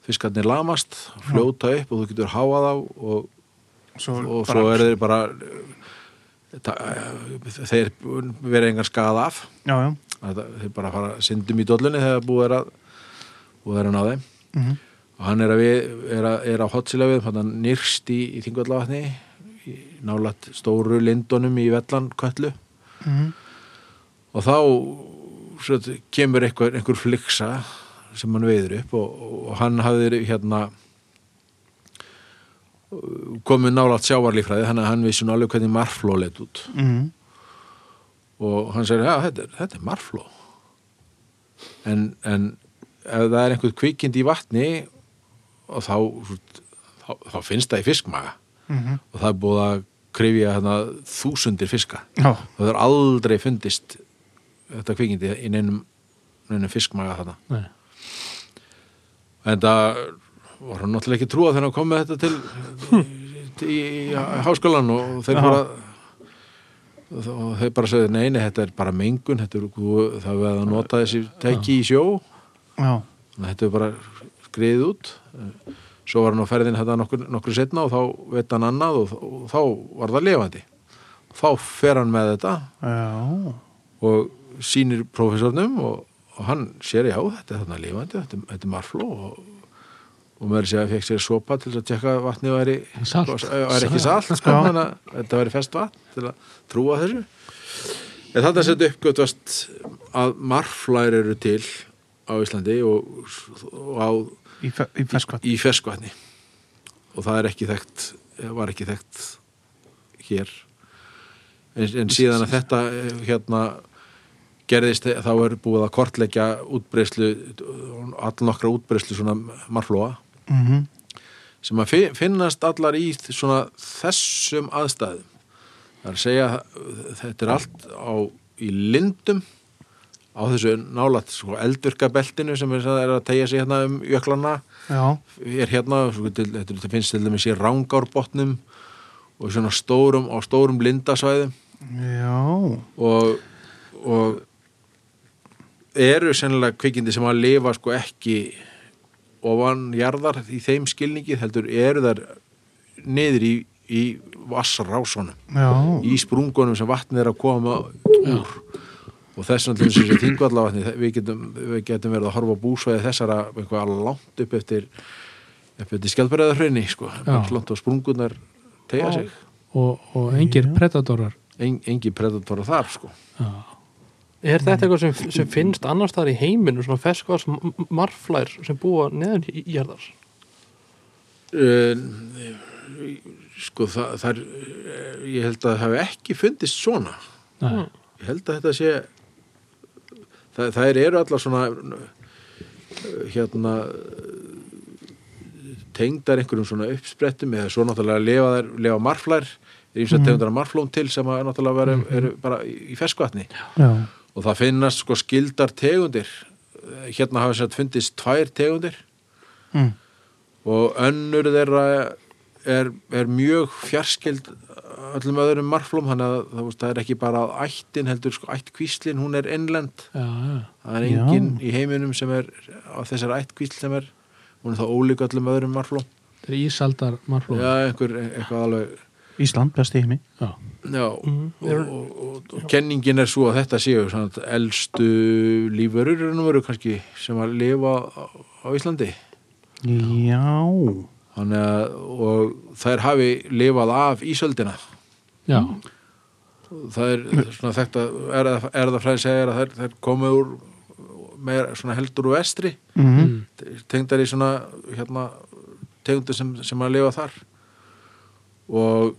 fiskarnir lamast, fljóta upp og þú getur háað á og,
Svo,
og
bara-
svo er þeir bara eh, ta- eh, þeir vera engan skada af
Já, já.
Þetta, þeir bara fara syndum í dollunni þegar búið er að búið er að ná þeim
Mm
og hann er að, við, er að, er að hotsila við hann nýrst í, í Þingvallavatni í nálætt stóru lindunum í Vellan köllu
-hmm.
og þá svo, þetta, kemur einhver, einhver fliksa sem hann veiður upp og, og hann hafði hérna komið nálægt sjávarlífræði þannig að hann vissi nú alveg hvernig marfló leit út
Mm -hmm.
og hann segir, já, þetta er, þetta er marfló en, en ef það er einhver kvikind í vatni og þá, þá, þá finnst það í fiskmaga
Mm -hmm.
og það er búið að krifja hérna, þúsundir fiska
Já,
og það er aldrei fundist þetta kvikindi í neinum, neinum fiskmaga þarna
Nei.
en það var hann náttúrulega ekki trúa þegar hann kom með þetta til, til í, í háskólan og þeir
Já.
bara og þó- og þeir bara sagði neini, þetta er bara mengun þetta er, þú- það verða að nota þessi teki í sjó
já,
Þannig að þetta er bara skriðið út svo var hann á ferðin þetta nokkur, nokkur setna og þá veit hann annað og, og þá var það lifandi þá fer hann með þetta
já.
og sýnir prófessornum og, og hann sér já þetta er þarna lifandi, þetta, er- þetta er marfló og, og meður sér að fekk sér sopa til þess að tekka vatni og væri,
Salt.
væri ekki salt sko,
Já.
þannig að þetta væri fest vatn til að trúa þessu en þetta setja uppgötvast að marflær eru til á Íslandi og, og á,
Í, fe í ferskvatn.
í ferskvatni og það er ekki þekkt eh, var ekki þekkt hér en, en síðan að þetta eh, hérna gerðist eh, þá er búið að kortleggja útbreyslu allnokkra útbreyslu svona marflóa
Mm -hmm.
sem að fi- finnast allar í þ- svona þessum aðstæðum það er að segja eh, þetta er allt á, í lindum á þessu nálætt sko, eldurkabeltinu sem er, er að tegja sig hérna um jöklana
Já,
er hérna, svo til, þetta þetta finnst til dæmis í rángárbotnum og svona stórum, á stórum lindasvæðum
já.
og, og eru sennilega kvikindi sem að lifa sko ekki ofan jarðar í þeim skilningi heldur eru þar niður í, í vassrásunum
Já,
í sprungunum sem vatnið er að koma úr og þess vegna til þessu þingvallavatni við getum, við getum verið að horfa á búsvæði þessara eitthvað langt upp eftir upp eftir skjaldbæriðarhraunni sko,
Já.
langt á sprungunar tegja sig
og, og engir predatorar
en, engi predatora þar sko
já.
Er þetta eitthvað sem, sem finnst annars þar í heiminu, svona ferskvars marflær sem búa neðan í í jarðar?
uh, sko það, það er, ég held að það hafi ekki fundist svona
Nei.
ég held að þetta sé það, það eru allar svona hérna tengdar einhverjum svona uppsprettum eða svo náttúrulega lifa, þær, lifa marflær er eins og tegundar marflóm til sem að náttúrulega veru, eru bara í í ferskvatni
já.
og það finnast sko skildar tegundir hérna hafa sér fundist tvær tegundir
Mm.
og önnur þeirra er, er mjög fjarskild öllum öðrum marflum þannig að það, veist, það er ekki bara að ættin heldur sko ættkvíslin, hún er innlend
Já, já.
það er
Já.
enginn í heiminum sem er á þessar ættkvísl sem er hún er þá ólík öllum öðrum marflum
þetta er ísaldar marflóð
já, einhver, eitthvað alveg
Ísland, besti heimi.
Já.
já,
Mhm.
og, og, og, og kenningin er svo að þetta séu svona, elstu lífverur en veru kannski sem að lifa á, á Íslandi
Já,
Þannig að, og þær hafi lifað af ísöldina
Já.
það er svona þetta er, er það fræði segir að þær, þær komu úr meir svona heldur úr vestri
Mhm.
Mm.
tengdar í svona hérna, tegundu sem, sem að lifa þar og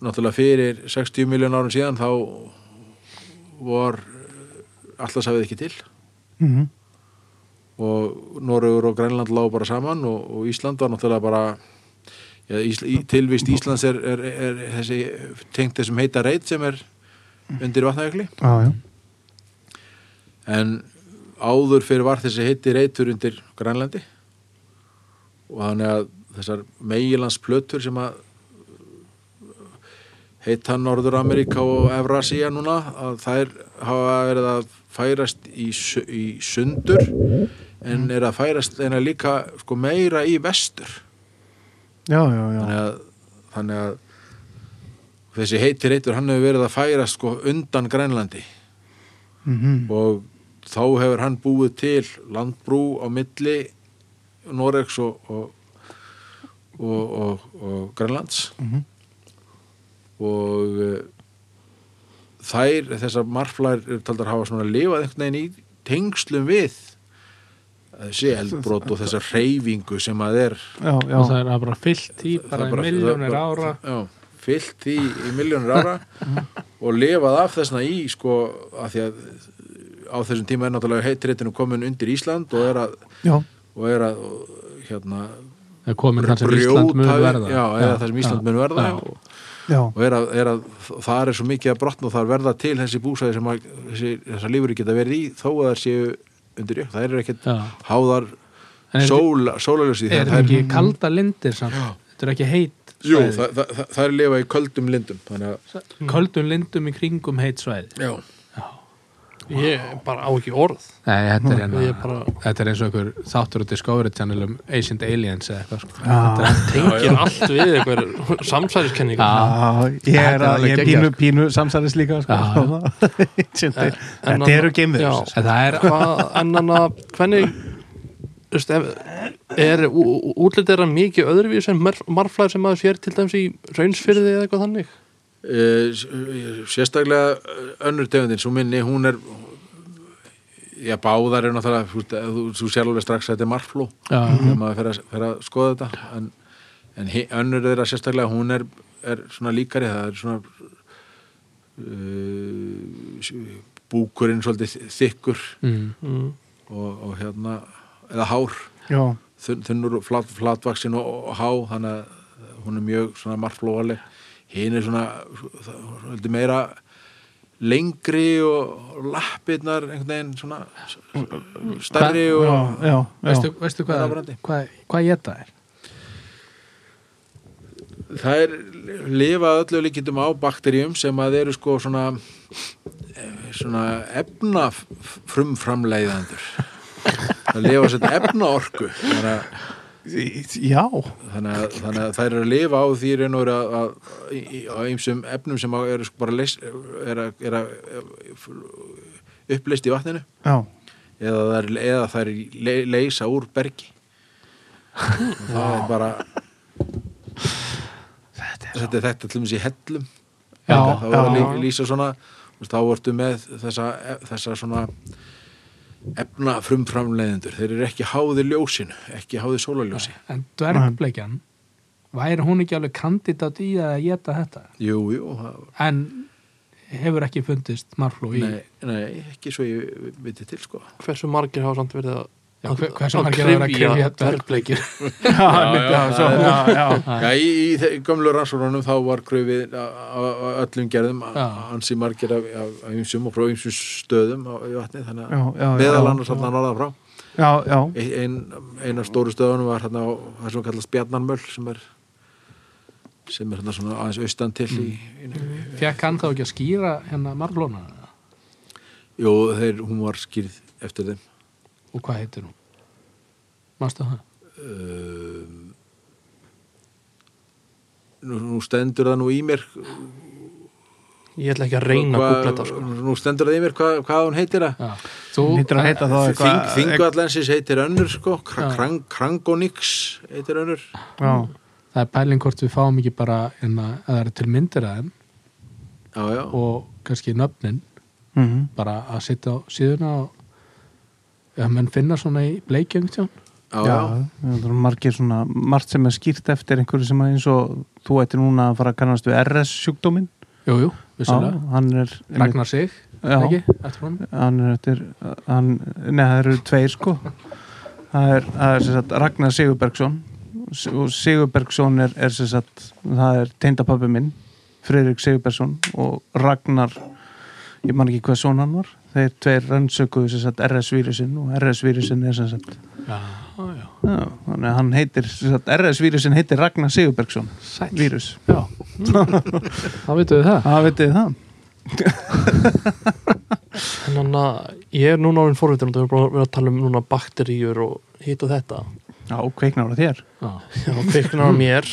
náttúrulega fyrir 60 miljón árum síðan þá vor allarsafið ekki til
Mhm.
og Noregur og Grænland lág bara saman og, og Ísland var náttúrulega bara já, Ísl, í- tilvist Íslands er, er, er þessi tengt þessum heita reit sem er undir vatnajökli
Já, já.
en áður fyrir var þessi heiti reytur undir Grænlandi og þannig að þessar megilandsplötur sem að uh, heita Norður-Ameríka og Evrasía núna að þær hafa verið að færast í, su- í sundur en er að færast en að líka sko meira í vestur
Já, já, já.
þannig að, þannig að þessi heiti reytur hann hefur verið að færast sko undan Grænlandi
Mhm.
og þá hefur hann búið til landbrú á milli Noregs og og, og, og, og Grænlands
Mhm.
og eh, þær, þessar marflær eru taldar hafa svona lifað einhvern veginn í tengslum við þessi eldbrot og þessa reyfingu sem að er
Já, já.
og það er bara fyllt í
það
bara,
er
bara miljónir
það er
ára
já, fyllt í, í miljónir ára og lifað af þessna í sko, af því að á þessum tíma er náttúrulega heitréttinu komin undir Ísland og er að,
Já,
og er að hérna,
það er komin þar sem Ísland mun
brjóta-
verða
já, eða það sem Ísland mun verða
já.
og,
já.
og er, að, er að það er svo mikið að brotna og það er verða til þessi búsæði sem að, þessi, þessar lífur geta verið í þó að það séu undir jökk, það er ekkert
Já.
háðar
En er-
sól, sólaljósi
er þetta ekki kalda lindir samt þetta er ekki heit
Jú,
svæði.
það, það, það, það er lifa í köldum lindum þannig að
köldum lindum í kringum heit svæði
Já.
ég bara á ekki orð
Nei, þetta er,
Ég
hérna,
er bara-
þetta er eins og einhver þáttur á Discovery Channel um Ancient Aliens eða eitthvað sko.
Já,
tengir allt við eitthvað samsæðiskenning
Já.
ég er,
Þetta er
að,
alveg
ég er
geggjað,
pínu, pínu samsæðis líka sko.
Já,
Þetta er-
En
þetta eru
annað-
geimverur
Já.
sem sagt.
En það er
hvað ennan að hvernig þú veist, ef, er útlitið er hann mikið öðruvísi en marf- marflær sem maður sér til dæmis í raunsfyrði eða eitthvað þannig
Eh, s- sérstaklega eh, önnur tegundin, svo minni, hún er já, báðar er náttúrulega þú, veist, þú, þú sér alveg strax að þetta er marfló
Já.
þegar maður fer að, fer að skoða þetta en, en hi- önnur þeirra sérstaklega hún er, er svona líkari það er svona uh, búkurinn svolítið þykkur
mm,
mm.
og, og hérna eða hár,
Já,
þunn, þunnur og flat, flatvaksin og, og há þannig að hún er mjög svona marflóvaleg hinn er svona heldur meira lengri og lappirnar einhvern veginn svona s- s- stærri og
já, já, já.
veistu, veistu hvað,
Ráðbrandi.
hvað, hvað ég þetta er?
það er lifað öllu líkindum á bakteríum sem að eru sko svona eh, svona efna frumframleiðandur það lifa sér efna orku þannig að
Já,
þannig að, þannig að þær eru að lifa á því í raun og eru að, að í- í- á ýmsum efnum sem að eru sko bara leys, er að, er að upplist í vatninu
já.
eða þær, eða þær le, leysa úr bergi Og það er bara þetta er þetta til og með sér hellum
Já,
það var að
já.
lí- lýsa svona þú veist, þá ertu með þessa, þessa svona efna frumframleiðendur þeir eru ekki háði ljósinu ekki háði sólaljósi
En dvergbleikjan væri hún ekki alveg kandidat í að geta þetta
jú, jú, það
en hefur ekki fundist marfló í
Nei, nei, ekki svo ég viti til sko.
hversu margir hafa samt verið að
Já, hver- hversu margir hafa verið að kryfja dvergbleikjur
Já, einmitt, já, svo, já, já.
Já, í, í þe- gömlu rannsóknunum þá var kröfið á á- á öllum gerðum
Já.
a- ansi margir af- af af ýmsum og frá ýmsum stöðum á í vatni þannig
Já,
að
já, já.
meðal annars hann orða frá. E,
Já, já,
Ein, ein- ein af stóru stöðunum var hérna á það sem kallast Bjarnarmöll sem er sem er hérna svona aðeins austan til í,
Mm.
í,
Fekk hann þá ekki að skýra hérna marflóna
Jú, þeir, hún var skýrð eftir þeim
og hvað heitir hún? Mástu það?
um, nú, nú stendur það nú í mér
ég ætla ekki að reyna að
Hvað-
googla þetta sko.
nú stendur það í mér hvað, hvað hún heitir það
Já. Þú,
hún hýttir að heita þá
Þing,
eitthvað-
Þingvallensis heitir önnur sko
Já.
Kra- krang, Krangonix heitir önnur
Já,
hérna, það er pæling hvort við fáum ekki bara en að það eru til myndir að þeim
já, já,
og kannski nöfnin
Mhm.
bara að sitja á síðuna og ef menn finna svona í bleikjum tján
já,
Já,
já.
það eru margir svona, margt sem er skýrt eftir einhverju sem að eins og þú ættir núna að fara að kannast við RS sjúkdómin
Jú, jú, vissulega
hann er
Ragnar sig,
Já.
ekki, eftir honum
hann er eftir hann, nei, það eru tveir sko það er, það er sem sagt Ragnar Sigurbergsson S- og Sigurbergsson er, er sem sagt það er teyndapabbi minn Friðrik Sigurbergsson og Ragnar ég man ekki hvað son hann var þeir tveir rannsökuðu sem sagt RS-vírusin og RS-vírusin er sem sagt
Já, já,
já, þannig að hann heitir sem sagt, RS-vírusin heitir Ragnar Sigurbergsson
sæll
vírus
Já, þá veitum við það
það veitir það
Þannig að ég er núna orðin forvitin og það er bara verið að tala um núna bakteríur og hitt og þetta.
já, kveiknar á þér
Já,
Já, kviknar á mér.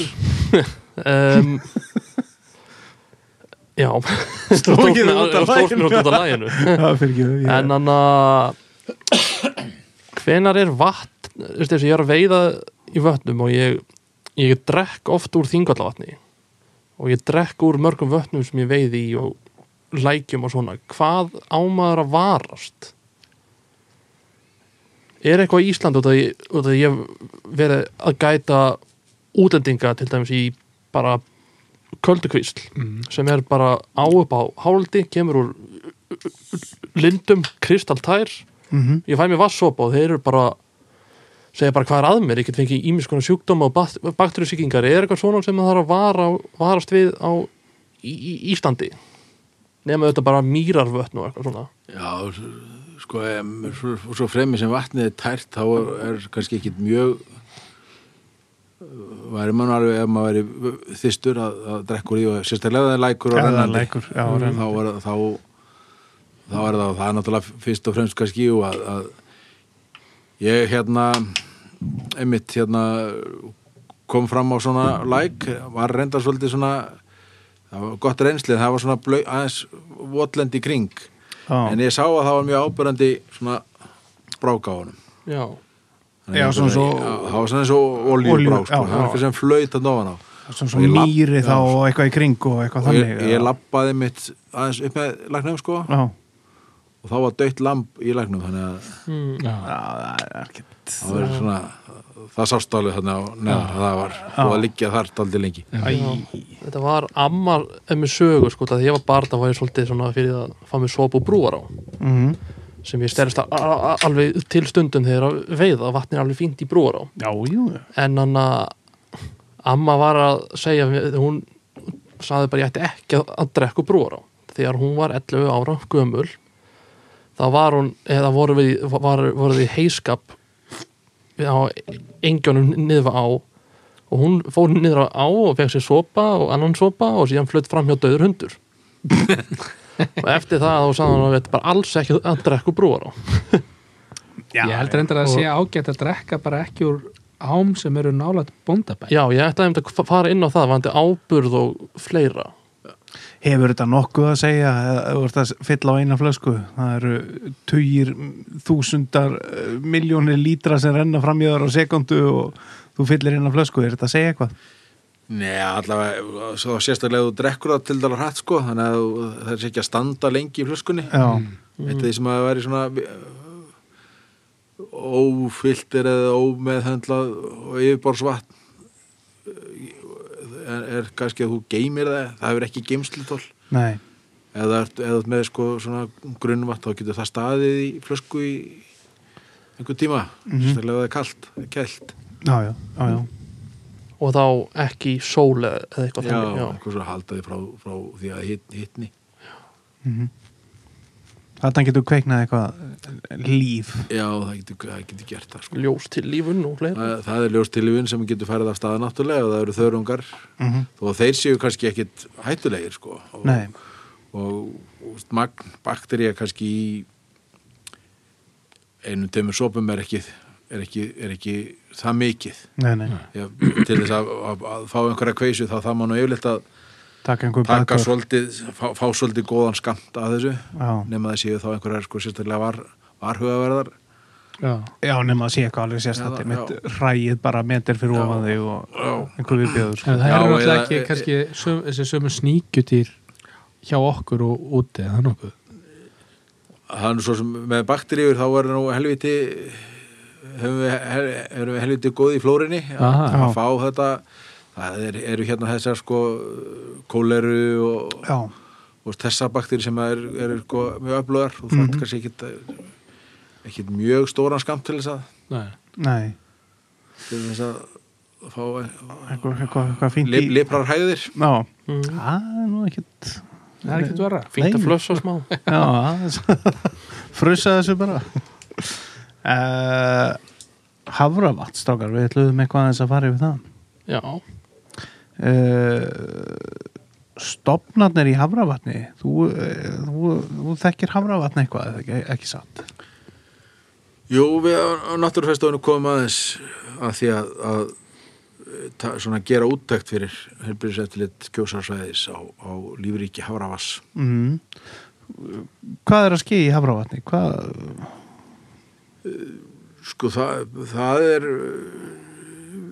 um, já.
Sló ekki þig út af
Stóknir
laginu.
út af laginu.
já, fyrir ekki ég-
En hann að hvenar er vatn þú veist þessi, ég er að veiða í vötnum og ég, ég drekk oft úr þingallavatni og ég drekk úr mörgum vötnum sem ég veiði í og lækjum og svona hvað ámaður að varast er eitthvað í Ísland út af því- út af því ég hef verið að gæta útlendinga til dæmis í bara köldukvísl
mm.
sem er bara á upp á háldi, kemur úr lindum, kristaltær
Mhm.
ég fæ mér vassópa og þeir eru bara segja bara hvað er að mér, ég get fengið ímis konar sjúkdóma og bakteriusíkingar er eitthvað svona sem það þarf að vara, varast við á í, í, Íslandi nema þetta bara mýrarvötn og eitthvað svona
Já, s- sko, em, svo, svo fremi sem vatnið er tært þá er, er kannski ekkit mjög væri mann alveg ef maður væri þystur að, að drekkur í og sérstaklega ef það er lækur
Ef
og
það er
rennandi.
lækur, já,
Mm.
rennandi.
þá er þá þá er það, það er náttúrulega fyrst og fremst kannski jú, að, að ég hérna einmitt hérna kom fram á svona læk var reyndar svolítið svona það var gott reynslið, það var svona blau, aðeins votlend í kring
Já.
en ég sá að það var mjög ábyrrandi svona brák á honum
já,
Þannig
Já,
að
svona svo-
já, það var svona eins og
Olíubrák,
oljúbrák
já,
sko, það var
já.
eitthvað sem flöyt að ofan á
svona
Og ég
svona
lapp-
mýri þá
já,
og eitthvað í kring og eitthvað
og ég,
þannig
ég
eða?
lappaði mitt aðeins upp með lagnum sko
já,
og þá var dött lamp í lagnum þannig að
Já,
Já, það er ekkert
það var svona það sást alveg þannig á neðar að það var og að liggja þar daldi lengi
þetta var ammar emmi sögu sko, það ég var barn það var ég svolítið svona fyrir að fá mér sopa og brúar á
Mhm.
sem ég stærst alveg til stundum þegar að veiða, vatn er alveg fínt í brúar á
já, jú, já.
en hann að amma var að segja mér- hún saði bara ég ætti ekki að, að drekka brúar á þegar hún var 11 ára gömul þá var hún eða voru við, var, voru við í heiskap við á engjónum niður á og hún fór niður á á og fekk sér sopa og annan sopa og síðan flutt fram hjá döður hundur og eftir það þá sagði hún að þetta bara alls ekki að drekka brúar á
Já,
Ég held reyndar að
Og-
sé ágætt að drekka bara ekki úr ám sem eru nálægt bóndabæ
já ég ætlaði einmitt að fa- fara inn á það vandi áburð og fleira
hefur þetta nokkuð að segja eða ef þú ert að fylla á eina flösku það eru tugir þúsundar eh, milljónir lítra sem renna framjöður á sekundu og þú fyllir eina flösku, er þetta að segja eitthvað?
Nei, allavega, svo sérstaklega ef þú drekkur það til dæla hratt sko þannig að þú- það er ekki að standa lengi í flöskunni
Já,
Eitt af því sem að það væri svona uh, ófylltir eða ómeðhöndlað og yfirborðsvatn uh, er, er kannski að þú geymir það, það hefur ekki geymslutól
nei
eða eða með sko svona grunnvatn þá getur það staðið í flösku í einhver tíma mm
Mhm.
-hmm. sérlega það er kalt, kælt
Já, já, já, já.
og þá ekki í sól eða eða eitthvað
já,
þannig, já.
eitthvað svo haldaði frá, frá því að hit, hitni
Mhm. Þarna getur kveiknað eitthvað líf
já, það getur, það getur gert það sko
ljós til lífun og fleira
það, það er ljóstilifin sem getur farið af staða náttúrulega og það eru þörungar
mm
þó að þeir séu kannski ekkit hættulegir sko og,
Nei,
og, og magn bakterja kannski í einum tömur sopum er ekki, er ekki, er ekki það mikið
nei, nei,
Já, til þess að, að, að fá einhverja kveisu þá það má nú yfirleitt að
taka einhver
taka
bakvörð.
svolítið, fá, fá svolítið góðan skamt að þessu
Já.
nema það séu þá einhverjar sko sérstaklega var, varhugaverðar
Já,
Já, nema að sé eitthvað alveg sérstætti
Já,
mitt
já.
rægið bara metir fyrir
Já.
ofan þig og sko.
Já.
einhver viðbjöður
en það eru
Já, eða- e-
náttúrulega ekki kannski söm, þessi sömu sníkjutýr hjá okkur og úti eða nokkuð
hann svo sem með bakteríur þá er nú helviti höfum við, hel, erum við helviti góð í flórinni að
Aha.
að fá þetta það er, eru hérna þessar sko kóleru og,
já,
og þessa bakteríur sem er, er sko, mjög öflugar og það mm
Mhm.
kannski ekkit, ekkit mjög stóran skamt til þess að,
Nei.
nei
til þess að fá
eitthvað, eitthvað, eitthvað fínt
lip,
í
liprar hæðir
já,
mm.
það er nú ekkit
það er ekkert verra
fínt
Nei.
að flössa smá
já, það- frussa þessu bara uh, Hafravatt, strákar við ætluðum eitthvað aðeins að fara yfir það
já,
uh, stopnarnir í Hafravatni þú, uh, þú, þú þekkir Hafravatni eitthvað eða ekki, ekki satt
Jú, við á á náttúrufestofunum komum aðeins að því að, að e, ta, svona gera úttækt fyrir helbriðseftillit kjósarsvæðis á, á lífríki Hafravass.
mm. hvað er að ski í Hafravatni hvað,
Sko, það, það er e,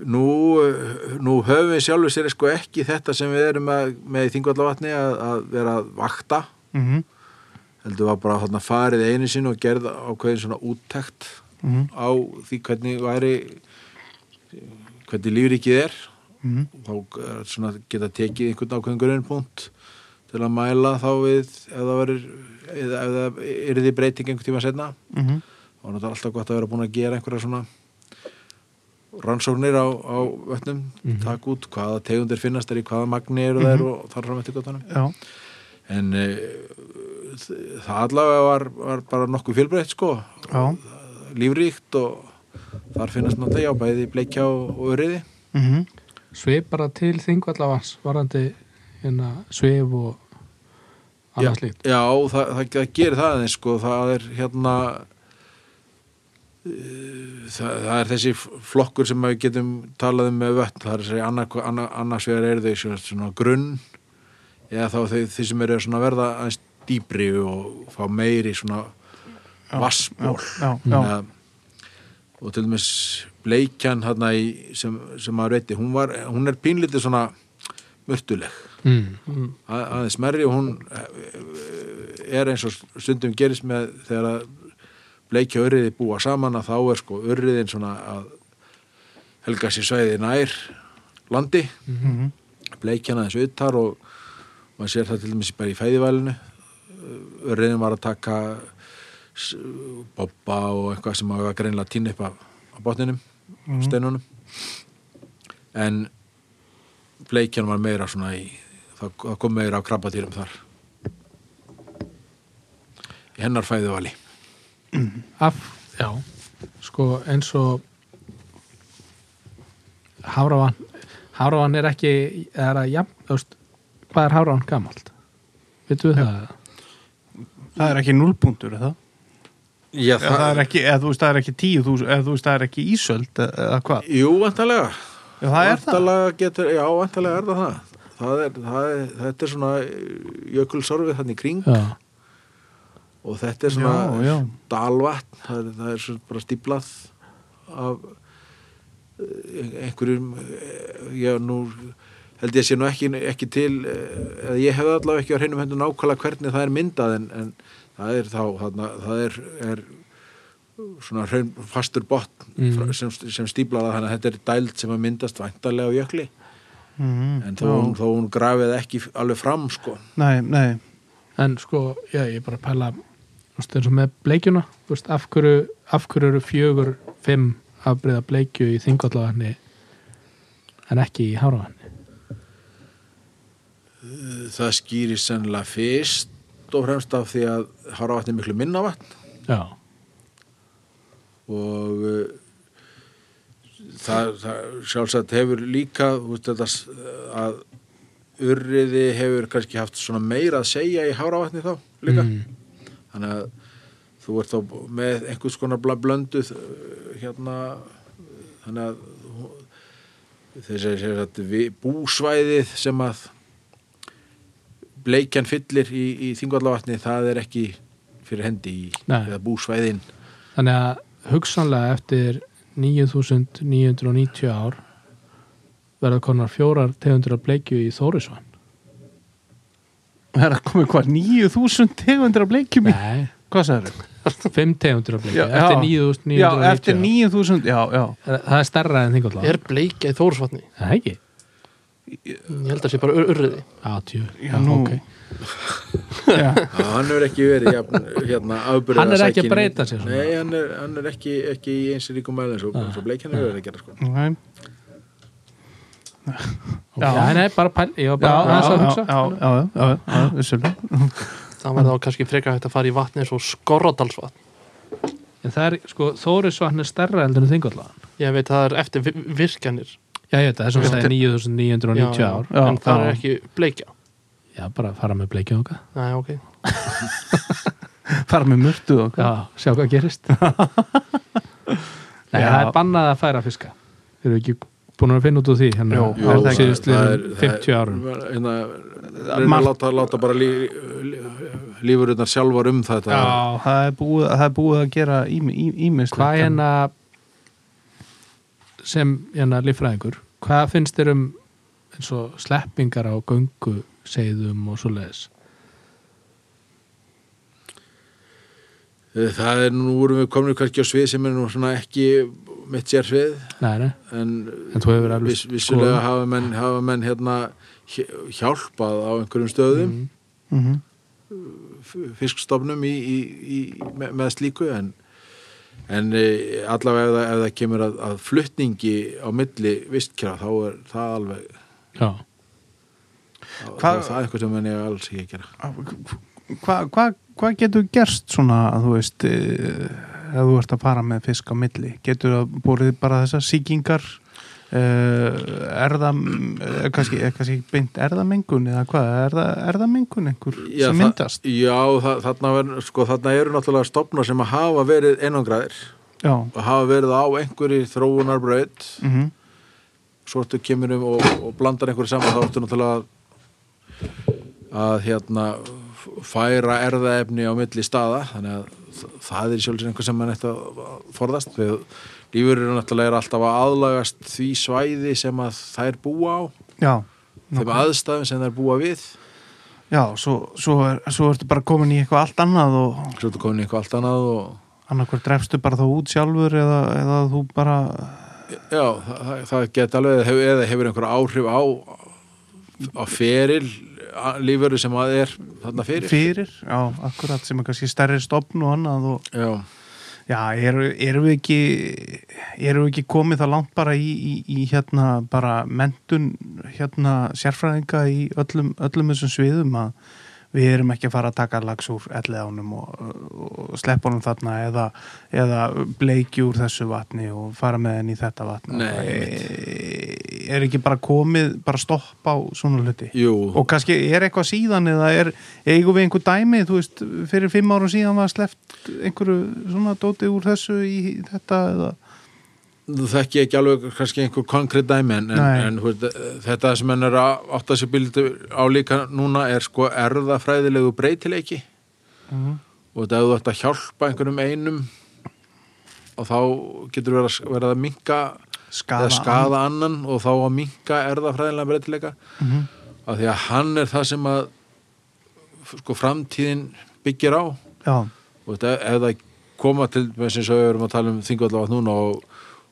nú, e, nú höfum við sjálfur sér sko ekki þetta sem við erum að, með í Þingvallavatni að, að vera að vakta
mm
heldur var bara þarna farið einu sinn og gerð ákveðin svona úttækt
Mhm.
á því hvernig væri hvernig lífríkið er
Mhm.
þá er svona geta tekið einhvern ákveðin grunnpunkt til að mæla þá við ef það verður eða ef það er því breyting einhvern tíma setna
-hmm.
og náttúrulega alltaf gott að vera búin að gera einhverja svona rannsóknir á, á vötnum,
Mhm.
taka út hvaða tegundir finnast er í hvaða magni eru þær og þar fram eftir gottanum
já,
en e, það allavega var, var bara nokkuð fjölbreytt sko
já
lífríkt og þar finnast náttúrulega já bæði bleikja og, og öryði
mm
svipara til þingvallavans varandi hérna svif og
já,
annað slíkt
já það, það, það gerir það aðeins sko það er hérna e, það, það er þessi flokkur sem við getum talað um með vötn það er þessi annar, annar, annars vegar er þau svona- svona grunn eða þá þau, þau sem eru svona að verða aðeins dýbri og fá meiri svona vassból
já, já,
Þannig að- og til dæmis bleikjan þarna í, sem, sem maður veiti hún, var, hún er pínlítið svona mörtuleg
mm.
að, aðeins merri og hún eh, er eins og stundum gerist með þegar að bleikja og urriði búa saman að þá er sko urriðin svona að helga sér svæði nær landi
Mhm.
bleikjan aðeins auðtar og maður sér það til dæmis bara í fæðivælinu urriðin var að taka s- bobba og eitthvað sem maður var greinlega að týna upp af, af botninum, steinunum en bleikjan var meira svona í það, það kom meira á krabbadýrum þar í hennar fæðivali
af, já sko eins og Háravan Háravan er ekki er að, jafn, þú veist, hvað er Háravan gamalt? Vitu við það?
það er ekki nullpuntur eða
Já,
það, það er ekki, eða þú veist það er ekki tíu þú, eða þú veist það er ekki ísöld eða, eða hvað,
Jú, vantalega
já, það er það
vantalega getur, Já, vantalega er það það Það er, það er, þetta er svona eh, jökulsorfið þannig kring
Já,
og þetta er svona
já, já,
dalvatn, það er, það er svo bara stíplað af eh, einhverjum eh, já nú held ég sé nú ekki, ekki til eh, eða ég hef allavega ekki á hreinum hendur nákvæmlega hvernig það er myndað en, en það er þá þarna, það er, er svona hraun fastur botn
Mhm.
mm. sem, sem stíplaða þannig að þetta er dæld sem að myndast væntanlega á jökli
mm,
en þó hún, þó hún grafið ekki alveg fram sko
nei, nei
en sko, já, ég er bara að pæla þú veist, eins og með bleikjuna þú veist, af, hverju, af hverju eru fjögur fimm afbreyða bleikju í þingallavanni en ekki í Háravanni
það skýrir sennilega fyrst og fremst af því að Háravatn er miklu minna vatn
Já,
og uh, það, það sjálfsagt hefur líka út, þetta, s- að urriði hefur kannski haft svona meira að segja í háravatni þá líka
Mm.
þannig að þú ert þá með einhvers konar bla- blönduð uh, hérna þannig að hú- þessi þessi- þetta vi- búsvæðið sem að bleikjan fyllir í, í þingvallavatni það er ekki fyrir hendi í
Nei.
eða búsvæðin
Þannig að hugsanlega eftir 9990 ár verða konar fjórar tegundur að bleikju í Þórisvann
Það er að koma hvað, 9000 tegundir af bleikjum í?
Nei,
Hvað sagður þau?
fimm tegundur af bleikju
Já,
eftir
já. Já, eftir
9990
9000, já, já.
Það það er stærra en þingur
Er bleikja í Þórsvatni?
Það er ekki
Ég held að sé bara ur- urriði.
Já, tjú,
Já,
já,
nú.
ok
Já,
Já, hann er ekki verið jafn, hérna, afbyrðað
Hann er ekki að breyta sér svona.
Nei, hann er, hann er ekki, ekki í eins ríkum mælinn svo, svo bleik hann er verið að gera sko
ok.
Já, nei, bara pæl, ég
Já,
var bara aðeins að hugsa
já, já, já, já, já, já, vissulega.
Það
Mm.
var þá kannski frekar hægt að fara í vatni eins og skorradalsvatn.
En það er, sko, Þórisvatn er stærra heldur en þingvallaðan
Ég veit það er eftir vi- virkjanir.
Já, ég veit það, þessum
Eftir-
stæði 9990
Já,
ár
já.
En það
já.
er ekki bleikja.
Já, bara fara með bleikju okkar
Nei, ok.
Fara með mörtu og hvað.
Já, sjá hvað gerist Nei,
Já.
það er bannað að færa fiska Eru ekki búin að finna út úr því hérna
Jú,
á
er það ekki?
síðustu 50 árum
hérna, reyna að
Margt-
láta, láta bara lí, lí, lífurinnar sjálfar um þetta
Já,
Það er búið, það er búið að gera ímest.
hvað hérna sem hérna líffræðingur hvað finnst þér um eins og sleppingar á göngu segðum og svo leiðis
Eh, það er nú vorum við komin kannski á svið sem er nú svona ekki mitt sér svið
nei, nei.
en
en þú hefur alveg
viss, vissulega hafa menn, hafa menn hérna hj- hjálpað á einhverjum stöðum
Mhm.
Mhm.
fiskstofnum í, í, í, með, með slíku en, en eh, allavega ef það, ef það kemur að, að flutningi á milli vistkjara þá er það alveg
já,
þá er
Hvað-
það er eitthvað sem menn ég alls ekki að gera
Hvað hva, hva getur gerst svona, að þú veist, eh, ef þú ert að fara með fisk á milli? Getur það borið bara þessar sýkingar, uh, erða, eh, kannski, eh, kannski ekki beint erðamengun eða hvað, erða, erðamengun einhver
Já,
sem
það-
myndast?
Já, það, þarna, ver, sko, þarna eru náttúrulega stofnar sem að hafa verið einangraðir
Já,
og hafa verið á einhverju þróunarbraut
mm -hmm.
svo ertu kemur um og, og blandar einhverju saman þá ertu náttúrulega að, að hérna f- færa erðaefni á milli staða þannig að þ- það er sjálfsögur einhver sem mann eftir að forðast við lífur eru náttúrulega er alltaf að aðlagast því svæði sem að þær búa á
já.
þeim aðstæðum sem þær búa við
Já, svo, svo, er, svo ertu bara komin í eitthvað allt annað og
svo ertu komin í eitthvað allt annað og
annarkur drefstu bara þá út sjálfur eða, eða þú bara
já, það, það- það geti alveg eða hefur, eða hefur einhver áhrif á á feril lífur sem að er þarna fyrir
fyrir, já, akkurat sem er kannski stærri stopn og annað og
já
já, eru, erum við ekki erum við ekki komið það langt bara í, í, í hérna bara mentun hérna sérfræðinga í öllum, öllum þessum sviðum að við erum ekki að fara að taka lags úr elleðanum og, og sleppa honum þarna eða, eða bleiki úr þessu vatni og fara með henni í þetta vatni
Nei,
e, er ekki bara komið bara stopp á svona hluti
Jú,
og kannski er eitthvað síðan eða er, eigum við einhver dæmi, þú veist fyrir fimm árum síðan var sleppt einhverju svona dóti úr þessu í þetta eða,
þú þekki ekki alveg kannski einhver konkrétt dæmi en, en,
Nei.
en þú veist, þetta sem henn er að átta sér bildu á líka núna er sko erðafræðilegu breytileiki
Mhm.
og þetta ef þú ætti að hjálpa einhverjum einum og þá getur verið að, verið að minka
skaða,
eða skaða annan og þá að minka erðafræðilega breytileika
Mhm.
af því að hann er það sem að sko framtíðin byggir á
já,
og þetta, ef það koma til með sem við erum að tala um þingvallavat núna og,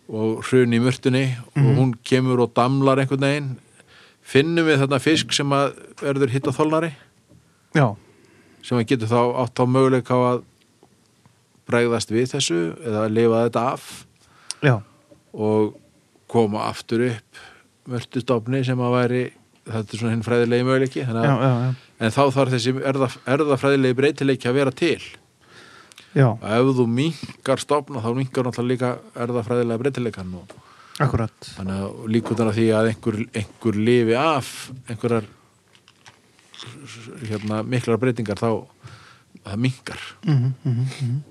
og hrun í mörtunni og hún kemur og damlar einhvern veginn finnum við þarna fisk sem að verður hitta þolnari
já,
sem að getur þá átt á möguleika á að bregðast við þessu eða að lifa þetta af
já
og koma aftur upp mörtustofni sem að væri þetta er svona hinn fræðilegi möguleiki þannig
já,
að,
já, já,
en þá þarf þessi erða, erðafræðilegi breytileiki að vera til
já,
og ef þú minkar stofna þá minkar náttúrulega líka erðafræðilega breytileikan og
akkurat
þannig að líkundan að því að einhver, einhver lifi af einhverjar hérna, miklar breytingar þá það minkar
Mm -hmm, mm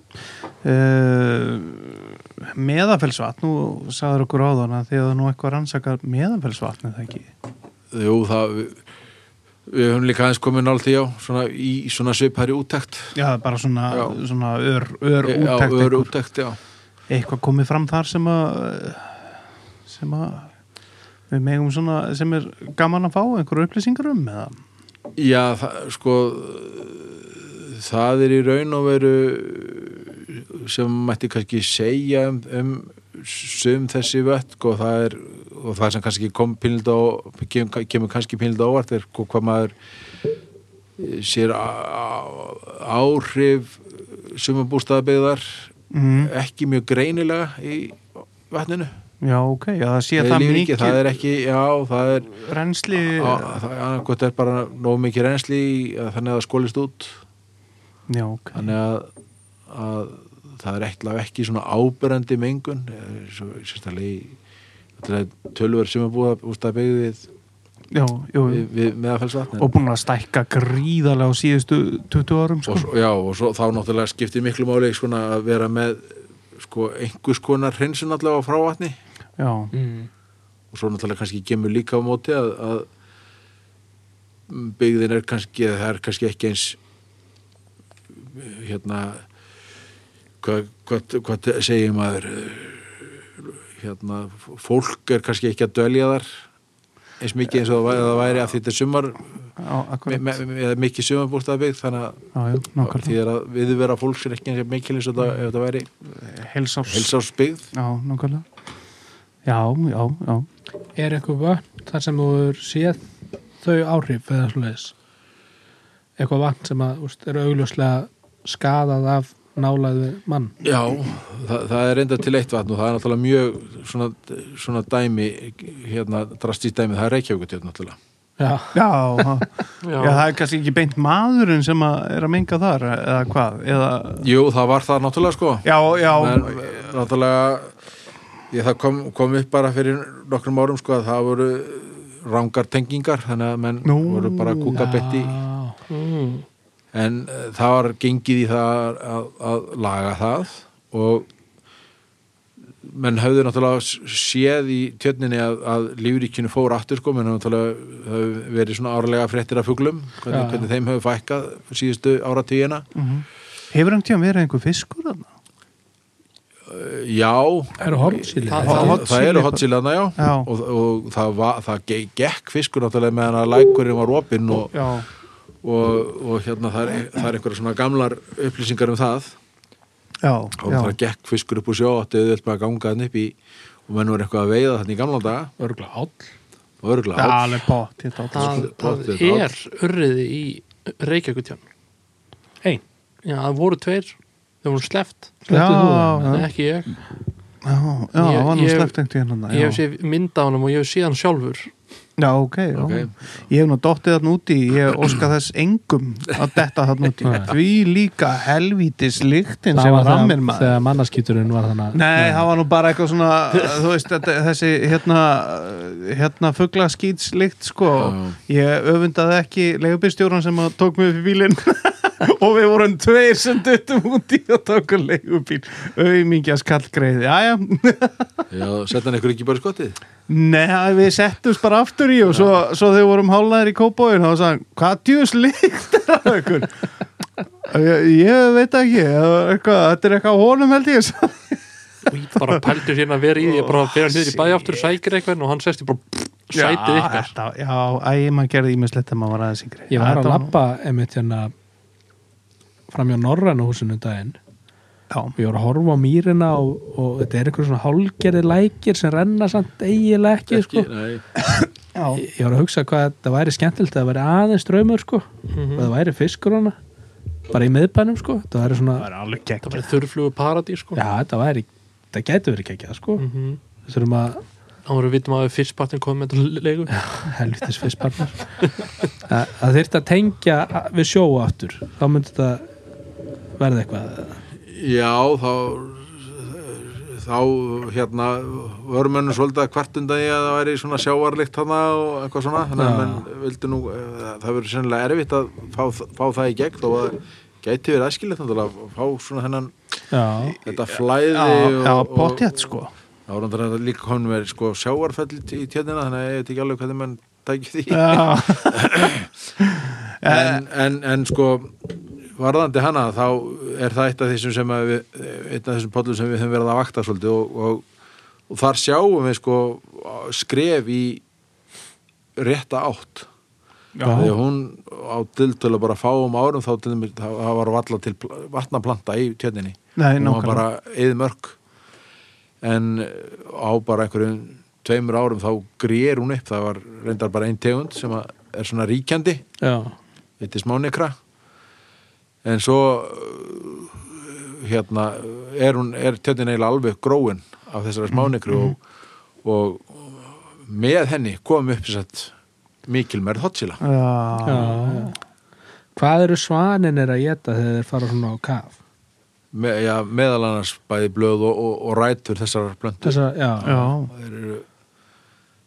-hmm. meðafellsvatn Eh, nú sagður okkur áðan að því að það er nú eitthvað rannsakar meðafellsvatn er það ekki
Jú, það við, við höfum líka aðeins komin nált í á svona, í svona svipari úttekt
já, bara svona,
Já.
svona ör, ör úttækt
já, ör
einhver-
úttekt já.
eitthvað komið fram þar sem að sem að við megum svona sem er gaman að fá einhverju upplýsingar um eða
Já, það, sko það er í raun og veru sem mætti kannski segja um, um sum þessi vött og það er og það sem kannski kom pílind á kemur, kemur kannski pílind á óvart er hva- hvað maður e, sér á- á- áhrif sumabústaðabyggðar
mm.
ekki mjög greinilega í vatninu
já, ok, já, það sé
Eða
það
lífríkið,
mikið
það er Ah, ekki, já, það er
reynsli
Á- það annarkot er bara nóg mikið reynsli í að þannig að það skólist út
já, ok,
þannig að, að það er eitthvað ekki svona ábyrrandi mengun eh, svo- sérstaklega í þetta er tölver sem er búið úst að byggja við,
já, jú,
við,
jú.
við meðafellsvatn
og búin að stækka gríðarlega á síðustu 20 árum sko.
og, svo- já, og svo, þá náttúrulega skiptir miklu máli svona, að vera með sko, einhvers konar hreinsun allavega frá vatni
já,
mm.
og svo náttúrulega kannski gemur líka á móti að, að byggðin er kannski eða það er kannski ekki eins hérna hvað, hvað, hvað segir maður hérna fólk er kannski ekki að dölja þar eins mikið eins og það væri, það væri að þetta er sumar
já, akkurat
me, Mm. me, eða mikið sumarbústaðbyggð þannig að
já, já,
Nákvæmlega.
nákvæmlega,
því er að við vera fólks er ekki eins mikil eins og það, ef það væri
heilsáls
heilsásbyggð
já, nákvæmlega já, já, já,
er eitthvað vatn þar sem þú er séð þau áhrif eða svoleiðis eitthvað vatn sem að, úst, er augljóslega skadað af nálaðu mann
Já, það, það er reynda til eitt vatn og það er náttúrulega mjög svona, svona dæmi, hérna drastist dæmi, það er Reykjavíkutjöfn náttúrulega.
já,
já, já. Já, það er kannski ekki beint maðurinn sem að er að menga þar eða hvað, eða
Jú, það var það náttúrulega sko.
já, já,
En eh, náttúrulega, ég, það kom, kom upp bara fyrir nokkrum árum sko að það voru rangar tengingar, þannig að menn
Nú,
voru bara kúkabetti.
já,
mm.
En eh, það var gengið í það að, að laga það og menn höfðu náttúrulega s- séð í tjörninni að, að lífríkinu fór aftur sko, menn höfðu náttúrulega höfðu verið svona árlega fréttir af fuglum,
Já,
hvernig,
já.
hvernig þeim höfðu fækkað síðustu áratugina.
Mhm. hefur hann tíðan verið einhver fiskur þarna?
Eh, Já,
eru hornsýli
Það-
það,
hot
það
chili
eru
bara.
hotsilaðna, já.
Já.
Og, og það, va, það ge- gekk fiskur náttúrulega meðan að lækurinn var opinn og,
já,
og, og hérna það er, það er einhverja svona gamlar upplýsingar um það.
já,
og
já,
það gekk fiskur upp úr sjó átti auðvitað bara að ganga hann upp í og menn voru eitthvað að veiða þannig í gamla daga
örgla áll
og örgulega
það er alveg sko. pott þetta átt.
það, það
Pottþétt
er urriði í Reykjavíkutján
Ein?
já, það voru tveir þau voru sleppt,
já,
Slepptu þú
já,
en ekki ég
já, já,
Ég-
það var nú
ég-
sleppt einhvern tíðan
ég hef
hann
séð mynd á honum og ég hef séð hann sjálfur
já, ok, já
Ok.
ég hef nú dottið þarna úti, ég óska þess engum að detta þarna úti því líka helvítis lyktin sem var að mér maður
þegar mannaskýturinn var þannig
Nei, það var nú bara eitthvað svona þú veist, þetta, þessi hérna hérna fugglaskýtslikt sko, ég öfundaði ekki leigubílstjóran sem að tók mig upp í bílinn og við vorum tveir sem duttum út í að tóka leigubíl auðmingja skallgreið, jæja
já, setja hann ykkur ekki bara í skottið
Nei, við settumst bara aftur í og svo, svo þegar við vorum hálæðir í kópóin og sagðum, hvað djús líkt er að ykkur? ég, ég veit ekki, það var eitthvað, þetta er eitthvað á honum held ég
og ég bara pældi hérna að vera í því ég bara fyrir niður í bæði aftur, sækir eitthvað og hann sesti bara pff, sætið
já,
ykkar
þetta, já, æg, maður gerði ímislegt þegar maður var aðeins yngri
ég
Þetta
var að lappa einmitt hérna framjá Norræna húsinu um daginn
nú-
og ég var að horfa á mýrina og, og þetta er eitthvað svona hálgerði lækir sem renna samt eiginlega ekki, sko.
nei,
já, já,
ég var að hugsa hvað þetta væri skemmtilegt að það væri aðeins ströymur sko og það væri fiskur hana bara í miðbænum sko það væri svona,
það var alveg
það
gegn
var þurrflugu paradís sko
já þetta væri það gæti verið kekjað sko mm
Mhm.
þurfum að
þá voru við vitum að fyrstpartin kom með þetta leiku
helvitis fyrstpartnar að það þyrfti að tengja við sjóu aftur þá myndi þetta verða eitthvað
já, þá þá, hérna voru mönnum svolítið að kvartunda í að það væri svona sjávarlikt hana og eitthvað svona þannig
Já.
að menn vildi nú, eh, það verður sennilega erfitt að fá, fá það í gegn þó að gæti verið aðskilegt náttúrulega að fá svona hennan,
já,
þetta flæði
já,
og-
já,
og-
bóttjætt sko
Það voru náttúrulega líka komin með sko, sjáarfell í- í tjörnina þannig að ég veit ekki alveg hvernig mann tækir því
já, Eh,
en, en, en sko varðandi hana þá er það eitt af þessum sem að við, einn af þessum pollum sem við höfum verið að vakta svolítið og, og, og þar sjáum við sko skref í rétta átt því að hún á dildtölu bara fáum árum þá, til dæmis- þá þá var valla til pl- vatnaplanta í tjörninni
Nei,
hún var
nákvæmlega.
bara eða mörg en eh, á bara einhverjum tveimur árum þá grýr hún upp það var reyndar bara ein tegund sem að er svona ríkjandi
já,
þetta er smánikra en svo eh, hérna er, hún, er tjöndin eiginlega alveg gróin af þessari smánikru og, og með henni kom upp þess að mikilmerð hotsila
já,
Já,
já. hvað eru svaninir að geta þegar þeir fara svona á kaf
Me, ja, meðal annars bæði blöð og, og, og rætur þessar blöndu
þess að, já,
já,
þeir eru,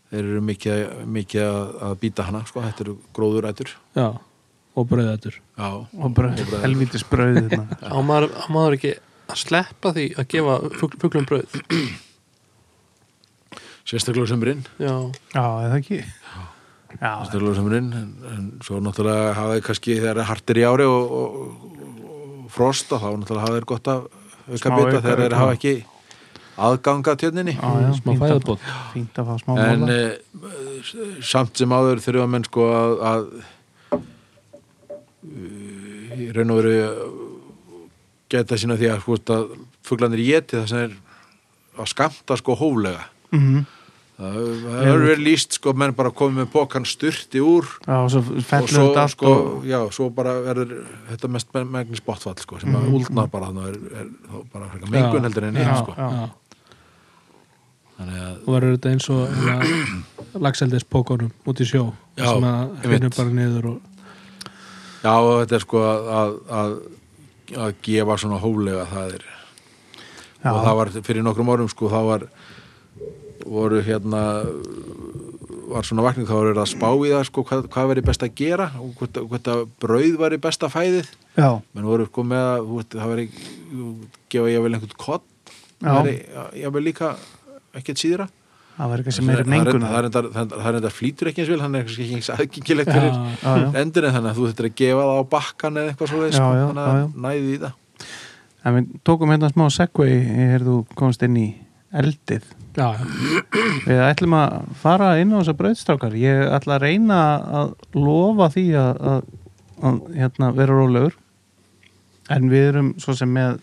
þeir eru mikið, mikið að, að býta hana sko. þetta eru gróður rætur
já. og bröðatur
já,
og bara helvítis brauð hérna.
á maður, á maður ekki að sleppa því að gefa fugl, fuglum brauð
sérstaklega á sömurinn
já,
Já, eða ekki Já,
Sturlur sömurinn en, en svo náttúrulega hafa þeir kannski þegar þeir hartir í ári og, og, og frost og þá náttúrulega hafa þeir gott að auka
Smá
bita
auka-
þegar þeir
auka.
hafa ekki aðganga tjörninni
já, já,
smá
fínt að-
fæðabót.
Fínt að fá smá
en
mála
e, samt sem áður þurfa menn sko að, að eh, í raun og veru eh, gæta sína því að sko að fuglanir geti það sem er að skamta sko hóflega
Mhm.
það það hefur verið líst sko menn bara komið með pokan styrti úr
Já, og svo
og
fellur
svo
þetta allt
sko,
og
já, svo bara verður þetta mest megnis botfall sko sem að úldna bara þannig er, er, þá bara frekar
Já.
mengun heldur en
Mhm. Já,
einn sko
já.
já.
þannig að
og verður þetta eins og lagseldis pókonum út í sjó
Já,
sem að
einmitt.
hreinur bara niður og,
Já, og þetta er sko að, að, að, að gefa svona hóflega það er
Já.
og það var fyrir nokkrum árum sko þá var voru hérna var svona vakning þá voru að spá í það sko hvað, hvað veri best að gera og hvort, hvort að brauð veri besta fæðið
Já,
menn voru sko með að þú veist, það veri gefa ég vel einhvern kott
Já.
ég vel líka ekkert síðra
það var eitthvað sem
það
meiri
er reyndar-
mengun
það er reyndar- það er reyndar flýtur ekki eins vel hann er kannski ekki eins aðgengilegt
Já.
fyrir
Já, já.
endur en þannig að þú þetta er að gefa það á bakkan eða eitthvað svo
Já,
sko,
já,
þannig að
já, já.
næði í það
En við tókum hérna smá segway eh, þegar þú komst inn í eldið
já, já,
Við ætlum að fara inn á þessa brauðstrákar Ég ætla að reyna að lofa því að, að, að hérna, vera rólegur En við erum svo sem með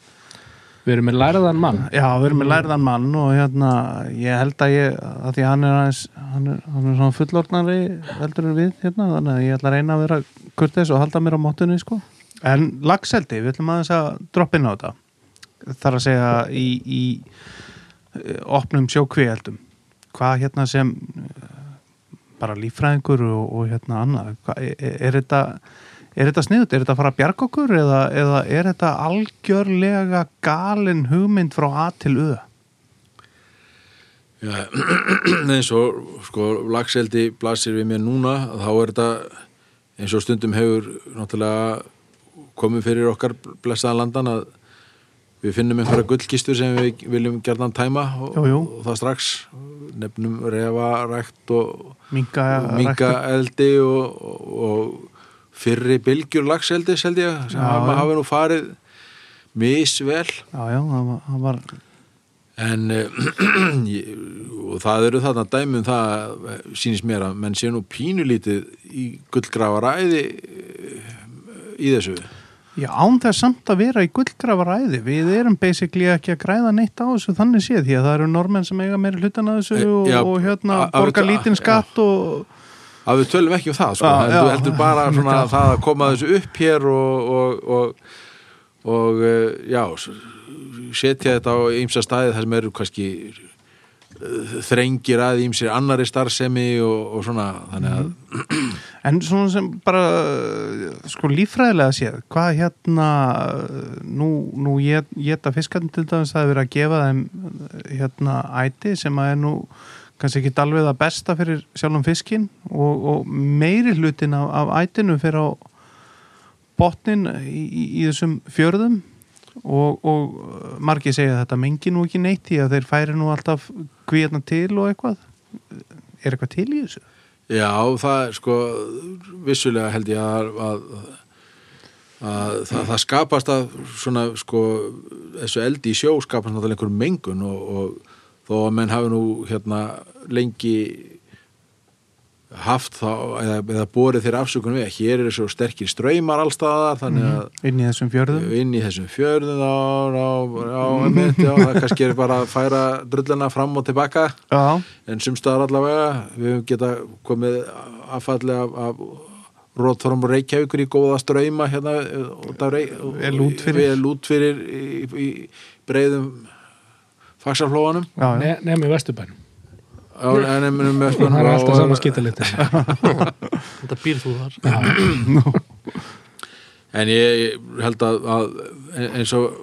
við erum með læraðan mann
Já, við erum með lærðan mann og hérna ég held að ég, að því að hann er aðeins hann er, hann er svona fullornari heldur en við hérna, þannig að ég ætla að reyna að vera kurteis og halda mér á móttunni sko En lagseldi, við ætlum aðeins að droppa inn á þetta þar að segja í, í eh, opnum sjókvíeldum hvað hérna sem eh, bara líffræðingur og, og hérna annað, Hva, er, er þetta er þetta sniðut, er þetta að fara að bjarga okkur eða, eða er þetta algjörlega galin hugmynd frá A til U
já, eins og sko lagseldi blasir við mér núna þá er þetta eins og stundum hefur náttúrulega komið fyrir okkar blessaða landan að við finnum einhverja gullkistur sem við viljum gerðan tæma og,
Jú, jú.
og það strax nefnum refarækt og
minga,
minga eldi og, og fyrri bylgjur lagseldi held ég, sem
Já,
hafa,
já.
hafi nú farið misvel
já, já, það var, það var
en eh, ég- og það eru þarna dæmum það eh, sýnist mér að menn sé nú pínulítið í gullgrafaræði eh, í þessu
já, án þess samt að vera í gullgrafaræði við erum basically ekki að græða neitt á þessu þannig séð því að það eru normenn sem eiga meira hlutan að
E,
þessu og,
já,
og hérna
a- a-
borga
a-
lítinn
já.
skatt og
að við tölum ekki um það sko.
Já,
heldur,
já.
heldur bara svona
Mikið.
það að koma þessu upp hér og og, og, og eh, já s- setja þetta á ýmsa staði þar sem eru kannski eh, þrengir að ýmsir annari starfsemi og, og svona þannig
Mhm.
að
En svona sem bara uh, sko líffræðilega séð, hvað hérna uh, nú, nú ég, ég þetta fiskarnir til dæmis að vera að gefa þeim uh, hérna æti sem að er nú kannski ekki alveg það besta fyrir sjálfum fiskin og, og meiri hlutin af, af ætinu fyrir á botnin í, í, í þessum fjörðum og, og uh, margir segja að þetta mengi nú ekki neitt í að þeir færi nú alltaf kvíðna til og eitthvað er eitthvað til í þessu?
Já, það er sko vissulega held ég að, að, að það, það skapast að svona sko þessu eldi í sjó skapast náttúrulega einhver mengun og, og þó að menn hafi nú hérna lengi haft þá, eða, eða borið þeirra afsökunum við að hér eru svo sterkir ströymar allstaðar, þannig að
inn í þessum fjörðum
inn í þessum fjörðum á, á, á, einmitt, já, það kannski er bara að færa drullina fram og tilbaka
Já,
en sumstaðar allavega við höfum geta komið affalli af, af Róthorum og Reykjavíkur í góða ströyma hérna út af Reyk
Vel út fyrir.
vel út fyrir í, í breiðum faksaflóanum
já, já.
ne nefnum í Vesturbænum
en ennum með
það er alltaf saman skýtalitir
Þetta býr þú þar
En ég held að, að eins og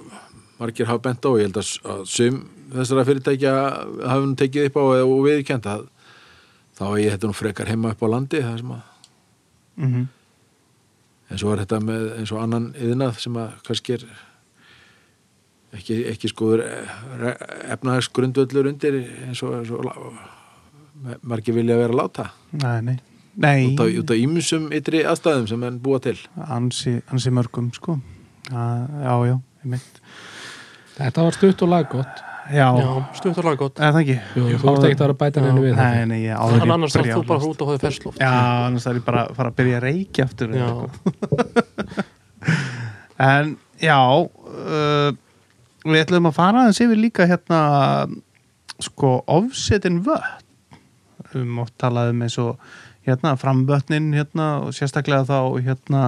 margir hafa bent á, ég held að, að sum þessara fyrirtækja hafum tekið upp á og viðkjönd að þá er ég þetta nú frekar heima upp á landi það sem að,
Mm
en svo er þetta með eins og annan yðnað sem að kannski er ekki, ekki skoður eh, efnahagsgrundvöllur undir eins og, eins og la- margir vilja vera að láta
Nei, nei, nei
út af, út af ímsum ytri aðstæðum sem enn búa til
ansi, ansi mörgum sko Já, já, já, ég meint
þetta var stutt og laggott
Já,
Já,
já.
stutt og laga gott
eða það ekki
Jú, þú átt ekki að vera að bæta henni við
Nei, nei, ég áður
En
ég
annars þarf
byrja
þú
á-
bara út að hóði fersloft
Já, annars þarf ég bara að fara að byrja að reykja aftur
Já.
En já uh, Við ætlum að fara aðeins yfir líka hérna sko ofsetin vötn við mátt talað um eins og hérna framvötnin hérna og sérstaklega þá hérna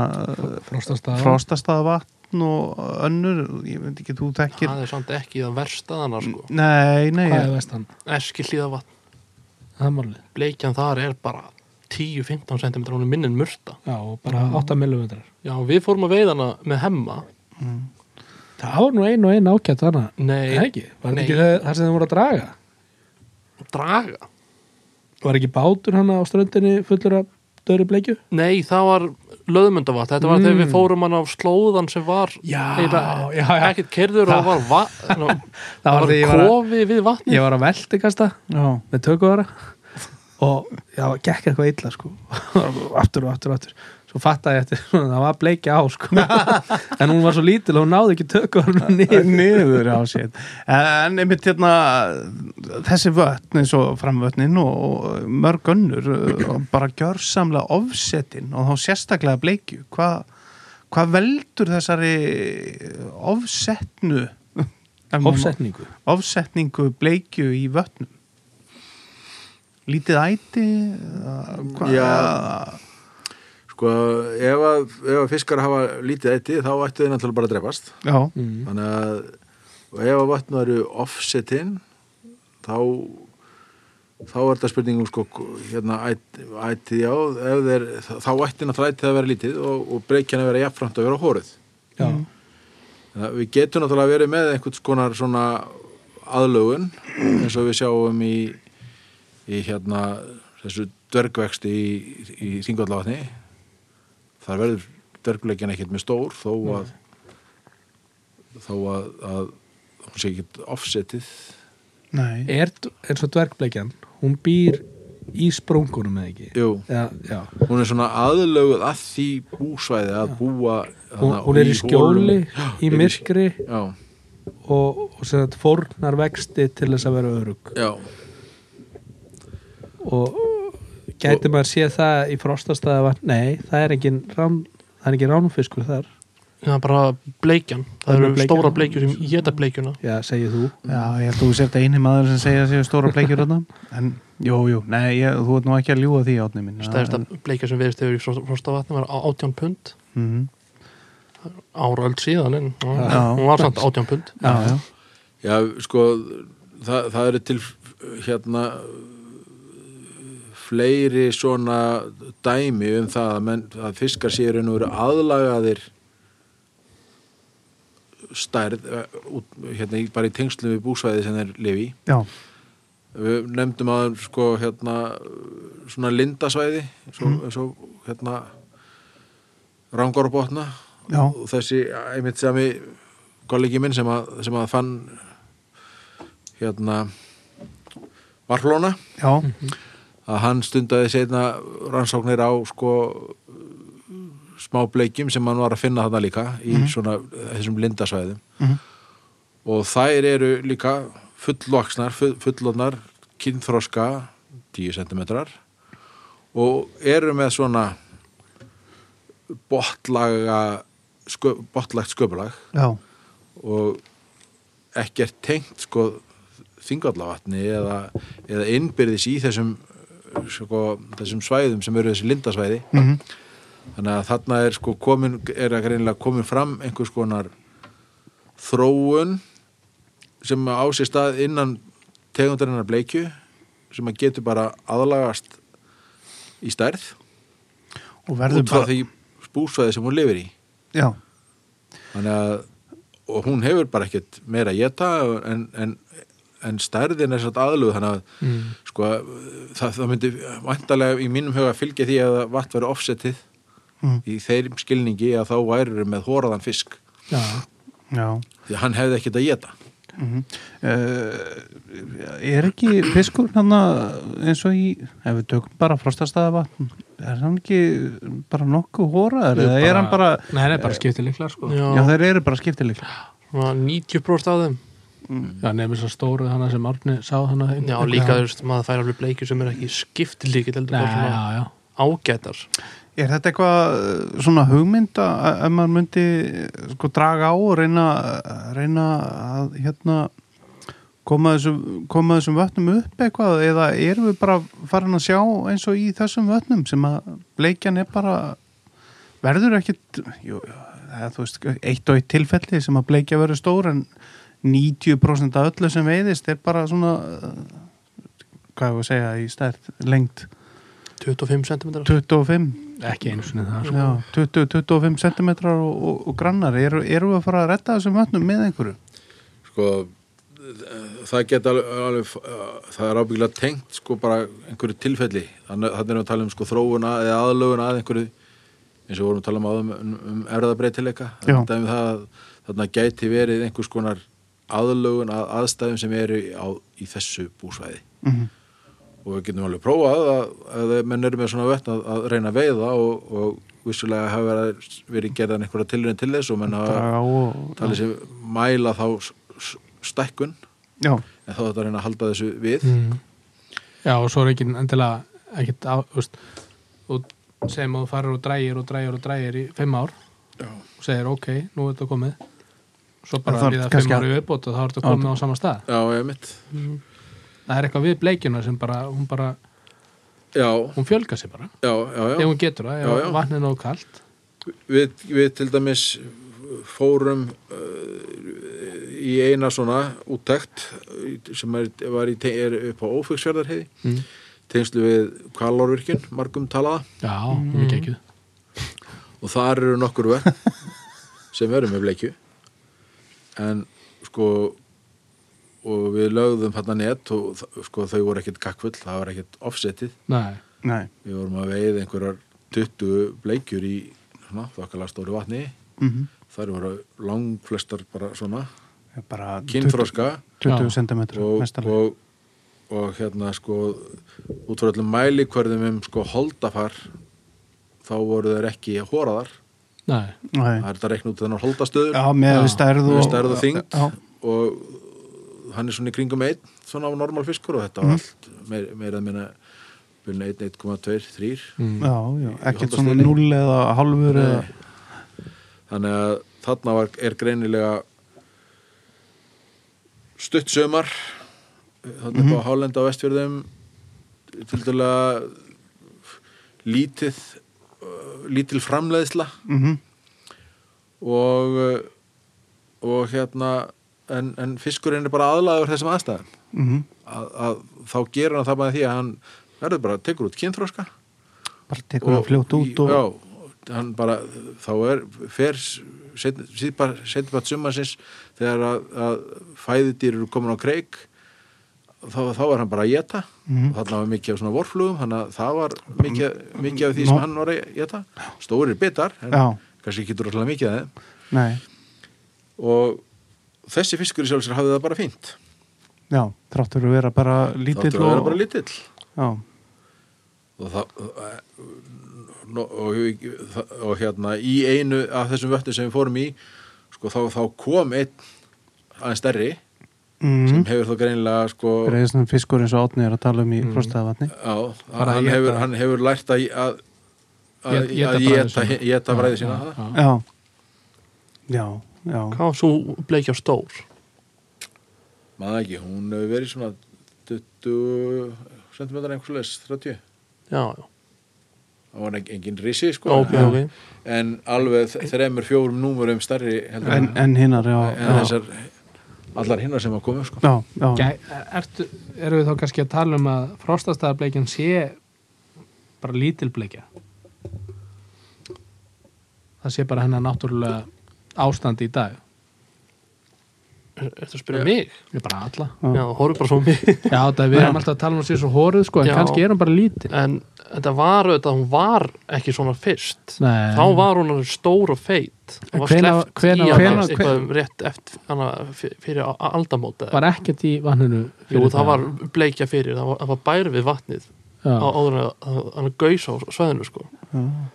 frostastaða
frostastaðvatn og önnur ég veit ekki, þú tekir
Það er samt ekki það versta þannig sko
Nei, nei,
hvað er
ég-
vestan?
Eski hlýðavatn,
það er málið
bleikjan þar er bara 10-15 cm hún er minni en murta
já, og bara 8 mm
Já, við fórum að veiðana með hemma
það var nú ein og ein ákjætt þarna
Nei,
Nei, ekki, var
Nei.
þetta ekki það, það sem þau voru að draga
draga
var ekki bátur hana á ströndinni fullur af döðri bleikju
Nei, það var löðmundavatn Þetta var þegar við fórum hann á slóðan sem var
Mm. Já,
eiginlega
já, já.
ekkert kerður og var va ná,
það var
var
því ég var að
kofi við vatni
ég var að velti kasta
já,
með tökuvara og það gekk eitthvað illa sko aftur og aftur og aftur svo fattaði ég eftir, svona, það var bleikja á sko en hún var svo lítil og hún náði ekki tökuvarna niður
niður á sér en einmitt hérna þessi vötn eins og framvötnin og, og mörg önnur uh, bara gjörsamlega ofsetin og þá sérstaklega bleikju hvað hva veldur þessari ofsetnu
ofsetningu
ofsetningu bleikju í vötnum lítið æti uh, hvað
Já. Sko, ef að, ef að fiskar hafa lítið ætti, þá ættu þeir náttúrulega bara að drefast.
já,
mm.
Þannig að, og ef að vatn eru offsetinn, þá, þá er þetta spurningum, sko, hérna, ætti, ætti já, ef þeir, þá ætti náttúrulega ætti að vera lítið og, og breykjan að vera jafnframt að vera hóruð.
já,
Þannig að við getum náttúrulega verið með einhvers konar svona aðlögun, eins og við sjáum í, í hérna, þessu dvergvexti í, í Þingvallavatni þar verður dverguleikjan ekkert með stór þó að þó að, að hún sé ekkert offsetið
nei
er eins og dvergbleikjan hún býr í sprungunum eða ekki
Jú,
já, já.
hún er svona aðlöguð að því búsvæði að búa
Hún,
þarna
hún er í skjóli,
holum. Já,
í
er
myrkri
Já,
og, og sem þetta fórnar vexti til þess að vera örug
já,
og gæti maður séð það í frostastæða vatn, nei, það er engin rán, það er engin ránfiskur þar
Já, bara bleikjan
Það
Það eru
eru bleikjan.
stóra bleikjur sem geta bleikjuna
já, segir þú
Já, ég held að þú sért eini maður sem segja séu stóra bleikjur þarna en jú, jú, nei, ég, þú ert nú ekki að ljúa því átni minn
Stærsta bleikja sem veðist hefur í frost- frostavatni var á- 18 pund
Mhm.
árald síðan en já,
Já.
hún var samt 18 pund
Já, já,
já, sko það, það eru til hérna fleiri svona dæmi um það að, menn, að fiskar séu nú eru aðlagaðir stærð eh, út, hérna, í- bara í tengslum við búsvæði sem þeir lifi í
já, Mhm.
við nefndum að sko hérna svona lindasvæði svo, svo hérna rangorbotna
já,
og þessi einmitt sami kollegi minn sem að, sem að fann hérna varflóna
já,
að hann stundaði seinna rannsóknir á sko smá bleikjum sem hann var að finna þarna líka í svona þessum lindasvæðum
Mhm.
og þær eru líka fullvaksnar, full, fullotnar kynþroska 10 cm og eru með svona botlaga skö, botlagt sköpulag
já,
og ekkert tengt sko þingallavatni eða, eða innbyrðis í þessum sko, þessum svæðum sem eru þessi lindasvæði
mhm,
þannig að þarna er sko komin er að greinilega komin fram einhvers konar þróun sem á sér stað innan tegundarinnar bleikju sem að getur bara aðlagast í stærð
og verður
út frá
bara
því búsvæði sem hún lifir í
já,
þannig að og hún hefur bara ekkert meira að geta en, en, en stærðin er satt aðlug þannig að
Mm.
sko, það, það myndi vantarlega í mínum huga fylgja því að vatn verið offsetið
Mm.
í þeim skilningi að þá væri með hóraðan fisk
já,
já
því að hann hefði ekkert að geta
mhm. uh, er ekki fiskur hann eins og í ef við tökum bara frostastæða vatn er hann ekki bara nokkuð hóraður eða er hann bara
nei, það er bara skiptið líklar sko. já,
já, þeir eru bara skiptileik
svona 90% af þeim
nefnir svo stóru hana sem Árni sá hana
Já, líka, þú veist, maður fær alveg bleikju sem er ekki skiptilíkitt heldur
Nei,
bara
já,
svona
já.
ágætar
Er þetta eitthvað uh, svona hugmynd að að- ef maður myndi uh, sko draga á og reyna, reyna að hérna koma þessum, koma þessum vötnum upp eitthvað eða erum við bara farin að sjá eins og í þessum vötnum sem að bleikjan er bara verður ekkit jú, eða, þú veist, eitt og eitt tilfelli sem að bleikja verður stór en 90% af öllu sem veiðist er bara svona uh, hvað ég að segja í stærð lengt
25 cm
25
ekki einu sinni það sko.
Já, 20-25 cm og, og, og grannar, eru, eru að fara að retta þessum vötnum með einhverju?
sko það geta alveg, alveg eh, það er ábyggilega tengt sko bara einhverju tilfelli þannig þannig erum við að tala um sko þróuna eða aðlögun að einhverju eins og vorum að tala um áðum um, um erðabreitileika
Já.
þannig um að þarna gæti verið einhvers konar aðlögun að aðstæðum sem eru á, í þessu búsvæði
Mm -hmm.
og við getum alveg prófað að, að menn eru með svona vetna að, að reyna að veiða og, og vissulega hafa verið, verið gerðan einhverja tilröðin til þess og menn hafa
Draga á og...
talið sér mæla þá s- s- stækkun
Já,
en þá þetta reyna að halda þessu við
mm. já, og svo er ekki endilega ekkit á, þú veist og sem að þú farir og drægir og drægir og drægir í fimm ár
Já.
og segir ok, nú er þetta komið svo
Það
bara
þarf
við það
kannski
fimm
að-
ári viðbót og þá er þetta komið á sama stað
Já, ég mitt
það er eitthvað við bleikjuna sem bara hún, bara,
Já,
hún fjölgar sér bara
já, já,
ef
já.
hún getur það,
Já,
ef
já.
vatnið er nóg kalt
Við, við til dæmis fórum uh, í eina svona úttekt uh, sem er, var í, te- er upp á ófuggsfjörðarheiði
Mm.
tengslu við kvalárvirkjun, margum talaða
já, hún er ekki ekki
og þar eru nokkur vörn sem eru með bleikju en sko og við lögðum hérna net og þ- sko þau voru ekkit kakkfull það var ekkit offsetið
nei,
nei
við vorum að veið einhverjar 20 bleikjur í svona, þokkala stóru vatni
mm
þar voru langflestar bara svona
bara 20,
kynþroska
20
Já.
cm
og,
mestarlega
og, og hérna sko út frá öllum mælikvörðum um sko holdafar þá voru þeir ekki hóraðar
nei,
það er þetta að reikna út þennan holdastöður
Já, með
Já.
við stærð
Þú
og...
veist, það er það þyngd
Já,
og hann er svona í kringum einn svona á normal fiskur og þetta var allt meir, meira að minna 1, 1,2, 3
mm.
já, já, ekkert
Í
svona
holdastöðinni.
0 eða halvur eða...
þannig að þarna var, er greinilega stutt sömar þarna upp á Hálenda og Vestfjörðum til dæla lítið uh, lítil framleiðsla
Mm
og uh, og hérna en, en fiskurinn er bara aðlaður þessum aðstæðum
mhm.
að, að þá gerur hann það bara því að hann verður bara, tekur út kynþróska
Bara tekur það fljótt út og...
já, hann bara, þá er fer síðbært sumansins þegar að, að fæðudýr eru komin á kreik þá, þá er hann bara að geta
Mhm. Mm.
og þarna var mikið af svona vorflugum þannig að það var mikið, mikið af því
Nó-
sem hann var að geta stórir bitar, en
Já.
kannski ekki droslega mikið af þeim
Nei,
og þessi fiskur í sjálfsir hafði það bara fínt
já, þráttur að vera bara lítill
þá er það bara lítill
Já,
og, það, og, og, og hérna í einu af þessum vötnum sem við fórum í sko, þá, þá kom einn aðeins stærri
mm.
Hmm?
sem hefur þá greinilega sko,
reyðsnan fiskur eins og átni er að tala um í mm. frostaðavatni
á,
Bara
hann,
að
hefur,
éta-
hann hefur lært að að, að,
Éta- éta
að
bragðið
éta-
sínu.
éta bræði sína
Já, já.
já já, já,
Hvað var svo bleikja stór?
maður það ekki, hún hefur verið svona 20 cm einhvers leis, 30
Já, já,
það var en- engin risi sko
ok,
en,
ok
en alveg þ- þremur, fjórum númurum stærri heldur
en,
en,
en hinnar já,
en
já,
þessar allar hinnar sem að koma sko.
já, já,
Gæ- Ertu, eru við þá kannski að tala um að frostastæðarbleikjan sé bara lítil bleikja það sé bara hennar náttúrulega ástand í dag
Ertu að spyrja um mig?
við bara alla
Já, horfum bara svo á mig
já það er við erum alltaf að tala um að sé svo horið sko en
Já.
kannski er hún bara lítil
En þetta var auðvitað, hún var ekki svona fyrst
Nei.
Þá var hún alveg stór og feit
En
Það var
hvenær-
sleppt
hvenær-
í hana
hvenær-
eitthvað um rétt eftir, hana, fyr- fyrir á- aldamóta
var ekkert í vanninu
Jú, það var bleikja fyrir, það var, það var bæri við vatnið á
já,
áður en að- að hann gaus á sveðinu sko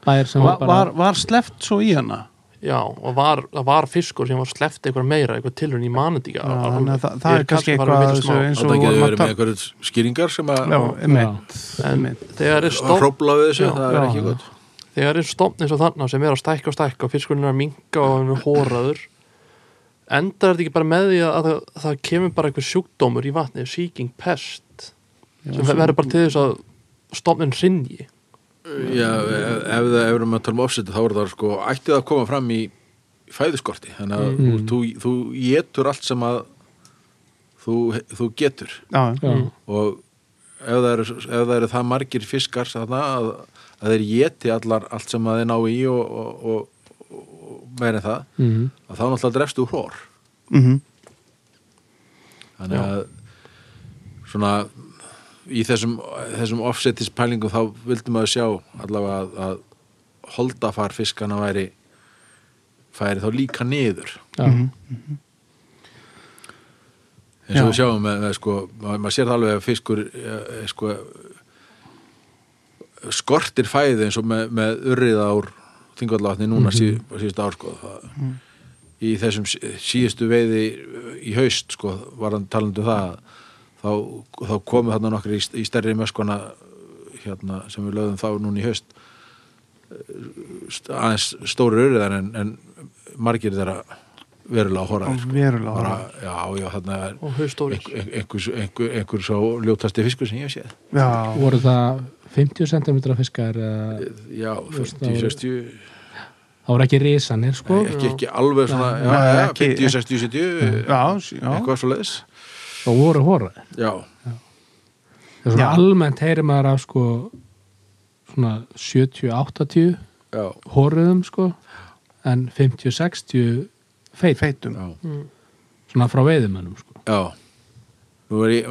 bær sem
var,
var bara
var, var sleft svo í hana
Já, og var, það var fiskur sem var sleppt eitthvað meira, eitthvað tilhörn í manendíka
já, þannig að það, það er kannski eitthvað að þessu eins og
þetta
við
getur
vorum
verið með
að
einhverjum skýringar sem að
tala já, einmitt,
En
einmitt
þegar er
að
stofn
hrópla við þessu,
Já,
það er
já.
ekki gott
þegar er stofn eins og þarna sem er að stækka og stækka og fiskurinn er að minka og hann er hóraður endar þetta ekki bara með því að það, það kemur bara eitthvað sjúkdómur í vatnið sýking, pest sem verður bara til þess að stofnin hrinji
já, ef, ef það ef erum að tala um offset þá er það sko, ætti það að koma fram í fæðuskorti, þannig að
Mm.
þú, þú getur allt sem að þú, þú getur
já,
já,
og ef það eru, ef það, eru það margir fiskar þarna, að, að þeir geti allar allt sem að þeir ná í og, og, og, og meira en það
Mm.
Mhm.
að þá náttúrulega drefst úr hór
mhm,
þannig að svona í þessum, þessum offsetis pælingum þá vildum að sjá allavega að, að holdafar fiskana væri færi þá líka niður
já.
mhm.
eins og við
Já.
sjáum með, með sko, maður, maður sér það alveg að fiskur eh, eh, sko, skortir fæði eins og með, með urriða úr þingvallavatni núna mm -hmm. síðust ár sko, það, í þessum sí- síðustu veiði í haust sko, var hann talandi um það þá, þá komu þarna nokkur í, í stærri möskona hérna, sem við lögðum þá núna í haust eh, st- aðeins stóri urriðar en, en margir þeirra verulega horraðir
og verulega
bara,
horfið.
já, já, þarna er
og haustóri
einhver, einhver, einhver, einhver svo ljótasti fiskur sem ég hef séð
já,
voru það 50 cm fiskar eða-
já,
Veist,
50,
það voru-
60
það voru ekki risanir sko
ekki, ekki alveg svona já,
Nei,
já,
ekki-
50, 60, 70
já, sí- já.
eitthvað svo leiðis
þá voru horið
já,
Það er svona
Já.
almennt heyrir maður af sko svona 70-80
já,
horriðum sko en 50-60 feit,
feitum
já,
svona frá veiðumennum sko.
já. Nú er ég,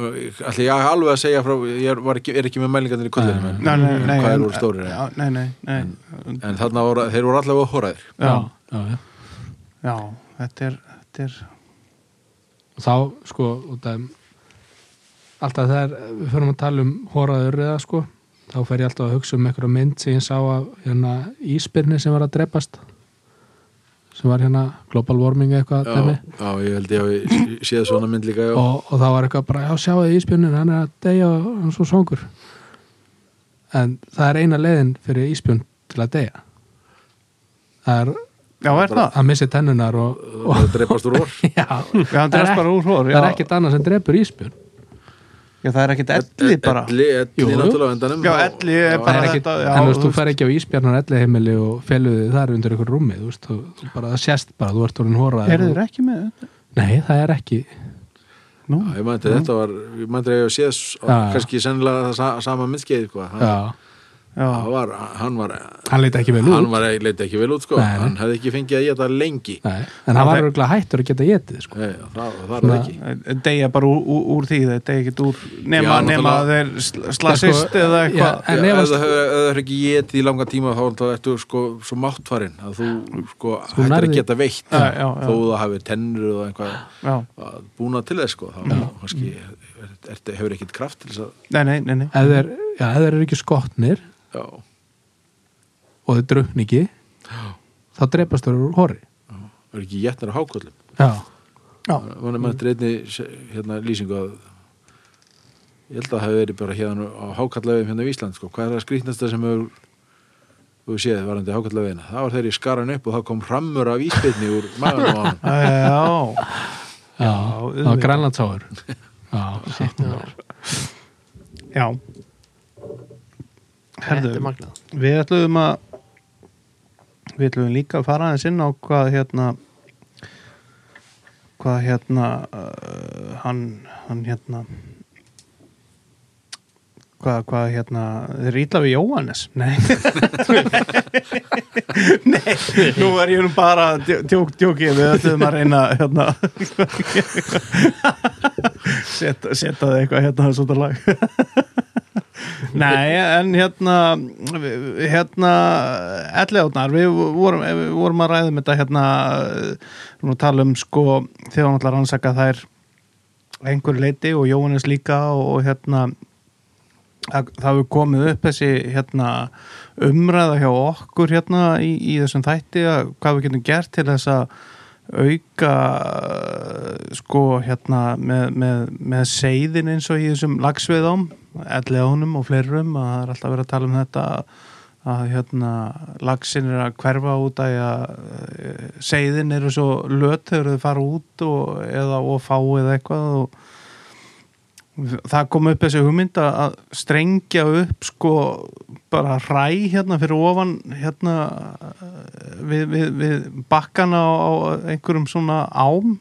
allir ég alveg að segja frá, ég er, var ekki, er ekki með mælingarnir í kollinu en,
Nei, nei, nei,
hvað
en-
er úr stóri
já, nei, nei, nei.
en, en þarna voru, þeir voru allavega hóraðir
Já,
Já, já.
já, þetta er, þetta er
og þá sko út af alltaf þegar við förum að tala um horaður eða sko þá fer ég alltaf að hugsa um einhverja mynd sem ég sá af hérna íspyrni sem var að drepast sem var hérna global warming eitthvað
já,
dæmi.
já, ég held ég hafi séð svona mynd líka já,
og, og það var eitthvað bara, já sjáðu íspjörnin hann er að deyja og hann er svo songur en það er eina leiðin fyrir íspjörn til að deyja það er
Já, er það?
að missi tennunar og, og
það dreipast úr hór
já,
Já, hann
Það er
drefst
ekki-
bara úr hór
það
já.
er ekkert annað sem drepur íspjörn
Já, það er ekkert elli bara
elli,
Jú,
elli
jú.
náttúrulega á endanum
Já,
og-
elli er
já,
bara
Það er ekkit,
þetta, já,
en þú veist,
þú
þú fer ekki á íspjarnar elli heimili og feluðu þið þar undir eitthvað rúmi, þú veist, þú, þú bara það sést bara, þú ert orðin horað.
Eru þeir ekki með þetta?
Nei, það er ekki,
Nú,
Já, ég mætti þetta var, ég mætti að ég sé
Já.
kannski sennilega það sa, sama myndskeið sko. hann,
já,
já,
hann var, hann var
hann leita ekki vel út.
hann var, leit ekki vel út sko.
Nei, nei.
hann hefði ekki fengið að geta lengi
Nei, en hann var örgulega hættur að geta getið, sko.
Nei, það, það er það
Svona-
ekki
deyja bara úr, úr, úr því þeir deyja ekkert úr nema,
Já,
nema
náttúrulega.
að þeir sl- slasist
Já, sko,
eða
já,
eitthvað
en
Já,
ef
ef
að-
það hefur- ef það er ekki getið í langa tíma þá þá ertu sko svo máttfarin að þú sko hættir
nærði-
að geta veitt
Já, já, já.
þó það hafi tennur og eitthvað
Já,
að búna til þess sko þá kannski er, er, hefur ekkit kraft til þess að
nei, nei, nei, nei.
Ef þeir, já, ef þeir eru ekki skotnir
já,
og þeir drukni ekki, þá drepast þeir úr horri.
er ekki getnir á háköllum
Já.
Já.
mann man eftir einni se- hérna, lýsingu að ég held að það hafi verið bara hérna á hákallaveginum hérna í Ísland sko. hvað er það skrýtnasta sem hefur þú séð varandi hákallavegina það var þegar ég skar hann upp og þá kom hrammur af íspilni úr maðurinn á hann
Já,
Já, það var
auðvitað.
grænlandsáður Já, shit, maður.
já.
Þetta er
Herðu,
magnað
við ætluðum að við ætluðum líka að fara aðeins inn á hvað hérna hvað hérna uh, hann, hann hérna hvað, hvað hérna þeir ítla við Jóhannes nei nei, nú er ég nú bara að djó- djók, djókið, við ætluðum að reyna hérna seta, seta það eitthvað hérna svona lag Nei, en hérna hérna ellegáðnar, við vorum, við vorum að ræða um þetta hérna nú tala um sko þegar hann ætlar að rannsaka þær að einhverju leiti og Jóhannes líka og hérna það það hefur komið upp þessi hérna umræða hjá okkur hérna í, í þessum þætti að hvað við getum gert til þess að auka eh, sko hérna með, með, með seiðin eins og í þessum lagsveðum elleðunum og fleirum að það er alltaf verið að tala um þetta að hérna lagsin er að hverfa út að eh, seiðin eru svo löt þegar þau fara út og, eða og fá eða eitthvað og það kom upp þessi hugmynd að að strengja upp sko bara ræ hérna fyrir ofan hérna eh, við, við, við bakkana á, á einhverjum svona ám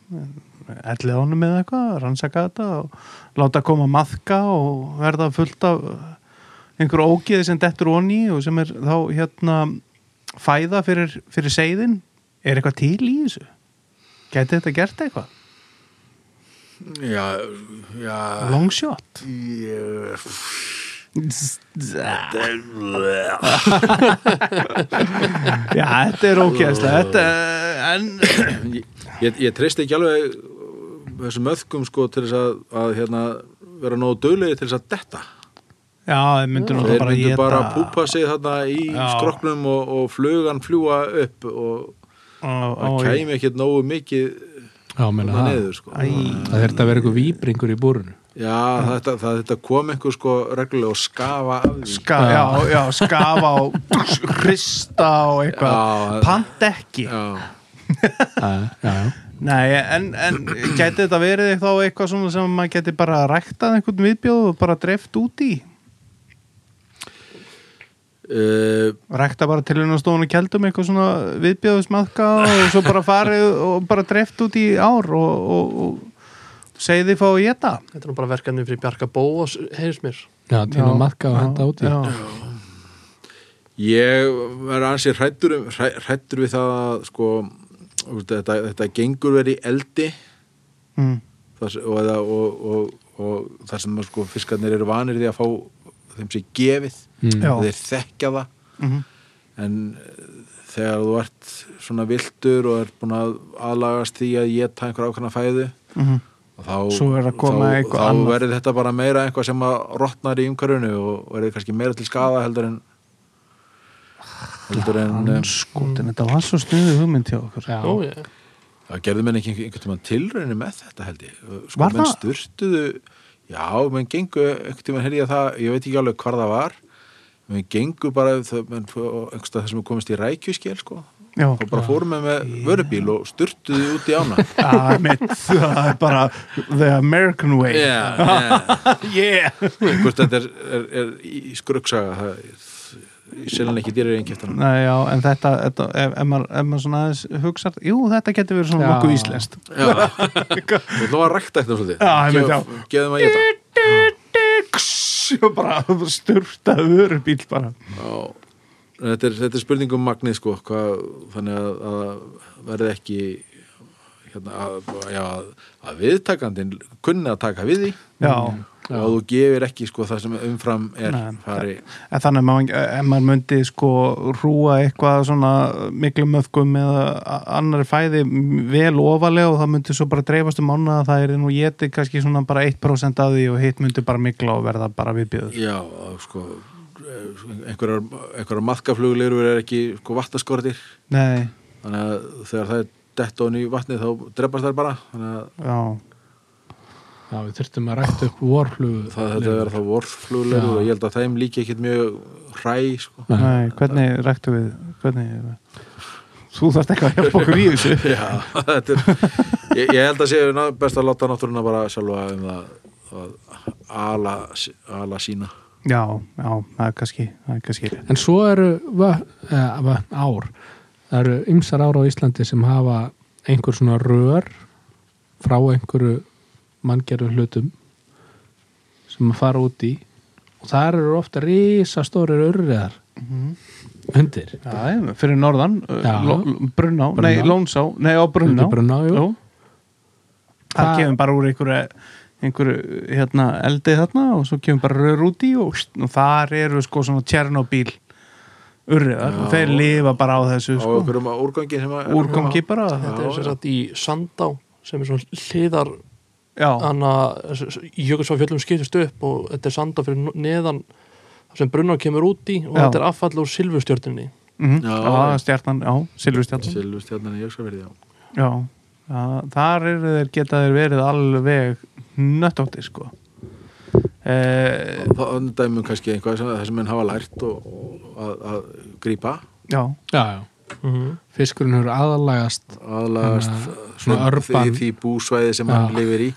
ellið ánum eða eitthvað, rannsaka þetta og láta koma maðka og verða fullt af einhverju ógeði sem dettur onni og sem er þá hérna fæða fyrir, fyrir seiðin er eitthvað til í þessu? Gæti þetta gert eitthvað?
já, já
Long shot?
ég
Já, þetta er ógeðslega þetta, en
ég, ég, ég treysti ekki alveg þessum öðkum sko til þess að, að hérna, vera nógu döglegir til þess að detta
já, það myndur
þeir
náttúrulega bara
myndu
éta-
bara púpa sig þarna í
Já.
skroknum og, og flugan fljúa upp og
Ó, ó,
það kæmi ekkert nógu mikið
já meina
þarna
það
niður sko
Æ,
Það þurfti að vera eitthvað víbringur í búrunu
já, þetta, það, þetta kom einhver sko reglulega og skafa af því
ska, já, já, skafa og hrista og
Já,
eitthvað pant ekki
já,
Já, já,
Nei, en, en gæti þetta verið þá eitthvað svona sem maður gæti bara ræktað einhvern viðbjóð og bara dreift út í
uh,
rækta bara til hérna stofan og keldum eitthvað svona viðbjóðismadka og svo bara farið og bara dreift út í ár og, og, og segði fá að geta
Þetta er nú bara verkefni fyrir Bjarka Bóas heyrðis mér
já tíma matka og henda út í
já,
ég verði ansið hrættur, um, hræ, hrættur við það að, sko þú veist, þetta, þetta gengur verið í eldi
mm,
það, sem- og, eða, og, og, og það sem að, sko, fiskarnir eru vanir því að fá þeim sér gefið
Mm.
Já.
þeir þekkja það
mhm,
en eh, þegar þú ert svona viltur og er búin að aðlagast því að ég ta einhver ákvæmna fæðu
mhm.
og þá,
Svo er að koma
þá,
eitthvað
þá
annað.
verður þetta bara meira eitthvað sem að rotnar í umhverfinu og verður kannski meira til skada heldur en heldur en
Hann
em,
skotin, þetta var svo sniðu hugmynd hjá okkur
Já.
Ó, ég,
Það eh, gerðu menn ekki einhvern tímann tilraunir með þetta held ég. Sko,
Var
menn
það?
styrtuðu, já, menn gengu einhvern tímann heyrði ég að það, ég veit ekki alveg hvar það var, menn gengu bara það, menn, einhverstað þessum við komist í rækjuskjel sko,
Já,
þá bara fórum við með vörubíl og styrtuðu út í ána.
að mitt, það er bara the American way
yeah, yeah.
yeah.
Hvort þetta er, er, er í skröksaga, það er selin ekki dýrar einnkjöftan.
Nei, já, en þetta, þetta ef, ef, maður, ef maður svona aðeins hugsar jú, þetta getur verið svona
Já.
nokkuð íslenskt
Já, þú ætlum að rækta eitthvað svolítið.
Já, einmitt, já.
Gef- Gefum að geta.
og bara styrta örubíl bara
Já, þetta er, þetta er spurning um magnið sko, hvað, þannig að, að verði ekki hérna, að, já, að- að viðtakandinn kunni að taka við því
Já,
og að þú gefir ekki sko það sem umfram er
Nei.
fari
en þannig að maður, ef maður myndi sko rúa eitthvað svona miklu möfkum eða a- annarri fæði vel ofalega og það myndi svo bara dreifast um ána að það er nú getið kannski svona bara 1% af því og hitt myndi bara mikla og verða bara viðbjöður.
já, að, sko einhverjar, einhverjar maðkafluglegur er ekki sko vattaskortir
Nei,
þannig að þegar það er detta honum í vatnið þá drefast þær bara þannig að
já,
Já, við þurftum að rækta upp vorflugu
það þetta verður þá vorfluglegur
Já.
og ég held að þeim líki ekkit mjög hræ sko.
nei, hvernig ræktu við hvernig þú þarft eitthvað að hjálpa okkur í þessu
Já, þetta er ég, ég held að sé ná- best að láta náttúruna bara sjálfa um það að ala, ala sína
já, já, það er kannski það er kannski rétt.
En svo eru vö, eh, vö, ár það eru ymsar ár á Íslandi sem hafa einhver svona rör frá einhverju manngerðu hlutum sem að fara út í og þar eru ofta risastórir urriðar undir
já, ég- fyrir norðan, uh,
Já.
Lo- Lo- Brunná
Brunná.
nei, Lónsá, nei, á Brunná
Undir Brunná, jú.
það
Það-
kemur bara úr einhverju einhverju, hérna, eldi þarna og svo kemur bara rör út í og, og þar eru sko svona Tjernobyl urriðar og þeir lifa bara á þessu
á
sko,
einhverjum úrgangi sem að
úrgangi bara
þetta
Já,
er sem
já.
sagt í Sandá sem er svona hliðar
já,
hana, jökuls á fjöllum skiptist upp og þetta er Sandá fyrir neðan þar sem brunnar kemur út í og
Já.
þetta er affall úr silfurstjörninni
mhm,
Já.
já, stjarnan, já, silfurstjarnan
Silvustjarnan í Jöksaverði já.
Já, það, þar eru þeir geta þeir verið alveg nöttóttir sko eh,
þá öndæmum kannski einhvað sem þessum menn hafa lært og, og að, að grípa
Já,
já, já. fiskurinn hefur aðalagast
aðlagast
svona
því,
örban
því búsvæði sem
Já.
hann lifir í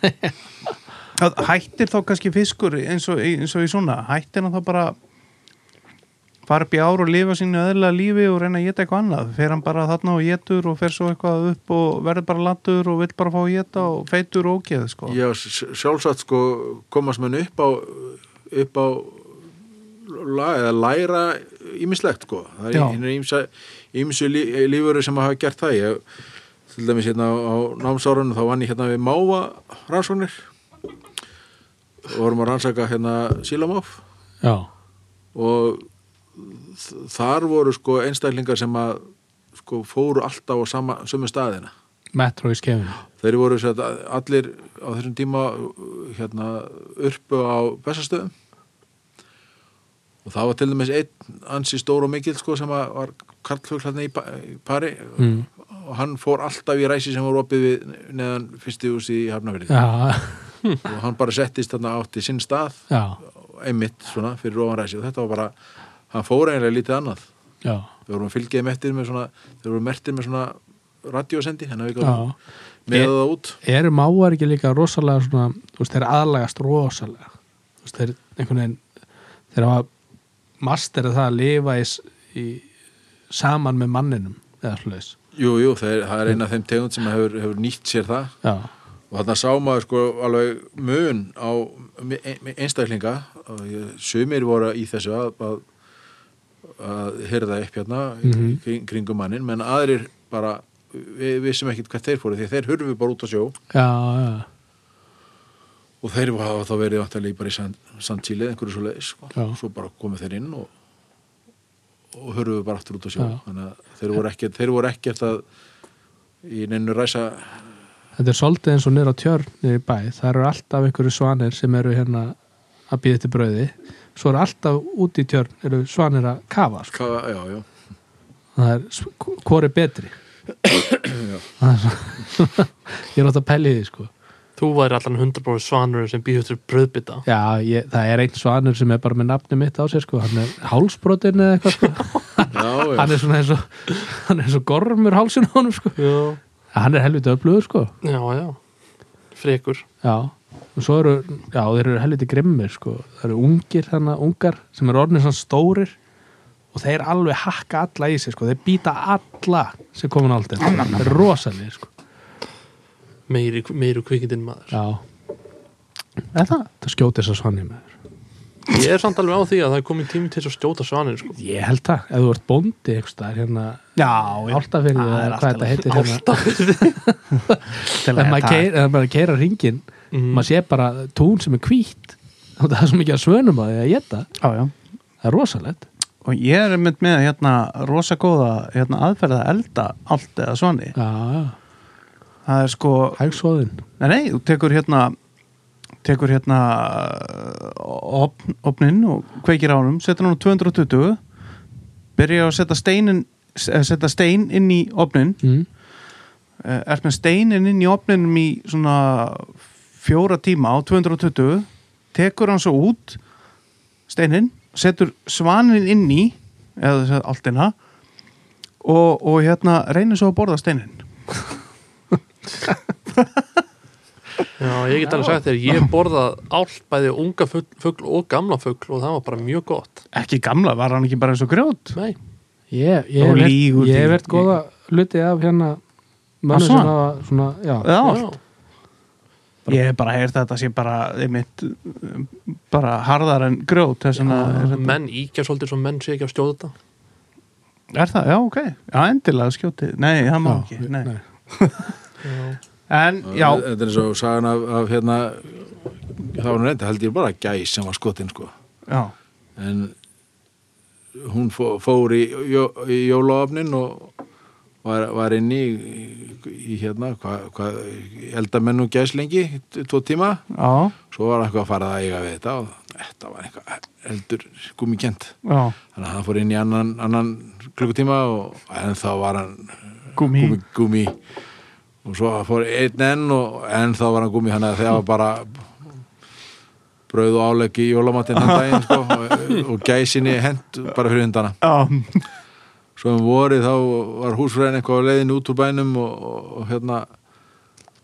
Það hættir þá kannski fiskur eins og, eins og í svona, hættir hann þá bara fara upp í ár og lifa sínu öðlega lífi og reyna að geta eitthvað annað fer hann bara þarna og getur og fer svo eitthvað upp og verður bara latur og vill bara fá að geta og feitur og ógeð sko
Já, sj- sjálfsagt sko komast menn upp á upp á la- eða læra ímislegt sko það
Já.
er hinn ímsa ímsu lí, lífuru sem hafa gert það ég, til dæmis hérna á námsárunum þá vann ég hérna við máva rannsóknir og vorum að rannsaka hérna sílamáf
já,
og þ- þar voru sko einstaklingar sem að sko fóru alltaf á sama, sömu staðina
metro í skefinu
þeir voru sem sagt, allir á þessum tíma hérna urpu á bestastöðum og það var til dæmis einn ansi stór og mikill sko sem að var karlfuglarni í pa- í pari
mm.
og hann fór alltaf í ræsi sem voru opið við neðan fyrsti hús í Hafnafyrði
já,
og hann bara settist þarna átti sinn stað
já,
einmitt svona fyrir ofan ræsi og þetta var bara, hann fór eiginlega lítið annað
já,
við vorum að fylgja þeim eftir með svona þeir voru mertir með svona radiosendi hann hefði
já.
gátt með það út
eru máar ekki líka rosalega svona, þú veist, þeir aðlagast rosalega þú veist, þeir einhvern veginn þeir hafa masterið það að lifa í, s- í saman með manninum eða slúðis
Jú, jú, það er, það er eina af þeim tegund sem hefur, hefur nýtt sér það
já,
og þarna sá maður sko alveg mun á ein- einstaklinga og ég- sumir voru í þessu að, að, að hyrða upp hérna
Mhm.
í kring, kringum mannin menn aðrir bara, við vissum ekkit hvað þeir fóru því þeir hurfu bara út á sjó
já, já,
og þeir hafa þá verið vantarlega bara í San, San Chile einhverju svo leiðis sko.
Já.
svo bara komið þeir inn og, og hörðu bara aftur út á sjó
Já.
þannig að þeir voru ekkert, þeir voru ekkert að í neinu ræsa
þetta er svolítið eins og niður á tjörn niður í bæ, það eru alltaf einhverju svanir sem eru hérna að býða til brauði svo eru alltaf út í tjörn eru svanir að kafa sko.
hvað, já, já,
það er, s- hvor er betri Það er svo- ég er átt að pæli því sko
þú væri allan 100% svanurinn sem býður til bröðbita
Já, ég, það er einn svanur sem er bara með nafni mitt á sér sko, hann er hálsbrotin eða eitthvað sko,
já, já.
hann er svona eins og hann er eins og gormur hálsin á honum sko
já,
hann er helviti öflugur sko
já, já frekur
já, og svo eru, já, þeir eru helviti grimmir sko, það eru ungir þannig, ungar sem eru orðnir svona stórir og þeir alveg hakka alla í sig sko, þeir býta alla sem komin aldrei, þeir eru rosalir sko
meiri, meiri kvikindin maður
já, þetta, það skjóti þess að svanni með þér
ég er samt alveg á því að það er komið tími til þess að stjóta svanir sko.
ég held það, ef þú ert bóndi einhvers staðar hérna
Já, já, Það
Áltafyrði
er
eða hvað
alltaf-
þetta heitir hérna
til Mhm.
en maður
þetta-
keyrir- ef maður keira ringin maður sé bara tún sem er hvít og það er svo mikið að svönum að því að geta
Já, já
það er rosalegt
Og ég er mynd með hérna rosa góða hérna, aðferða elda allt eða svani
já, já,
Það er sko,
hægsóðin
Nei, nei, þú tekur hérna tekur hérna uh, opn, opnin og kveikir á hann setur hann á 220 byrja að setja steinin eh, setja stein inn í opnin
mm.
Eh, ert með steinin inn í opninum í svona fjóra tíma á 220 tekur hann svo út steinin, setur svanin inn í eða þess að alltina og, og hérna reynir svo að borða steinin
Já, ég get alveg sagt þér, ég borða allt bæði unga fugl, fugl og gamla fugl og það var bara mjög gott.
ekki gamla, var hann ekki bara eins og grjót
Nei,
Ég, ég,
Og
hef heyrt-
lýgur
ég
því.
hef verið góða hluti af hérna
Ah,
mönnum
svona?
sem hafa svona, já,
eða allt
já,
Ég hef bara heyrt að þetta sé bara, einmitt, um, bara harðar en grjót, þess vegna er, þetta-
menn íkja svolítið svo menn sé ekki að stjóða þetta.
er það, já, ok, já, endilega skjótið, nei, það má
Já,
ekki, nei.
nei.
En, já,
Þetta er eins og sagan af, af hérna, það var nú reynda, held ég bara gæs sem var skotin, sko.
já,
En hún fó, fór í, jó, í jólaofnin og var, var inn í, í hérna, hvað, hva, eldamenn og gæs lengi, t- tvo tíma.
já,
Svo var hann eitthvað að fara að eiga við þetta og þetta var eitthvað eldur gummikent.
já,
Þannig að hann fór inn í annan, annan klukkutíma og en þá var hann
gumi,
gumi, gumi og svo fór einn enn og enn þá var hann gumi hann að þegar var bara brauð og álegg í jólamatinn hann daginn sko, og, og gæsinni hent bara fyrir hundana
já,
svo um vorið þá var húsfræðin eitthvað á leiðin út úr bænum og, og, og hérna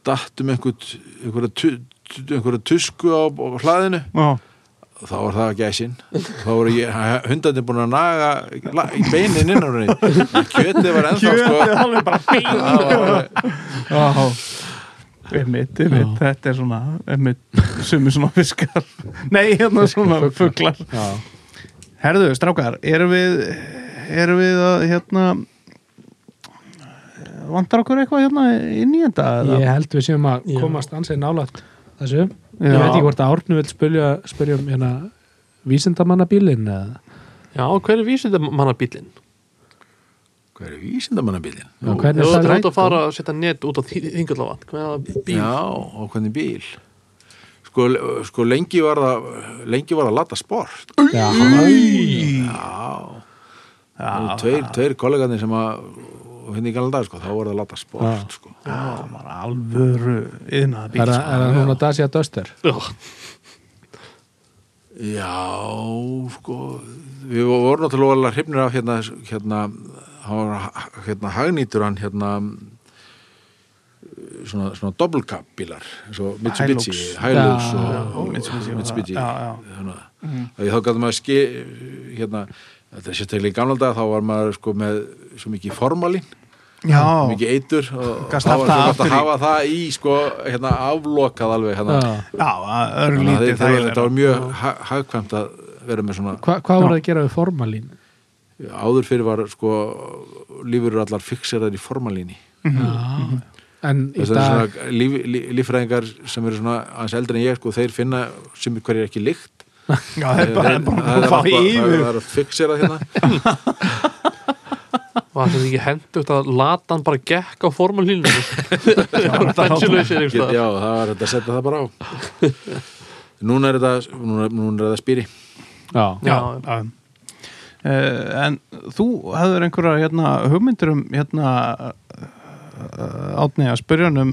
dattum einhvern einhverja, tu- tu- einhverja tusku á, á hlaðinu
já,
þá var það gæsin þá voru ég, hundandi búin að naga la- í beinin inn á henni kjötið var ennþá
kjötið
sko
alveg bara bing,
það var,
já, einmitt, einmitt, þetta er svona, einmitt, sumi svona fiskar, nei, hérna svona fuglar.
já
Herðu, strákar, erum við, erum við að, hérna, vantar okkur eitthvað hérna inn í þetta? eða?
ég held við séum að
Já.
komast ansið nálægt
Já.
þessu, ég veit ekki hvort að Árnu vil spyrja, spyrja um hérna vísindamannabílinn eða
Já, hver er vísindamannabílinn?
Hvað er vísindamannabílinn?
Já,
Nú,
hvernig
Þú
er
ert
það
út að fara að setja net út á þingallavann. Hvaða bíl?
Já, á hvernig bíl? Sko, sko lengi var það lengi var það lata sport
Já,
Já, já tveir, tveir kollegaðni sem að henni í galda, sko, þá var það lata sport sko.
Já, það var alvöru yðnaða bíl
er það- er
sko.
það núna Dacia Duster
Já.
Já, sko við vorum náttúrulega hrifnir af hérna, hérna, hann var, hérna hagnýtur hann hérna svona, svona dobbelkapp bílar eins og Mitsubishi,
Hilux.
Hilux
Já,
og,
já,
og
Mitsubishi
Mitsubishi,
og það, já, já.
Þannig,
Mhm.
að þá gæti maður ski hérna, þetta er sérstaklega í gamla dag þá var maður sko með svo mikið formalín
Já,
mikið eitur og
Gast
þá
haft
var
það
svo gott
aftur
að
í.
hafa það í sko hérna aflokað alveg hérna
Já.
já, það er
Þannig að
örlítið
þetta var-
þægilega.
þetta var mjög ha- hagkvæmt að vera með svona
Hva, hvað voru að gera við formalín?
áður fyrir var sko lífurur allar fixeraðar í formalíni
En í
þess að
dag,
svona líf, líf, líffræðingar sem eru svona aðeins eldri en ég sko þeir finna sem hverju er ekki lykt
Já, það er bara
Þeir-
bara
það
að fá
er allt bara- það
yfir
er að fixera hérna
Var þetta ekki hendugt að lata hann bara gekk á formalínu? Bensjulausir
Get,
einhverstað.
já, það var þetta að setja það bara á núna er þetta núna, núna er þetta spýri
já,
Já,
Já. Eh, En þú hefur einhverja hérna, hugmyndir um hérna, eh, átni að spyrja hann um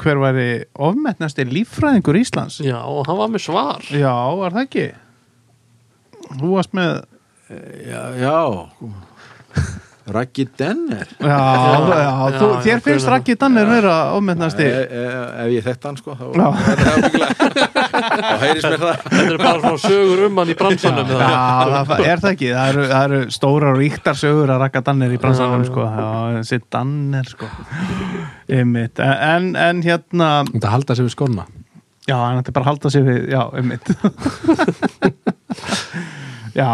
hver væri ofmetnasti líffræðingur Íslands
já, og hann var með svar.
Já, var það ekki? Þú varst með
já, já. Raggi Denner
Já, já,
já,
þú,
já,
þér finnst
grunar.
Raggi Danner vera ofmetnasti
e, e, ef ég þekkt hann sko þá,
Já.
þá heyrist mér það
Þetta er bara svona sögur um hann í bransanum. eða?
Já, það er það ekki, það eru, það eru stórar og yktar sögur að rakka Danner í bransanum sko, já, þessi Danner sko einmitt, en, en hérna
þetta halda sér við skóna
já, hann ætti bara að halda sér við, já, einmitt Já,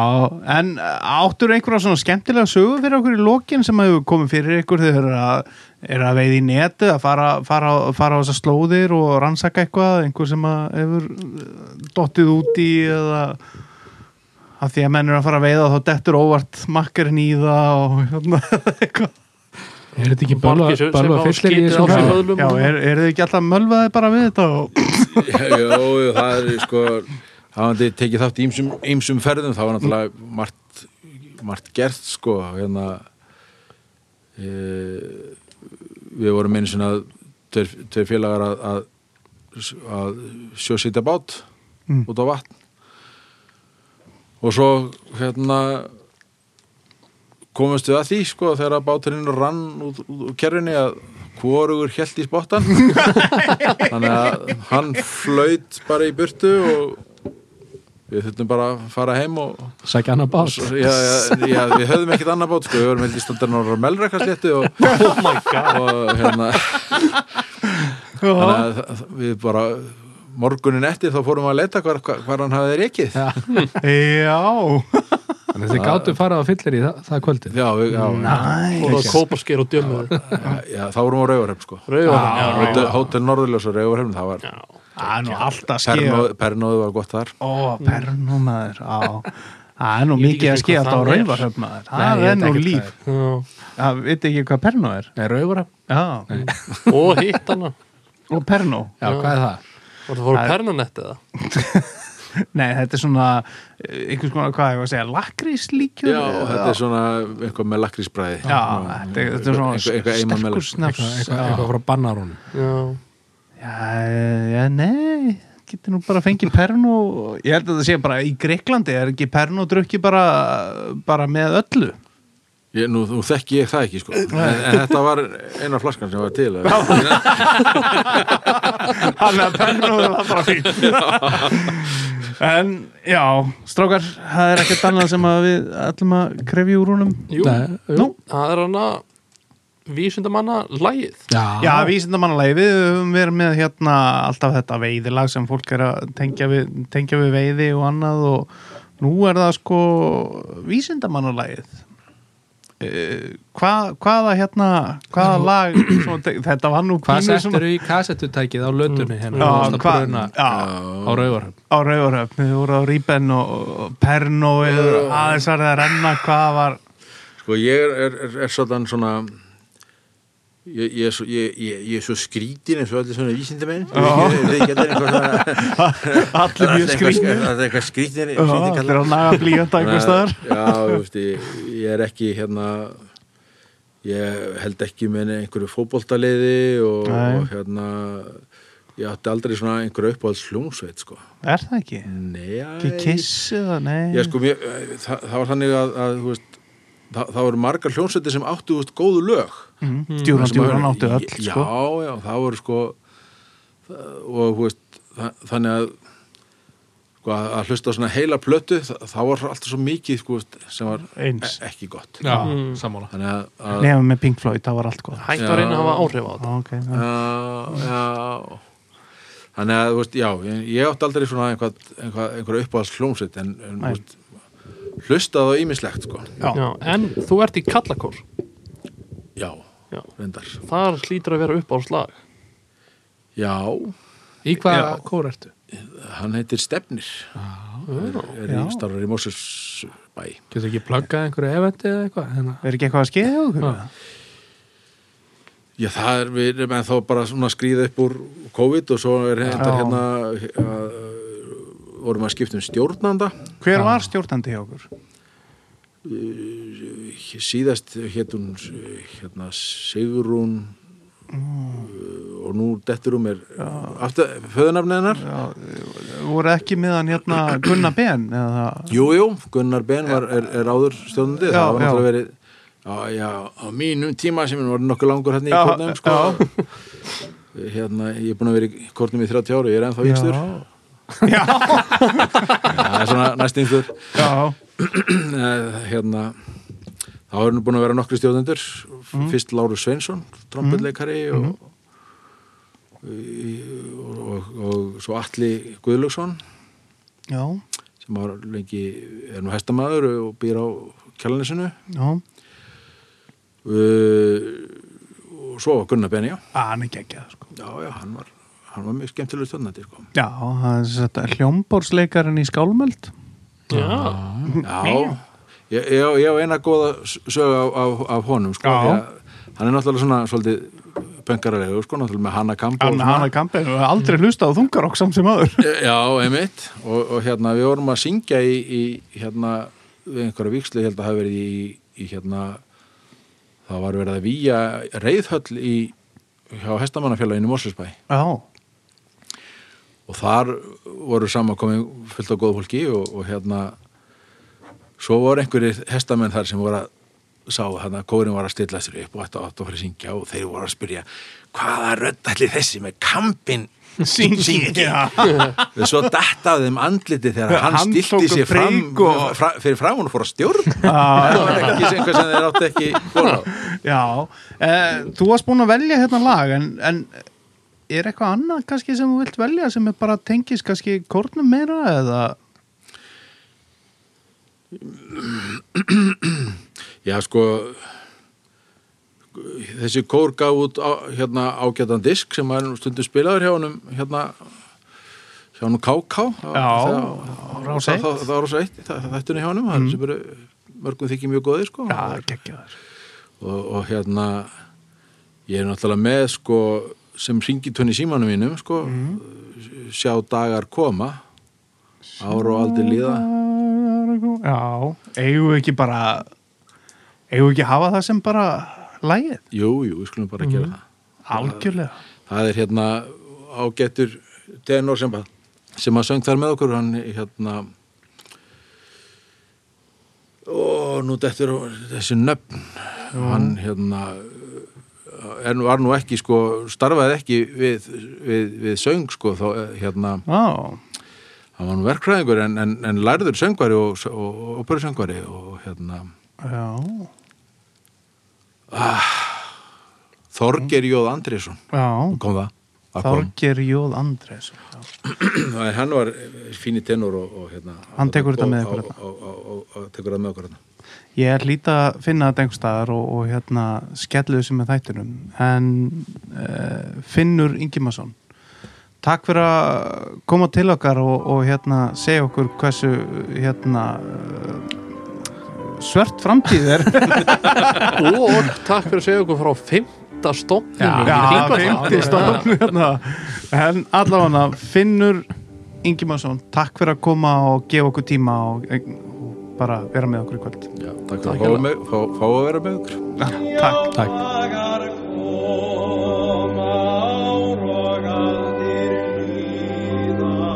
en áttur einhverja svona skemmtilega sögur fyrir okkur í lokin sem hefur komið fyrir ykkur þegar þeir eru að, eru að veið í netu að fara, fara, fara á þessar slóðir og rannsaka eitthvað, einhver sem að hefur eh, dottið út í eða að því að menn eru að fara að veiða þá dettur óvart makkarinn í það og hérna eitthvað
Er þetta ekki
Barki
bölva
sem-
bölva
sem á
fyllir í
skítið
þessum
á sig.
hraða?
Vöðlum
Já,
og-
er, er þið ekki alltaf mölvaði bara við þetta og
Jú, jú, það er sko hafandi tekið þátt í ýmsum, ýmsum ferðum þá var náttúrulega margt, margt gert sko hérna e, við vorum einu sinna tveir, tveir félagar að, að, að sjósýta bát
Mm.
út á vatn og svo hérna komumst við að því sko þegar að báturinn rann út, út, úr kerfinni að hvorugur held í spottan þannig að hann flaut bara í burtu og við þurftum bara að fara heim og
Sækja hann að bát
já, já, já, við höfðum ekkert annað bát sko, við höfum held í stundan á melrekasléttu og, og hérna þannig að það- það- við bara morgunin eftir þá fórum við að leita hvar, hvar, hvar hann hafði rekið
Já.
Já,
Þannig að þið gáttu farað á fyllir í það, það kvöldið
já, við, já,
næ
og það kóparsker og djömmur
já, þá vorum við á Rauvarhefn sko
rauðan
Hótel, hótel Norðurljós og Rauvarhefn það var,
Það er nú alltaf skýja
Pernóð- Pernóðu var gott þar
Ó, pernú maður á. Það er nú
Ég veit
mikið
ekki
að skýja
hvað
alltaf á
það er.
rauvarhöfn maður Það
ég
er
veit
nú
ekkert
líf Það veit ekki hvað pernú er
Nei, raugur Já,
Já,
og hitt hana
og pernú
hvað er það?
og það fóru pernanett eða
Nei, þetta er svona eh, einhvers konar, hvað ég var að segja, lakríslíkjur
já, þetta er svona eitthvað með lakrísbræði
Já, þetta er- þetta er svona
eitthvað, eitthvað einmann með
sterkur snafs
Eitthvað, eitthvað, eitthvað frá bannarónum
já
Já, já, nei getur nú bara að fengi pernu ég held að það sé bara í Greiklandi er ekki pernu og drukki bara, bara með öllu
Ég, nú, nú þekki ég það ekki sko en, en þetta var eina flaskan sem var til
hann er pernu og það bara fín en já strákar, það er ekkert annað sem að við ætlum að krefja úr húnum
Jú,
Nei, jú.
Nú.
það er hana vísindamanna lægið
já, vísindamannalegi, við höfum verið með hérna alltaf þetta veiðilag sem fólk er að tengja við, tengja við veiði og annað og nú er það sko vísindamannalagið Uh, hvað, hvaða hérna hvaða lag svona, te- þetta var nú
Hvað
pínu svona-
settur í kassettutækið á lötunni hérna?
Já,
Þú varst að
hvað-
bruna
já,
á rauðarhöfn
á Rauvaröfn, við vorum á Ríben og og Pernóið og aðeins var það að renna hvað var
Sko ég er, er, er, er svolítan svona ég, ég, er svo, ég, ég, ég er svo skrítin eins og allir svona vísindamenn við getum eitthvað svona
allir mjög skrýnir
Það er eitthvað skrítin
allir að naga blíjönda einhver staðar
Já, þú veist, ég, ég er ekki hérna ég held ekki með einhverju fótboltaliði og,
Nei.
og hérna ég átti aldrei svona einhverju uppáhalds hljómsveit sko.
er það ekki?
Nei,
ekki kiss eða nei
Já, sko, mér, það, það var þannig að, að þú veist, það, það voru margar hljómsveitir sem áttu þú veist, góðu lög
Mhm. djúran
hmm, sem að-
djúran áttu öll
já,
sko.
já, það voru sko það- og þú veist, það, þannig að sko, að að hlusta á svona heila plötu það, það var alltaf svo mikið sko, veist, sem var
eins
e- ekki gott
Já,
Mm.
sammála
þannig að, að
nefnum með Pink Floyd, það var allt góð
hægt að reyna að hafa áhrif á þetta
ok,
Ah.
já.
já, já þannig að, þú veist, já, ég, ég átti aldrei svona einhvað, einhvað, einhver uppáhalds hljómsveit en, en þú
Nei.
veist, hlustað á ýmislegt sko,
Já.
Já, en þú ert í kallakór
já,
Já.
reyndar
þar hlýtur að vera upp á slag
já,
Í hvaða
Já.
kór ertu?
hann heitir Stefnir er, er í
Já.
starfar í Mósusbæ
Getur ekki pluggað einhverju eventi eða eitthvað? Hérna.
er ekki eitthvað að skeiða okkur?
Ah.
Já.
Já, það er, við erum ennþá bara svona að skríða upp úr COVID og svo er þetta
Já.
hérna að, vorum að skipta um stjórnanda
hver var stjórnandi hjá okkur?
síðast hétt hún hérna Sigrún Mm. uh, og nú dettur hún mér aftur, föðunafni hennar
voru ekki með hann hérna Gunnar Ben eða
Jú, jú, Gunnar Ben var, er, er áður
Já,
stjórnandi, það
já.
var náttúrulega verið Já, já, á mínum tíma sem var nokkuð langur hérna í
Já,
kórnum sko. hérna, ég er búin að vera í kórnum í 30 ára, ég er ennþá vikstur það er svona næst yngstur
já,
hérna þá er nú búin að vera nokkri stjórnendur
Mm.
fyrst Lárus Sveinsson, trombinleikari og,
Mm.
og, og, og svo Atli Guðlöksson
já,
sem var lengi, er nú hestamaður og býr á kjalanisinu
já
uh, og svo var Gunnar Benja
Að, hann er geggjað sko
já, já, hann var, hann var mjög skemmtilegur stjórnandi sko.
já, hann er þetta hljómborsleikarinn í skálmöld
já,
já, ég, ég, á- ég á eina góða s- sögu af, af, af honum
Já.
sko, því að hann er náttúrulega svona svolítið pöngaralegu, sko, náttúrulega með Hanna Kampo
hann hann er kampið, hann er aldrei hlustað á þungarokk samt sem aður
já, einmitt og, og hérna, við vorum að syngja í, í hérna, við einhverja vikslu ég held að hafa verið í, í hérna það var verið að výja reyðhöll í hjá hestamannafélaginu Morsfjörnsbæ
já,
og þar voru samankomið fullt á góð fólki og, og hérna svo voru einhverjir hestamenn þar sem voru að sá hérna, kórin var að stilla sér upp og þetta átt að fara að syngja og þeir voru að spyrja hvaða rödd allir þessi með kampin syngi
já,
og svo dattaði þeim andliti þegar
Hann
hann, hann
tók
stilti sér fram,
prik og-
fra, fyrir fram og Ah. fór að stjórn
já,
það var ekki sem hvað sem þeir átti ekki von á.
Já, eh, þú varst búin að velja hérna lag en, en er eitthvað annað kannski sem þú vilt velja sem er bara tengis kannski kórnum meira eða
Já, sko þessi kór gaf út á, hérna ágætan disk sem var nú stundum spilaður hjá honum hérna hjá honum KK
Rás
það,
1?
það, það var rosa eitt Mhm. það, það hjá honum, hann sem eru mörgum þykir mjög góðir sko
Já, geggjaður
og, og hérna ég er náttúrulega með sko sem ringitönn í símanum mínum sko sjá dagar koma ár og aldir líða
Já, eigum við ekki bara eigum við ekki að hafa það sem bara lagið,
jú, jú, við skulum bara gera það
algjörlega
það er hérna ágættur tenor sem, að- sem að söng þar með okkur hann hérna og nú dettur þessi nöfn hann hérna en var nú ekki sko starfaði ekki við, við, við söng sko þá eh, hérna
Já,
hann var nú verkfræðingur en, en, en lærður söngvari og, og, og operasöngvari og hérna
já,
Þorger Jóð Andrésson
já
kom það, það kom.
Þorgir Jóð Andrés já.
Nei, hann var fín í tenor og, og hérna
Hann tekur þetta
og-
með ykkur
og-
þarna.
og- og- og- og tekur þetta með okkur hérna
Ég er lítið að finna þetta einhver staðar og, og hérna skellu þessu með þættunum en uh, Finnur Ingimarsson Takk fyrir að koma til okkar og, og hérna segja okkur hversu hérna eh, svört framtíð er
og takk fyrir að segja okkur frá fymta
Já,
stofnunum í
fimmti
Hringbraut.
stofn hérna. En allavega Finnur Ingimarsson Takk fyrir að koma og gefa okkur tíma og, og bara vera með okkur í kvöld
Já, takk
Takk
fyrir að fá
hérlega.
með- fá fá að vera með okkur
Takk
Takk
Dagar koma ár og aldir líða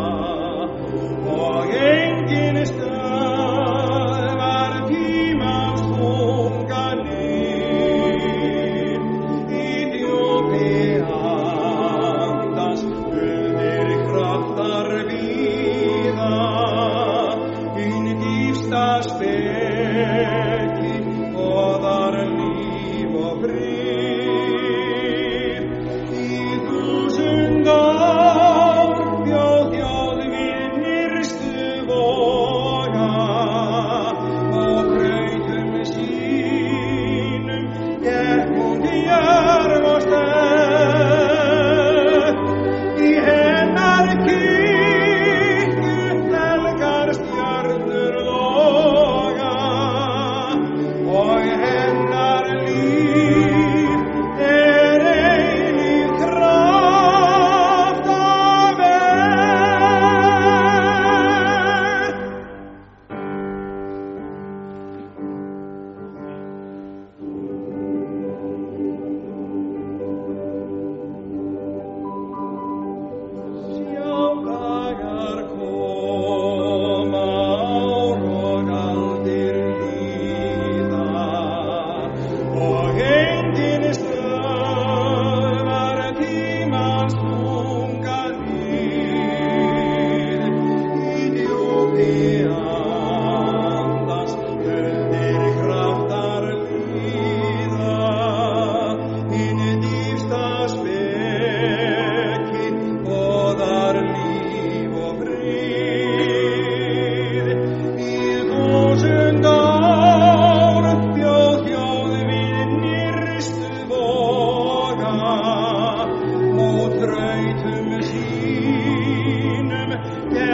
og engin stöðvar tímans þunga nið í djúpi andans undir kraftar víða hinn dýfsta spekli goðar líf og frið í þúsund ár bjóð þjóð vinnirstu voga og brautum sínum gekk hún jörg og stöð í hennar kirkju helgar stjörnur loga og hennar líf er eilíf kraft af er. Sjá dagar koma, ár og aldir líða og enginn stöðvar tímans þunga nið. Í djúpi andans undir kraftar líða, hinn dýpsta spekki boðar líf og frið. Í þúsund ár bjóð þjóð við nyrstu voga, mót rautum sínum, ég er er